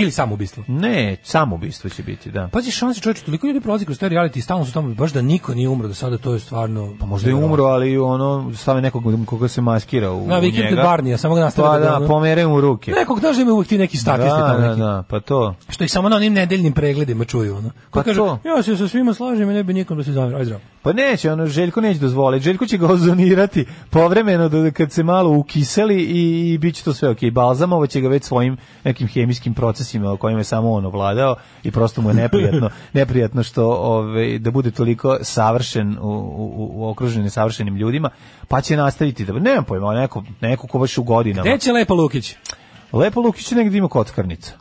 Speaker 7: Ili samo ubistvo.
Speaker 6: Ne, samo ubistvo će biti, da.
Speaker 7: Pazi, šanse čoveče, toliko ljudi prolazi kroz taj reality i stalno su tamo, baš da niko nije umro do sada, to je stvarno... Pa
Speaker 6: Možda je umro, ali ono, stave nekog koga se maskira u,
Speaker 7: Na
Speaker 6: u
Speaker 7: vikend
Speaker 6: njega.
Speaker 7: kod Barnija, samo ga nastave
Speaker 6: Pa
Speaker 7: da-
Speaker 6: da, pomere mu ruke.
Speaker 7: Nekog znaš da ima uvijek ti neki statisti
Speaker 6: da,
Speaker 7: tamo
Speaker 6: da,
Speaker 7: neki.
Speaker 6: da, pa to.
Speaker 7: Što ih samo na onim nedeljnim pregledima čuju, ono. Ko
Speaker 6: Pa
Speaker 7: kaže,
Speaker 6: to.
Speaker 7: ja se sa svima slažem, i ne bi nikom da se zamira, aj zdravo.
Speaker 6: Pa neće, ono, Željko neće dozvoliti. Željko će ga ozonirati povremeno do, kad se malo ukiseli i, i bit će to sve ok. Balzamovo će ga već svojim nekim hemijskim procesima o kojima je samo on ovladao i prosto mu je neprijatno, neprijatno što ove, da bude toliko savršen u, u, u okružen nesavršenim ljudima, pa će nastaviti da... Nemam pojma, neko, neko ko baš u godinama.
Speaker 7: Gde će Lepo Lukić?
Speaker 6: Lepo Lukić je negdje ima kockarnica.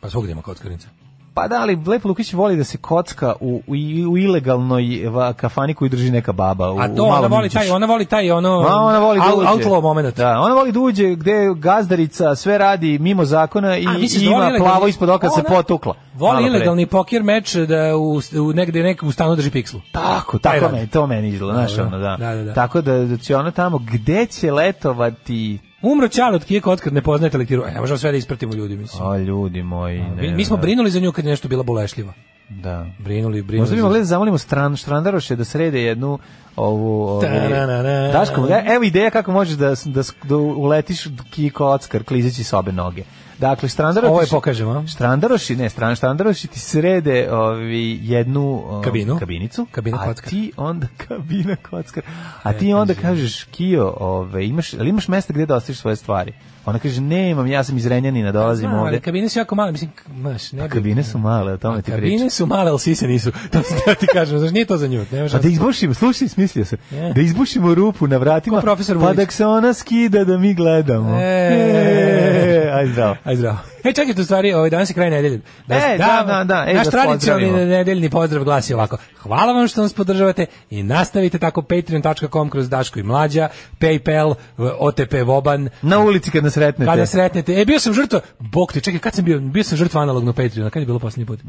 Speaker 7: Pa svugdje ima kockarnica.
Speaker 6: Pa da, ali Lepo Lukić voli da se kocka u, u, u ilegalnoj va- kafani koju drži neka baba. U,
Speaker 7: A to
Speaker 6: u
Speaker 7: ona
Speaker 6: malom
Speaker 7: voli
Speaker 6: Niđušu.
Speaker 7: taj, ona voli taj ono
Speaker 6: Ma, ona voli da
Speaker 7: out-
Speaker 6: uđe.
Speaker 7: outlaw moment.
Speaker 6: Da, ona voli da uđe gde gazdarica sve radi mimo zakona i,
Speaker 7: A, misliš
Speaker 6: i
Speaker 7: da voli
Speaker 6: ima
Speaker 7: ilegalni-
Speaker 6: plavo ispod oka se
Speaker 7: Ona
Speaker 6: potukla.
Speaker 7: Voli
Speaker 6: Malo pre.
Speaker 7: ilegalni poker meč da u, u negde neku u stanu drži pikslu.
Speaker 6: Tako,
Speaker 7: Taj
Speaker 6: tako
Speaker 7: radi.
Speaker 6: me, to meni izgleda, znaš,
Speaker 7: Da, da.
Speaker 6: ono, da.
Speaker 7: Da, da, da.
Speaker 6: Tako da, da će ona tamo, gde će letovati...
Speaker 7: Umro Ćale od Kijeka otkad ne poznajete lektiru. E, ne možemo sve da ispratimo ljudi, mislim.
Speaker 6: A, ljudi moji,
Speaker 7: Mi,
Speaker 6: ne,
Speaker 7: mi smo
Speaker 6: ne.
Speaker 7: brinuli za nju kad je nešto bila bolešljiva.
Speaker 6: Da.
Speaker 7: Brinuli, brinuli.
Speaker 6: Možda bi
Speaker 7: za-
Speaker 6: mogli da zamolimo stran, Štrandaroše da srede jednu ovu... ovu
Speaker 7: Ta-ra-ra-ra.
Speaker 6: Daško, e, evo ideja kako možeš da, da, da uletiš Kiko Ockar klizeći s obe noge. Dakle, Strandaroši...
Speaker 7: Ovo je pokažem, a?
Speaker 6: Štrandaroši, ne, stran, Štrandaroši ti srede ovi, jednu o,
Speaker 7: Kabinu.
Speaker 6: kabinicu,
Speaker 7: Kabinu
Speaker 6: a
Speaker 7: kockar.
Speaker 6: ti onda kabina kockar. A
Speaker 7: E,
Speaker 6: ti onda kažeš, Kio, ove, imaš, ali imaš mesta gde da ostaviš svoje stvari? Ona kaže, nemam, ja sam iz Renjanina, dolazim
Speaker 7: Znam, ali
Speaker 6: ovde.
Speaker 7: Kabine su jako male, mislim, k- znaš, ne bi-
Speaker 6: Kabine su male, o tome ti pričam.
Speaker 7: Kabine su male, ali sise nisu. To sam teo ti kažem, znaš, nije to za nju. Ne može
Speaker 6: Pa da izbušimo, slušaj, smislio se.
Speaker 7: Je.
Speaker 6: Da izbušimo rupu na vratima,
Speaker 7: Ko profesor
Speaker 6: pa
Speaker 7: Vujić.
Speaker 6: da se ona skida da mi gledamo.
Speaker 7: E.
Speaker 6: E, aj zdravo.
Speaker 7: Aj zdravo. E, čekaj, tu stvari, ovaj, danas je kraj nedelje.
Speaker 6: E, da, da, da, e, da
Speaker 7: naš
Speaker 6: vas
Speaker 7: tradicionalni
Speaker 6: pozdravimo.
Speaker 7: nedeljni pozdrav glasi ovako. Hvala vam što nas podržavate i nastavite tako patreon.com kroz Daško i Mlađa, Paypal, v- OTP Voban.
Speaker 6: Na ulici kad nas sretnete.
Speaker 7: Kada sretnete. E, bio sam žrtva, bok ti, čekaj, kad sam bio, bio sam žrtva analogno Patreona, kad je bilo posljednji put?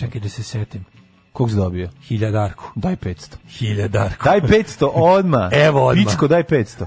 Speaker 7: Čekaj da se setim.
Speaker 6: Kog si dobio?
Speaker 7: Hiljadarku.
Speaker 6: Daj 500.
Speaker 7: Hiljadarku.
Speaker 6: Daj 500 odma.
Speaker 7: Evo odmah.
Speaker 6: Pičko, daj 500.